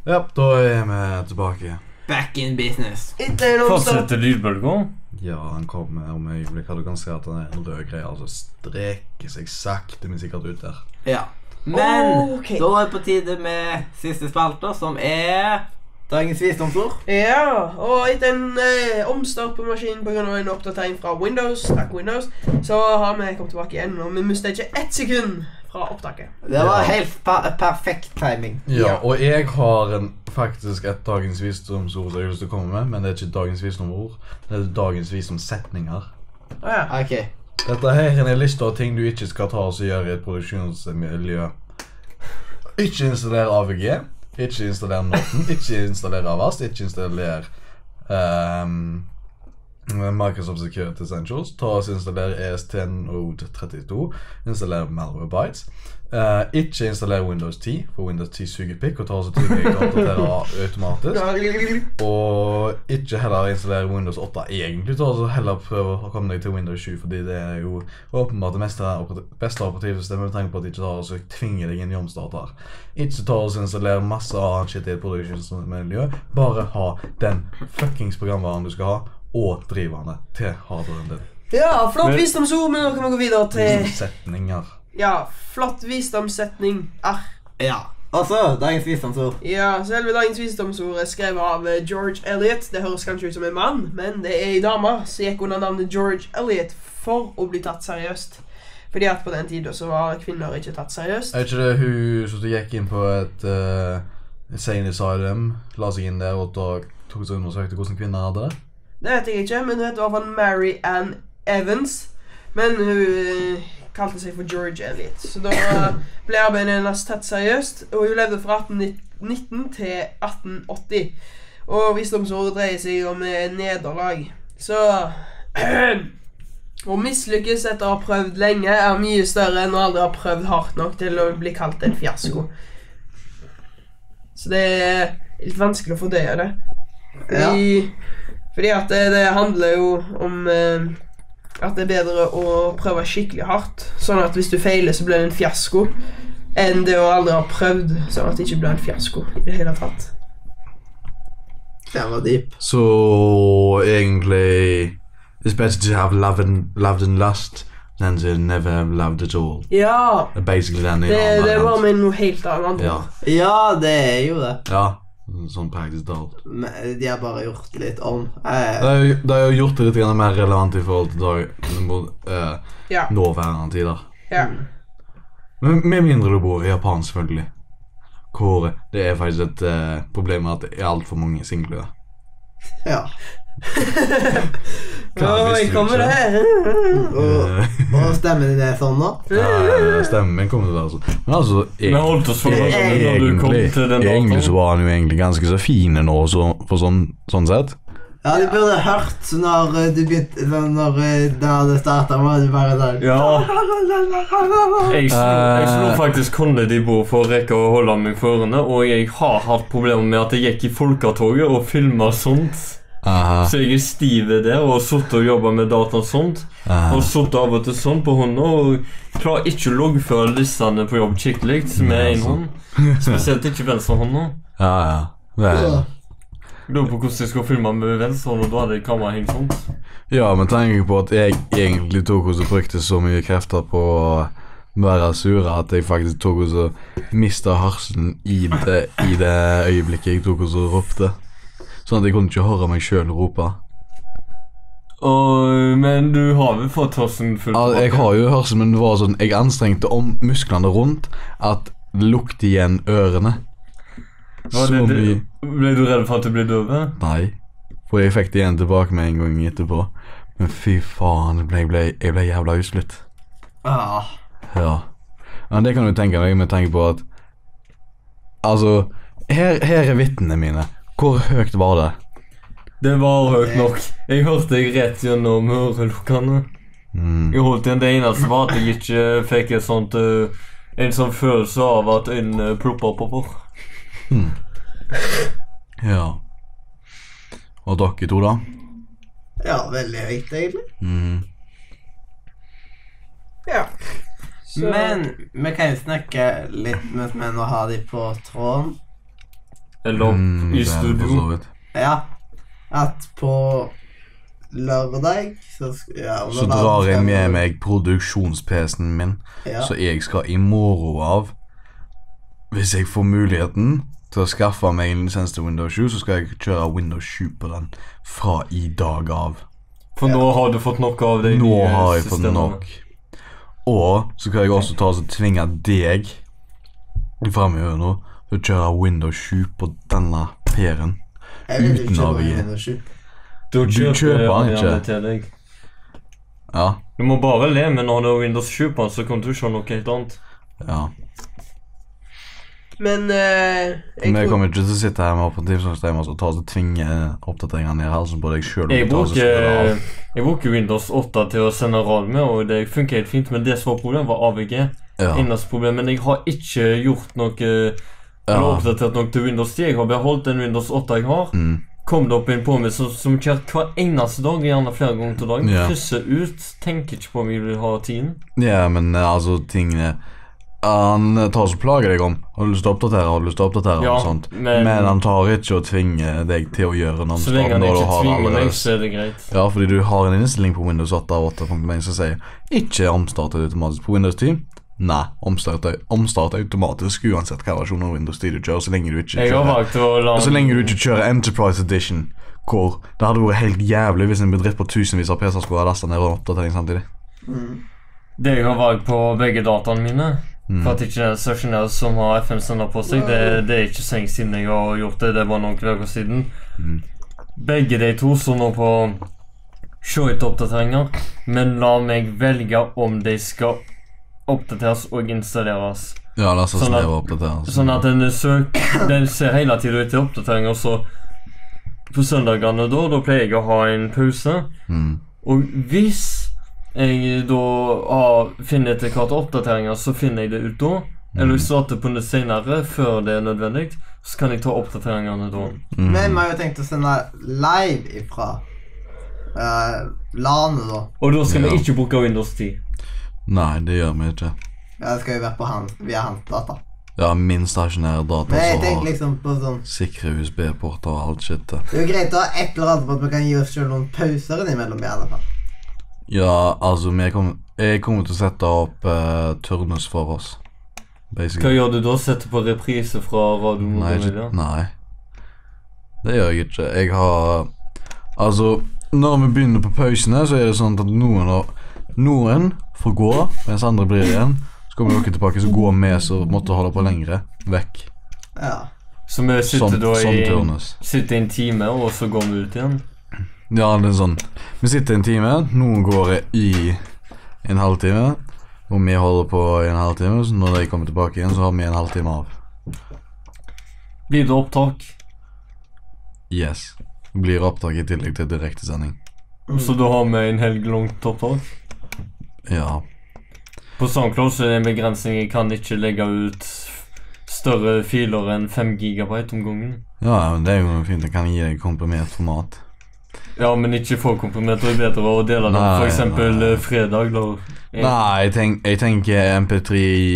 S1: Ja, da er vi tilbake.
S3: Back in business.
S4: Ikke noe stopp.
S2: Fortsetter lydbølger.
S1: Ja, han kommer om et øyeblikk. og Du kan se at den er en rød greie altså streker seg sakte, men sikkert ut der.
S3: Ja. Men
S4: Ok.
S3: da er det på tide med siste spalter, som er Dagens visdomsord.
S4: Ja, og etter en eh, omstart på maskinen pga. en oppdatering fra Windows, takk Windows, så har vi kommet tilbake igjen, og vi mistet ikke ett sekund fra opptaket.
S3: Det var
S1: Ja.
S3: helt per perfekt timing.
S1: Ja, og jeg har en, faktisk et dagens visdomsord som jeg har lyst til å komme med, men det er ikke dagens visdomsord. Det er dagens visdomssetninger.
S4: Å ja.
S3: Ok.
S1: Dette her er en liste av ting du ikke skal ta og så gjøre i et produksjonsmiljø. Ikke installer AVG, ikke installer Norton, ikke installer Avast, ikke installer ehm, Microsoft Security Essentials. Ta og så installer E ESTN Road 32, installer Malwarebytes. Uh, ikke installer Windows 10, for Windows 10 suger pikk og tar så trykker jeg oppdaterer automatisk. Og ikke heller installere Windows 8 egentlig, da, så heller prøve å komme deg til Windows 7, fordi det er jo åpenbart det meste operat- beste operativsystemet med tanke på at de ikke tar og så tvinger deg inn i omstarter. Ikke ta og så installere masse annet shit i et produksjonsmiljø, bare ha den fuckings programvaren du skal ha, og driverne til hardwaren din.
S4: ja, flott
S2: Men-
S4: visdomsord, men nå kan vi gå videre til
S1: Setninger.
S4: Ja, flott visdomssetning R.
S3: Ja. Og så dagens visdomsord.
S4: Ja, selve dagens visdomsord er skrevet av eh, George Elliot. Det høres kanskje ut som en mann, men det er ei dame som gikk under navnet George Elliot for å bli tatt seriøst. Fordi at på den tida så var kvinner ikke tatt seriøst.
S1: Er ikke det hun som gikk inn på et uh, insane asylum, la seg inn der og tok tok seg og undersøkte hvordan kvinner hadde det?
S4: Det vet jeg ikke, men hun heter i hvert fall Mary Ann Evans. Men hun eh, kalte seg for George Elliot. Så da eh, ble arbeidet hennes tatt seriøst, og hun levde fra 1819 til 1880. Og visdomsordet dreier seg om eh, nederlag. Så Å mislykkes etter å ha prøvd lenge er mye større enn å aldri ha prøvd hardt nok til å bli kalt en fiasko. Så det er litt vanskelig å fordøye det.
S3: Ja.
S4: Fordi fordi at det, det handler jo om eh, at det er bedre å prøve skikkelig hardt. Sånn at hvis du feiler, så blir det en fiasko. Enn det å aldri ha prøvd, sånn at det ikke blir en fiasko i det hele tatt.
S3: Den var dyp.
S1: Så egentlig It's better to have loved and, loved and lust than to never have loved at all.
S4: Ja!
S1: Det er basically den
S4: Det,
S1: i
S4: det var
S1: ramen.
S4: med noe helt annet.
S1: Ja.
S3: Ja, det er jo det.
S1: ja. Sånn praktisk talt.
S3: Men eh, de har bare gjort det litt om. Eh,
S1: Det har jo- det har jo gjort det litt grann mer relevant i forhold til dag, mot, eh,
S4: Ja.
S1: nåværende tider.
S4: ja.
S1: Men med mindre du bor i Japan, selvfølgelig. Hvor det er faktisk et eh, problem at det er altfor mange single.
S3: ja.
S1: Hva
S4: Å,
S1: visste
S4: jeg
S1: du
S4: kommer
S1: ikke? Eh,
S4: her.
S3: Og, og stemmen din er sånn nå?
S1: Ja, stemmen min kommer til å være sånn. Men altså,
S2: Vi
S1: egentlig-
S2: holdt oss for langt når du kom
S1: Egentlig,
S2: til den
S1: egentlig så
S2: dataen.
S1: var han jo egentlig ganske så fin nå, så, for sånn, sånn sett.
S3: Ja, du burde hørt når eh, du begynte sånn, Når eh, da det starta, var du bare sånn
S2: Ja. Jeg slo,
S1: Eh.
S2: jeg slo faktisk hånden i bordet for å rekke å holde meg for ørene, og jeg har hatt problemer med at jeg gikk i Folketoget og filma sånt.
S1: Aha,
S2: Så jeg er stiv i det, og har sittet og jobba med data og sånt.
S1: aha.
S2: Og sittet av og til sånn på hånda, og klarer ikke å loggføre listene på jobb skikkelig med én
S1: altså.
S2: hånd. Spesielt ikke venstrehånda.
S1: Ja, ja. Det er,
S2: Lurer på hvordan jeg skal filme med venstrehånda, da hadde jeg kameraet hengt sånn.
S1: ja, men tenk på at jeg egentlig tok og så brukte så mye krefter på å være sur at jeg faktisk tok og så mista harsen i det, i det øyeblikket jeg tok og så ropte. Sånn at jeg kunne ikke høre meg sjøl rope.
S2: Og, men du har vel fått tassen full?
S1: Ja, jeg har jo hørsel, men det var sånn Jeg anstrengte om musklene rundt at det lukt igjen ørene.
S2: Var
S1: Så
S2: det- det-
S1: mye
S2: Ble du redd for at du ble døv? eh?
S1: Nei. For jeg fikk det igjen tilbake med en gang etterpå. Men fy faen, jeg ble, jeg ble, jeg ble jævla utslitt.
S3: ah,
S1: Ja. Men det kan du tenke deg med tanke på at Altså, her, her er vitnene mine. Hvor høyt var det?
S2: Det var høyt nok. Jeg hørte deg rett gjennom hørelukkene.
S1: Mm.
S2: Jeg holdt igjen. Det eneste var at jeg ikke fikk et sånt eh, en sånn følelse av at øynene ploppa oppover.
S1: Ja. Og dere to, da?
S3: Ja, veldig høyt, egentlig.
S1: Mm.
S4: Så,
S5: Men vi kan jo snakke litt mens vi nå har de på tråden.
S2: Eller
S1: Mm,
S2: i
S1: det er det for så
S2: studio.
S1: vidt.
S5: Ja. At på lørdag så, sk- ja, om
S1: Så
S5: det var-
S1: drar jeg med meg produksjons-PC-en min,
S5: Ja.
S1: så jeg skal i morgen av Hvis jeg får muligheten til å skaffe meg en lisens til Windows 7, så skal jeg kjøre Windows 7 på den fra i dag av.
S2: For nå har du fått nok av de
S1: Nå
S2: nye
S1: har jeg fått
S2: systemene.
S1: nok. Og så kan jeg også ta og tvinge deg framover nå til å kjøre Windows 7 på denne PR-en.
S5: Jeg vil ikke
S1: uten
S5: kjøpe
S1: AVG.
S5: Windows 7.
S2: Du kjøper,
S1: kjøper den
S2: gjerne
S1: ikke.
S2: til deg.
S1: Ja,
S2: Du må bare le, men når det er Windows 7 på den, så kommer du ikke ha noe helt annet.
S1: ja.
S4: men eh, jeg
S1: Men jeg
S4: tror-
S1: kommer ikke til å sitte her med operativsystemet og ta og tvinge oppdateringene ned i halsen på deg sjøl.
S2: Jeg bruker, eh, jeg bruker Windows 8 til å sende rad med, og det funker helt fint. Men det som var problemet, var AVG.
S1: ja.
S2: Eneste problem, men jeg har ikke gjort noe eh, Eller
S1: Ja.
S2: oppdatert noe til Windows 10. Jeg har beholdt den Windows 8 jeg har.
S1: Mm.
S2: Kom det opp inn på meg som, som kjørt hver eneste dag, gjerne flere ganger til dagen.
S1: Ja.
S2: Krysser ut. Tenker ikke på om jeg vil ha tiden.
S1: ja, men eh, altså, tingene Han tar og plager deg om Har du lyst til å oppdatere, har du lyst til å oppdatere
S2: Ja,
S1: og sånt.
S2: men-
S1: Men, han tar ikke og tvinger deg til å gjøre noe
S2: Så lenge han
S1: når du
S2: ikke
S1: har
S2: tvinger meg,
S1: allerede-
S2: så er det greit.
S1: Ja, fordi du har en innstilling på Windows 8 av 8.1 som sier 'ikke omstart automatisk på Windows 10'. Nei, omstart, omstart automatisk uansett hva versjon av Windows 10 du kjører, så lenge du ikke
S2: Jeg har
S1: kjører
S2: valgt å la
S1: sånn Og Så lenge du ikke kjører Enterprise Edition, hvor det hadde vært helt jævlig hvis en bedrift på tusenvis av PC-er skulle ha lasta ned en oppdatering samtidig.
S2: Det jeg har valgt på begge dataene mine.
S1: Mm.
S2: For at ikke den stasjonær som har FM sender på seg, det, det er ikke så lenge siden jeg har gjort det. Det var noen uker siden.
S1: Mm.
S2: Begge de to står nå på Se etter oppdateringer, men la meg velge om de skal oppdateres og installeres.
S1: Ja, la oss
S2: Sånn at-
S1: sneve og oppdatere.
S2: Sånn at den, søk, den ser hele tiden etter oppdateringer, så på søndagene da, da pleier jeg å ha en pause.
S1: Mm.
S2: Og hvis jeg da har, finner etter hvert oppdateringer, så finner jeg det ut da. Eller
S1: Mm.
S2: hvis jeg starter på det senere, før det er nødvendig, så kan jeg ta oppdateringene da.
S1: mm.
S5: Men vi har jo tenkt å sende live ifra uh, LANet, da.
S2: Og da skal
S1: Ja.
S2: vi ikke bruke Windows 10.
S1: Nei, det gjør vi ikke.
S5: Ja, det skal jo være på han, via hans data.
S1: Ja, min stasjonære data
S5: Men jeg
S1: som
S5: tenker
S1: har
S5: liksom på sånn
S1: sikre USB-porter og alt shitet.
S5: Det er jo greit å ha et eller annet på at vi kan gi oss selv noen pauser innimellom. i alle fall.
S1: Ja, altså, vi kommer Jeg kommer til å sette opp eh, turnus for oss.
S2: Hva
S1: Basically.
S2: gjør du da? Setter på reprise fra radioen?
S1: Nei, ikke,
S2: Media?
S1: nei. Det gjør jeg ikke. Jeg har Altså, når vi begynner på pausene, så er det sånn at noen, har- noen får gå, mens andre blir igjen. Så kommer dere tilbake, så går vi som måtte holde på lengre, vekk.
S5: Ja.
S2: Så vi sitter
S1: Sånn,
S2: da
S1: sånn
S2: i
S1: turnus.
S2: sitter i en time, og så går vi ut igjen.
S1: Ja, det er sånn. Vi sitter en time, noen går i en halvtime, og vi holder på i en halvtime, så når de kommer tilbake igjen, så har vi en halvtime av.
S2: Blir det opptak?
S1: Yes. Det Blir opptak i tillegg til direktesending.
S2: Så da har vi en helg langt opptak?
S1: Ja.
S2: På SoundCloud så er det en begrensning. Jeg kan ikke legge ut større filer enn 5 gigabyte om gangen.
S1: Ja, men det er jo fint. Jeg kan gi deg komprimert format.
S2: Ja, men ikke for komprimenter er bedre å dele den
S1: Nei,
S2: for eksempel
S1: nei.
S2: eh, fredag, da. Eh,
S1: Nei, jeg, tenk, jeg tenker MP3 i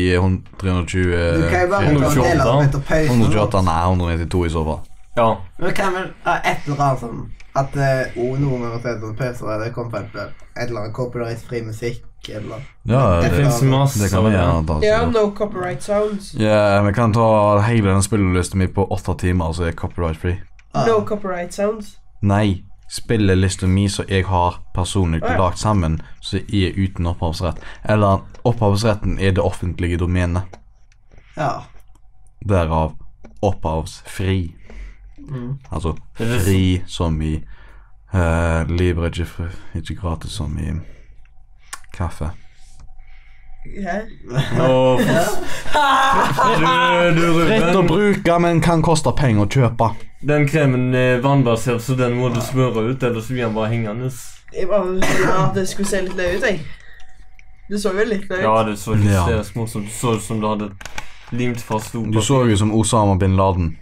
S1: 320
S5: Du kan jo bare ta en del av dem etter pausen.
S1: 128, nei, 192 i så fall.
S2: Ja.
S5: Men Vi kan vel ha et eller annet sånn at uh, oh, noen ganger så er det sånn pauser der det kommer på et, et eller annet copyright-fri musikk eller
S1: Ja,
S2: Det
S1: det,
S2: finnes masse
S1: det kan
S2: av
S1: vi
S2: det.
S1: gjerne ta.
S4: Ja,
S1: så-
S4: no copyright sounds.
S1: Ja, vi kan ta hele den spillelisten min på åtte timer, så er copyright free.
S3: Ah.
S5: Ja.
S4: No copyright sounds.
S1: Nei, spillelisten min som jeg har personlig
S4: Å, ja.
S1: lagt sammen, som er uten opphavsrett. Eller opphavsretten er det offentlige domenet.
S5: Ja.
S1: Derav opphavsfri. Altså
S2: Er det-
S1: fri som i eh, uh, Libre, ikke, fri- ikke gratis som i kaffe.
S4: Hæ?
S2: Nå, for- du, du,
S1: Rett å
S2: Ruben.
S1: bruke, men kan koste penger å kjøpe.
S2: Den kremen er vannbasert, så den må du smøre ut, ellers blir den bare hengende.
S4: Jeg bare ville at det skulle se litt løy ut, jeg. Det så jo litt løy ut.
S2: Ja, det så litt
S1: Ja.
S2: seriøst morsomt ut. Du så ut som du hadde limt fast
S1: Du
S2: dopapir.
S1: så jo som Osama bin Laden.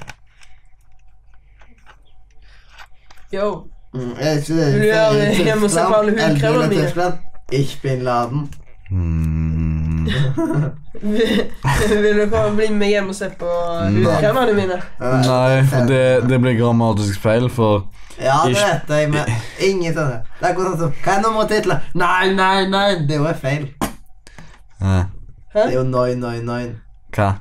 S4: Yo.
S3: Mm, jeg vet ikke det.
S4: Vil du gjøre det hjemme hos deg på alle
S3: Tyskland,
S4: hudkremmene
S3: eldre
S4: mine?
S3: Tyskland. Ikke bin Laden.
S1: Mm.
S4: Vil du komme og bli med hjem og se på
S1: Mm.
S4: hudkremene mine?
S1: Nei, for det, det blir grammatisk feil, for
S3: Ja, det
S1: Ikke-
S3: vet jeg, men ingen sånne. Det er akkurat sånn som Hva er nummeret til titler? Nei, nei, nei! Det er jo feil.
S1: eh,
S3: Det er jo noi, noi, noi.
S1: Hva?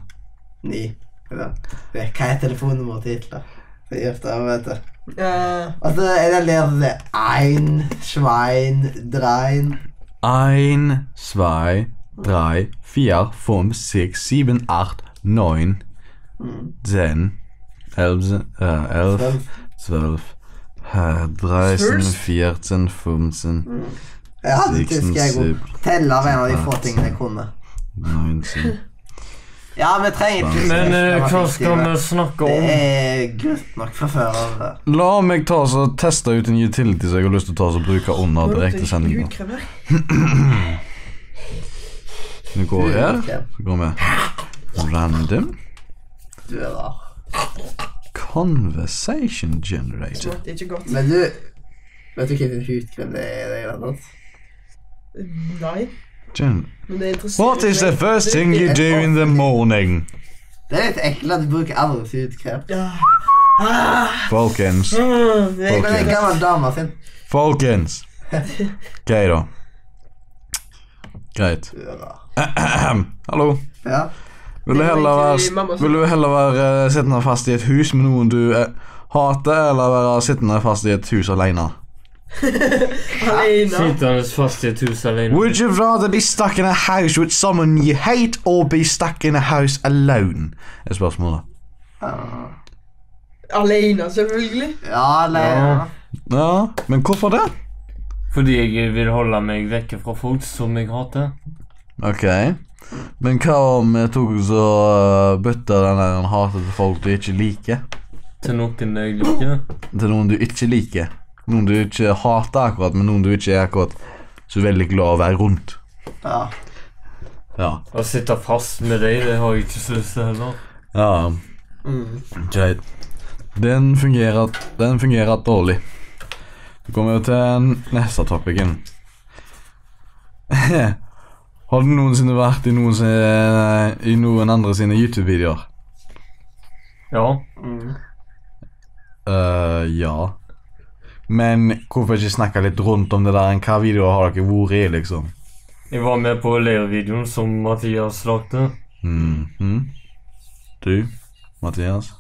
S3: Ni. Eller, det er- Hva er telefonnummeret til titler? Det gjør det, vet du.
S4: Ja.
S3: Og så er det ler sånn det Ein, Schwein, Drein.
S1: Ein, zwei, drei, vier, fünf, sechs, sieben, acht, neun, zehn, elf, äh,
S3: Sånn.
S1: elf, zwölf, äh, dreizehn,
S4: Zwölf?
S1: vierzehn, fünfzehn,
S3: Jeg hadde
S2: Liksom
S1: seksten,
S3: tysk, jeg er god.
S1: syv,
S3: Telle var en av de få tingene jeg kunne.
S1: nineteen.
S3: Ja, vi trenger ikke
S2: Men eh,
S3: Det var
S2: hva skal vi
S3: viktig,
S2: snakke
S3: Det
S2: om?
S3: er greit nok fra før av.
S1: La meg ta så teste ut en utility som jeg har lyst til å ta så bruke under direktesendinga.
S4: Hudkremer?
S1: Vi går her.
S3: Ok,
S1: Så går vi random.
S3: Du er rar.
S1: Conversation generator.
S4: Smakte ikke godt.
S3: Men du Vet du hvilken hudkrem det er? Det er annet?
S4: Nei.
S1: Gen
S4: Men det interesserer
S1: What is the
S4: meg.
S1: first thing you do in the morning?
S3: Det er litt ekkelt at du bruker andres hudkrem.
S4: Ja.
S1: Folkens.
S4: Mm, det
S3: Men det
S1: Folkens.
S3: er gammel dame sin.
S1: Folkens. Greit, da. Greit.
S3: Du er rar.
S1: Hallo.
S3: Ja.
S1: Vil du
S4: Det er jo
S1: heller
S4: egentlig mamma
S1: være,
S4: som-
S1: vil du heller være eh, sittende fast i et hus med noen du eh, hater, eller være sittende fast i et hus alene?
S4: Alene.
S2: Sittende fast i et hus alene.
S1: Would you rather be stuck in a house with someone you hate or be stuck in a house alone? Er spørsmålet.
S4: Alene, selvfølgelig.
S3: Ja, nei, ja.
S1: Ja, men hvorfor det?
S2: Fordi jeg vil holde meg vekke fra folk som jeg hater.
S1: Ok. Men hva om vi tok så uh, bytta den der hatet til folk du ikke liker,
S2: Til noen jeg liker.
S1: til noen du ikke liker? Noen du ikke hater akkurat, men noen du ikke er akkurat så veldig glad å være rundt.
S3: ja.
S1: Ja.
S2: Å sitte fast med deg, det har jeg ikke så lyst til heller.
S1: ja. Greit. Den fungerer, den fungerer dårlig. Så kommer vi til neste topicen. Har du noensinne vært i noen, sin- i noen andre sine YouTube-videoer?
S2: Ja.
S3: Mm.
S1: Eh, ja. Men hvorfor ikke snakke litt rundt om det der? enn Hva videoer har dere vært i, liksom?
S2: Jeg var med på leirvideoen som Mathias lagde.
S1: Mhm. Du, Mathias?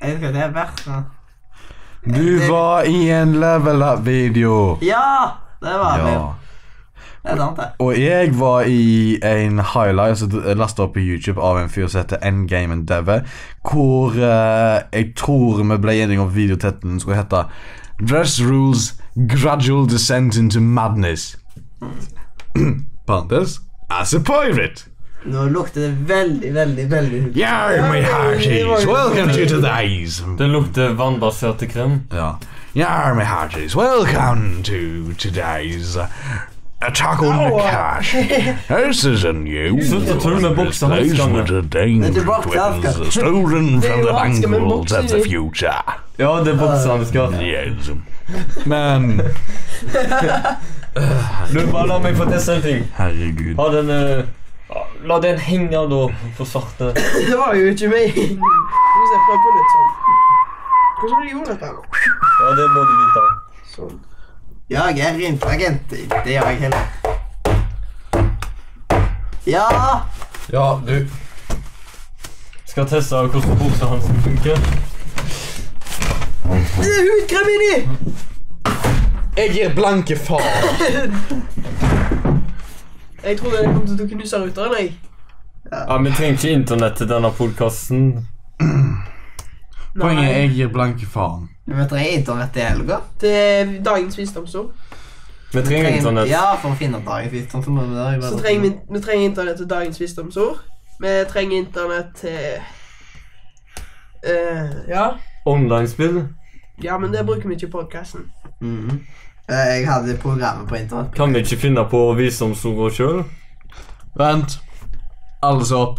S3: Jeg vet ikke hva det er verdt. da.
S1: Du var i en level up-video.
S3: Ja! Det var det.
S1: Ja.
S3: Det er sant, det.
S1: Og jeg var i en highlight som jeg lastet opp på YouTube av en fyr som heter Endgame Endeavor, hvor eh, jeg tror vi ble enige om videotettelen skulle hete Dress Rules Gradual Descent into Madness. Parentes As a pirate.
S3: Nå lukter det veldig, veldig, veldig hud.
S1: Yeah, my hearties, welcome to today's.
S2: Det lukter vannbaserte krem.
S1: Ja. Yeah, my hearties, welcome to today's uh, attack on the
S4: Ow.
S1: cash. This is a new
S2: Slutt å tulle med
S1: this place
S2: boksehanskene.
S1: with the
S3: Det er
S1: dangerous
S3: ikke boksehansker.
S1: weapons stolen
S4: Det er
S1: from
S4: jo
S1: the
S4: hansker med
S1: mongrels of the
S4: bokser i.
S1: future.
S2: Ja, det er boksehansker.
S1: Yes. Men
S2: Du, bare la meg få teste en ting.
S1: herregud.
S2: Ha den eh, ja, La den henge, da, på svarte.
S4: Det var jo ikke meg. Skal vi se, prøv på nytt sånn. Hvordan var det du gjorde dette? her nå?
S2: Ja, det må du vite.
S4: Sånn.
S3: Jeg er agent. Det gjør jeg heller. Ja!
S1: Ja, du.
S2: Skal teste hvordan boksehansken funker.
S4: Det er hudkrem inni!
S1: Jeg gir blanke faen.
S4: Jeg trodde jeg kom til å knuse ruteren, jeg.
S2: Ja, Vi trenger ikke internett til denne podkasten.
S1: Poenget er jeg gir blanke faen.
S3: Vi møter i internett i helga.
S4: Det er dagens visdomsord.
S2: Vi trenger internett.
S3: Ja, for å finne opp dagens visdom. Så må vi da i
S4: Så
S3: verden-
S4: trenger vi, vi trenger internett til dagens visdomsord. Vi trenger internett til eh, Ja.
S2: Online-spill.
S4: Ja, men det bruker vi ikke i podkasten.
S3: Mhm. Eh, Jeg hadde programmet på internett.
S2: Kan vi ikke finne på visdomsordene sjøl?
S1: Vent. Alle seg opp.